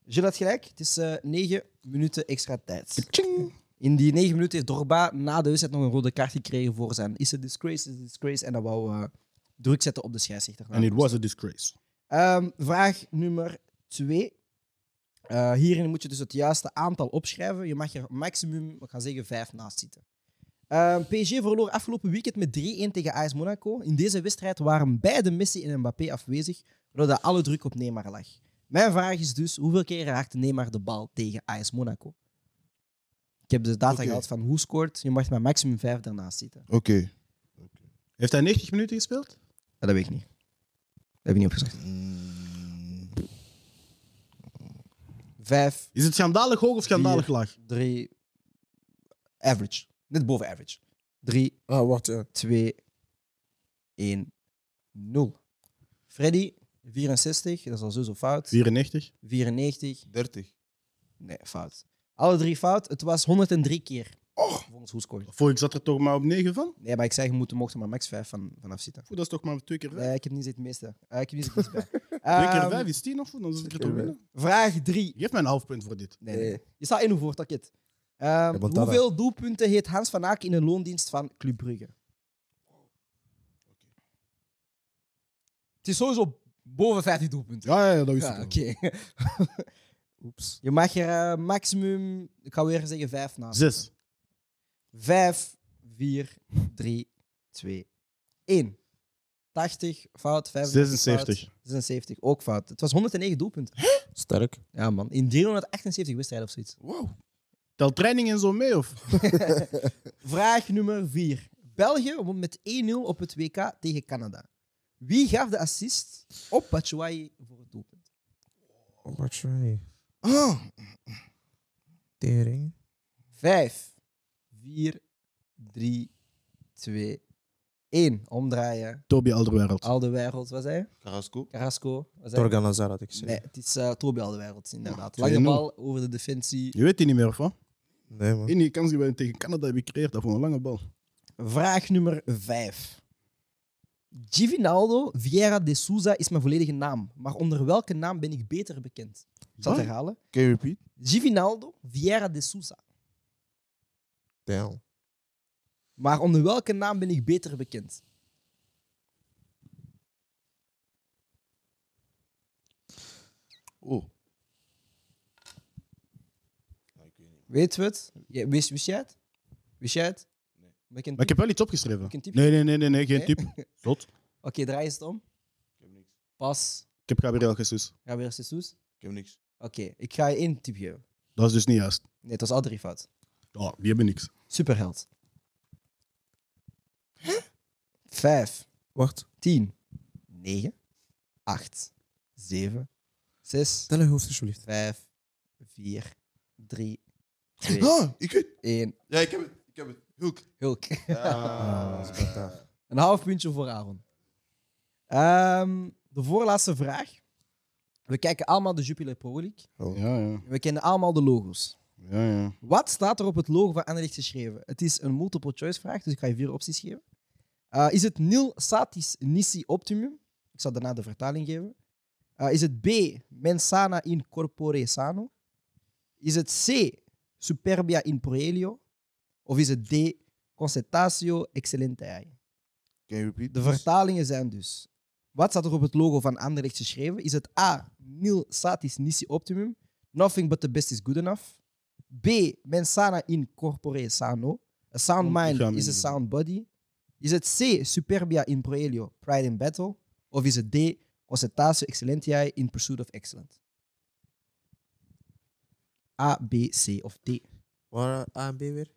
Speaker 1: Gilles had gelijk. Het is eh, negen minuten extra tijd.
Speaker 2: Tjing.
Speaker 1: In die negen minuten heeft Dorba na de wedstrijd nog een rode kaart gekregen voor zijn is a disgrace, is a disgrace. En dat wou eh, druk zetten op de scheidsrechter.
Speaker 2: And it was a disgrace.
Speaker 1: Ehm, vraag nummer twee. Eh, hierin moet je dus het juiste aantal opschrijven. Je mag er maximum, we gaan zeggen, vijf naast zitten. Ehm, PSG verloor afgelopen weekend met 3-1 tegen AS Monaco. In deze wedstrijd waren beide Messi en Mbappé afwezig, doordat alle druk op Neymar lag. Mijn vraag is dus, hoeveel keer raakte Neymar de bal tegen AS Monaco? Ik heb de data gehaald van hoe scoort. Je mag maar maximum vijf daarnaast zitten.
Speaker 3: Oké.
Speaker 2: Heeft hij 90 minuten gespeeld?
Speaker 1: Ja, dat weet ik niet. Dat heb ik niet opgezegd.
Speaker 3: Mm,
Speaker 1: Vijf,
Speaker 2: Is het schandalig hoog of schandalig laag?
Speaker 1: drie... Average. Net boven average. Drie,
Speaker 4: Ah, wacht, ja.
Speaker 1: 2, 1, 0. Freddy, 64, dat is al sowieso fout.
Speaker 2: 94.
Speaker 1: 94,
Speaker 3: 30.
Speaker 1: nee, fout. Alle drie fout. Het was 103 keer. Oh. Volgens hoescore.
Speaker 2: Voor ik zat er toch maar op 9 van?
Speaker 1: Nee, maar ik zei, je moet, mocht er maar max 5 van, vanaf zitten.
Speaker 2: Oeh, dat is toch maar twee keer vijf.
Speaker 1: Nee, ik heb niet het meeste. Eh, ik heb niet het meeste bij.
Speaker 2: Twee keer
Speaker 1: Ehm,
Speaker 2: vijf is 10 of zo, dan zit ik er toch binnen.
Speaker 1: Vraag 3.
Speaker 2: Geef mij een half punt voor dit.
Speaker 1: Nee, nee. Je staat 1 voor, takket. Ehm,
Speaker 4: Eh, want dat-
Speaker 1: hoeveel doelpunten heeft Hans van Aak in een loondienst van Club Brugge? Het is sowieso boven 50 doelpunten.
Speaker 2: Ja, ja, ja, dat is
Speaker 1: Ja,
Speaker 2: het.
Speaker 1: oké.
Speaker 4: Oeps.
Speaker 1: Je mag er eh, maximum, ik ga weer zeggen, vijf naast.
Speaker 2: Zes.
Speaker 1: Vijf, vier, drie, twee, één. 80, fout, 75.
Speaker 2: 76.
Speaker 1: Fout, 76, ook fout. Het was 109 doelpunten.
Speaker 4: Sterk.
Speaker 1: Ja, man. In 378 wedstrijden of zoiets.
Speaker 2: Tel training en zo mee, of?
Speaker 1: Vraag nummer vier. België won met 1-0 op het WK tegen Canada. Wie gaf de assist op Batshuayi voor het doelpunt?
Speaker 4: Oh, wat sorry.
Speaker 3: Ah,
Speaker 4: Tering.
Speaker 1: Vijf, vier, drie, twee, één. Omdraaien.
Speaker 2: Toby Alderweireld.
Speaker 1: Al de wereld, was hij?
Speaker 3: Carrasco.
Speaker 1: Carrasco. Was hij?
Speaker 4: Torgan Hazard had ik gezegd.
Speaker 1: Nee, het is eh Toby al de wereld, inderdaad.
Speaker 2: Ja,
Speaker 1: Lange
Speaker 2: 2-0.
Speaker 1: bal over de defensie.
Speaker 2: Je weet die niet meer, of wat?
Speaker 4: Nee, man.
Speaker 2: In die kans die wij tegen Canada hebben gecreëerd, dat voor een lange bal.
Speaker 1: Vraag nummer 5. Givinaldo Vieira de Souza is mijn volledige naam, maar onder welke naam ben ik beter bekend? Ik zal het
Speaker 2: Wat?
Speaker 1: herhalen.
Speaker 3: Can you repeat?
Speaker 1: Givinaldo Vieira de Souza,
Speaker 4: Damn.
Speaker 1: maar onder welke naam ben ik beter bekend?
Speaker 3: Oh.
Speaker 1: Weet we het? Ja, wist, wist jij het? Wist jij het? Nee.
Speaker 2: Maar ik heb wel iets opgeschreven.
Speaker 1: Ik een tip?
Speaker 2: Nee, nee, nee, nee, nee geen
Speaker 1: Nee?
Speaker 2: tip. Zot.
Speaker 1: Oké, draai eens het om. Pas.
Speaker 2: Ik heb Gabriel Jesus.
Speaker 1: Ga weer Jesus.
Speaker 3: Ik heb niks.
Speaker 1: Oké, ik ga je één tip geven.
Speaker 2: Dat is dus niet juist.
Speaker 1: Nee, het was al drie fout.
Speaker 2: Oh, die hebben niks.
Speaker 1: Superheld. Vijf,
Speaker 4: Wacht.
Speaker 1: tien, negen, acht, zeven, zes,
Speaker 4: Tel je hoofd alsjeblieft.
Speaker 1: vijf, vier, drie, twee,
Speaker 3: Ah,
Speaker 4: eh,
Speaker 3: ik weet.
Speaker 1: één.
Speaker 3: Ja, ik heb het. Ik heb het. Hulk.
Speaker 1: Hulk.
Speaker 3: Ah.
Speaker 1: Een half puntje voor Aaron. Ehm, de voorlaatste vraag. We kijken allemaal de Jupiler Pro League.
Speaker 2: Ja, ja.
Speaker 1: We kennen allemaal de logo's.
Speaker 2: ja, ja.
Speaker 1: Wat staat er op het logo van Anderlecht geschreven? Het is een multiple choice vraag, dus ik ga je vier opties geven. Eh, is het nil satis nisi optimum? Ik zal daarna de vertaling geven. Eh, is het B mensana in corpore sano? Is het C superbia in proelio? Of is het D concertatio excellentiae?
Speaker 3: Can you repeat?
Speaker 1: De vertalingen zijn dus. Wat staat er op het logo van Anderlecht geschreven? Is het A. Nil satis nisi optimum. Nothing but the best is good enough. B. Mensana in corpore sano. A sound
Speaker 2: Oh, ik
Speaker 1: mind
Speaker 2: ga hem
Speaker 1: is a
Speaker 2: niet
Speaker 1: sound body. Is het C. Superbia in proelio. Pride in battle. Of is het D. Concertatio excellentiae in pursuit of excellence. A, B, C of D.
Speaker 4: Waar eh, A en B weer?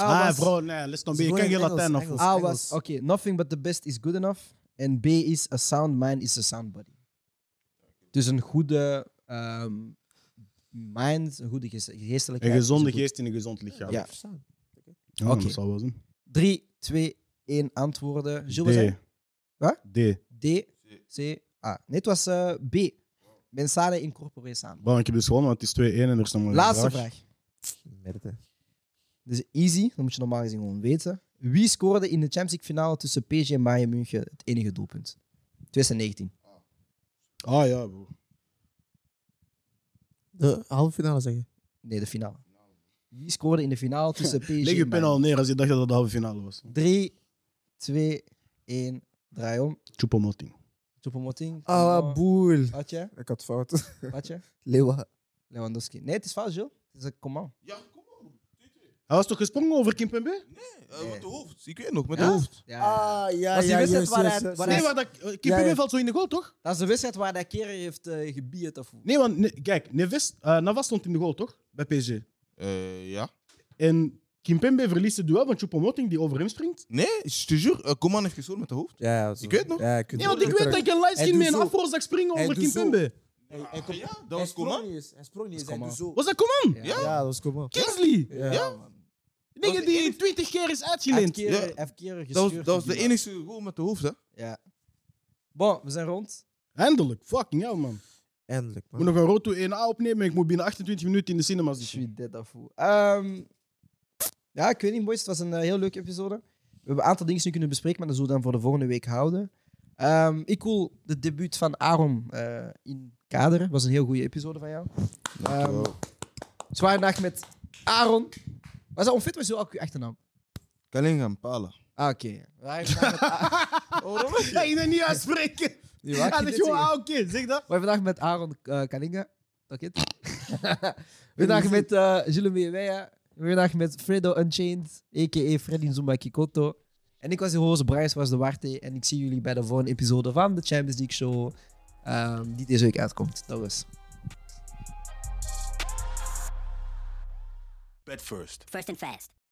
Speaker 1: A
Speaker 2: Ah,
Speaker 1: was-
Speaker 2: bro, nee, let's not
Speaker 4: Ze
Speaker 2: be. Ik
Speaker 4: gewoon
Speaker 2: ken geen
Speaker 4: in Engels,
Speaker 2: Latijn of
Speaker 4: Engels.
Speaker 1: A was, oké, nothing but the best is good enough. En B is a sound mind is a sound body. Dus een goede ehm, mind, een goede geest, geestelijkheid.
Speaker 2: Een
Speaker 1: is
Speaker 2: gezonde
Speaker 1: goed.
Speaker 2: geest in een gezond lichaam.
Speaker 1: Ja.
Speaker 4: Verstaan.
Speaker 2: Ja,
Speaker 1: Oké.
Speaker 2: dat zal wel zijn.
Speaker 1: Drie, twee, één antwoorden. Jules, wat zei je?
Speaker 2: D.
Speaker 1: Wat?
Speaker 2: D.
Speaker 1: D, C, A. Nee, het was eh, B. Mensale incorporee samen.
Speaker 2: Bro, ik heb dus gewonnen, want het is 2-1 en er is nog maar een
Speaker 1: Laatste vraag.
Speaker 4: Merde.
Speaker 1: Dus easy, dat moet je normaal gezien gewoon weten. Wie scoorde in de Champions League finale tussen PSG en Bayern München het enige doelpunt? 2019.
Speaker 2: Ah ja, bro.
Speaker 4: De halve finale zeg je.
Speaker 1: Nee, de finale. Wie scoorde in de finale tussen PSG en
Speaker 2: Leg je
Speaker 1: Bayern
Speaker 2: pen al neer als je dacht dat dat de halve finale was.
Speaker 1: 3, 2, 1, draai om.
Speaker 2: Choupo-Moting.
Speaker 1: Choupo-Moting.
Speaker 4: Ah, boel. Ah,
Speaker 1: Had je?
Speaker 4: Ik had fout.
Speaker 1: Had je?
Speaker 4: Leeuwen.
Speaker 1: Lewandowski. Nee, het is fout, Jill. Het is een command.
Speaker 3: Ja, kom op.
Speaker 2: Hij was toch gesprongen over Kimpembe?
Speaker 3: Eh, Met de hoofd, ik weet nog, met
Speaker 1: Ja?
Speaker 3: de hoofd.
Speaker 8: Ah, ja,
Speaker 1: Was die
Speaker 8: ja,
Speaker 1: wedstrijd
Speaker 8: yes,
Speaker 1: waar
Speaker 8: yes,
Speaker 1: hij-
Speaker 8: yes,
Speaker 1: waar
Speaker 8: yes.
Speaker 2: Nee,
Speaker 1: hij-
Speaker 2: maar dat, eh, Kimpembe
Speaker 8: Ja, ja.
Speaker 2: valt zo in de goal, toch?
Speaker 1: Dat is de wedstrijd waar dat kerel heeft eh gebied of hoe?
Speaker 2: Nee, want nee, kijk, Neves, eh, Navas stond in de goal, toch? Bij PSG.
Speaker 3: Eh, ja.
Speaker 2: En Kimpembe verliest het duel van Choupo-Moting die over hem springt.
Speaker 3: Nee, je te jure, eh, Coman heeft gescoord met de hoofd.
Speaker 4: Ja, ja, zo.
Speaker 3: Ik weet nog.
Speaker 4: Ja, ik weet
Speaker 2: Nee, want ik weet dat ik een liveskin
Speaker 4: doet
Speaker 2: met een
Speaker 4: zo.
Speaker 2: afro zag springen
Speaker 4: Hij
Speaker 2: over
Speaker 4: doet zo.
Speaker 2: Kimpembe.
Speaker 3: ja, dat
Speaker 4: Ah, Hij
Speaker 3: was
Speaker 4: sprong
Speaker 3: Coman.
Speaker 4: niet eens. Hij sprong niet eens.
Speaker 1: Dat
Speaker 4: Hij
Speaker 1: is
Speaker 4: doet zo.
Speaker 2: Was dat Coman?
Speaker 1: Ja.
Speaker 4: Ja, dat was Coman.
Speaker 2: Kingsley?
Speaker 4: Ja.
Speaker 2: Dingen
Speaker 3: Dat was de
Speaker 2: die 20 keer is
Speaker 1: Hij heeft
Speaker 2: uitgeleend.
Speaker 1: kerel-
Speaker 3: Ja.
Speaker 1: hij heeft kerel
Speaker 3: Dat was,
Speaker 1: gescheurd
Speaker 3: dat was de
Speaker 1: gebied.
Speaker 3: enige goal met de hoofd, hè?
Speaker 1: Ja. Bon, we zijn rond.
Speaker 2: Eindelijk, fucking hell, man.
Speaker 4: Eindelijk,
Speaker 2: Ik
Speaker 4: man.
Speaker 2: moet nog een Roto 1A opnemen. Ik moet binnen 28 minuten in de cinema
Speaker 1: Je
Speaker 2: zitten.
Speaker 1: suis dead of hoe. Ehm, ja, ik weet niet, boys. Het was een eh, heel leuke episode. We hebben een aantal dingen nu kunnen bespreken, maar dat zullen we dan voor de volgende week houden. Ehm, ik wil de debuut van Aaron eh in kaderen. was een heel goede episode van jou. Ehm zware dag met Aaron. Was dat onfit? Was je ook je achternaam?
Speaker 3: Kalinga Pala.
Speaker 1: Ah, oké. Zware dag met A- Oh, waarom?
Speaker 2: Ik ga je dat niet uitspreken.
Speaker 1: Nu wou ik
Speaker 2: Ja,
Speaker 1: je
Speaker 2: dat
Speaker 1: dit
Speaker 2: is gewoon,
Speaker 1: zeggen.
Speaker 2: ah, oké, zeg dat.
Speaker 1: We hebben vandaag met Aaron eh, Kalinga. Dat is het. We hebben vandaag met eh Jules Meeweja. We hebben vandaag met Fredo Unchained, a.k.a. Freddy Zumba Kikoto. En ik was de host, Bryce was de Warte. En ik zie jullie bij de volgende episode van de Champions League Show. ehm, die deze week uitkomt. Dat was.
Speaker 6: Bed first.
Speaker 9: First and fast.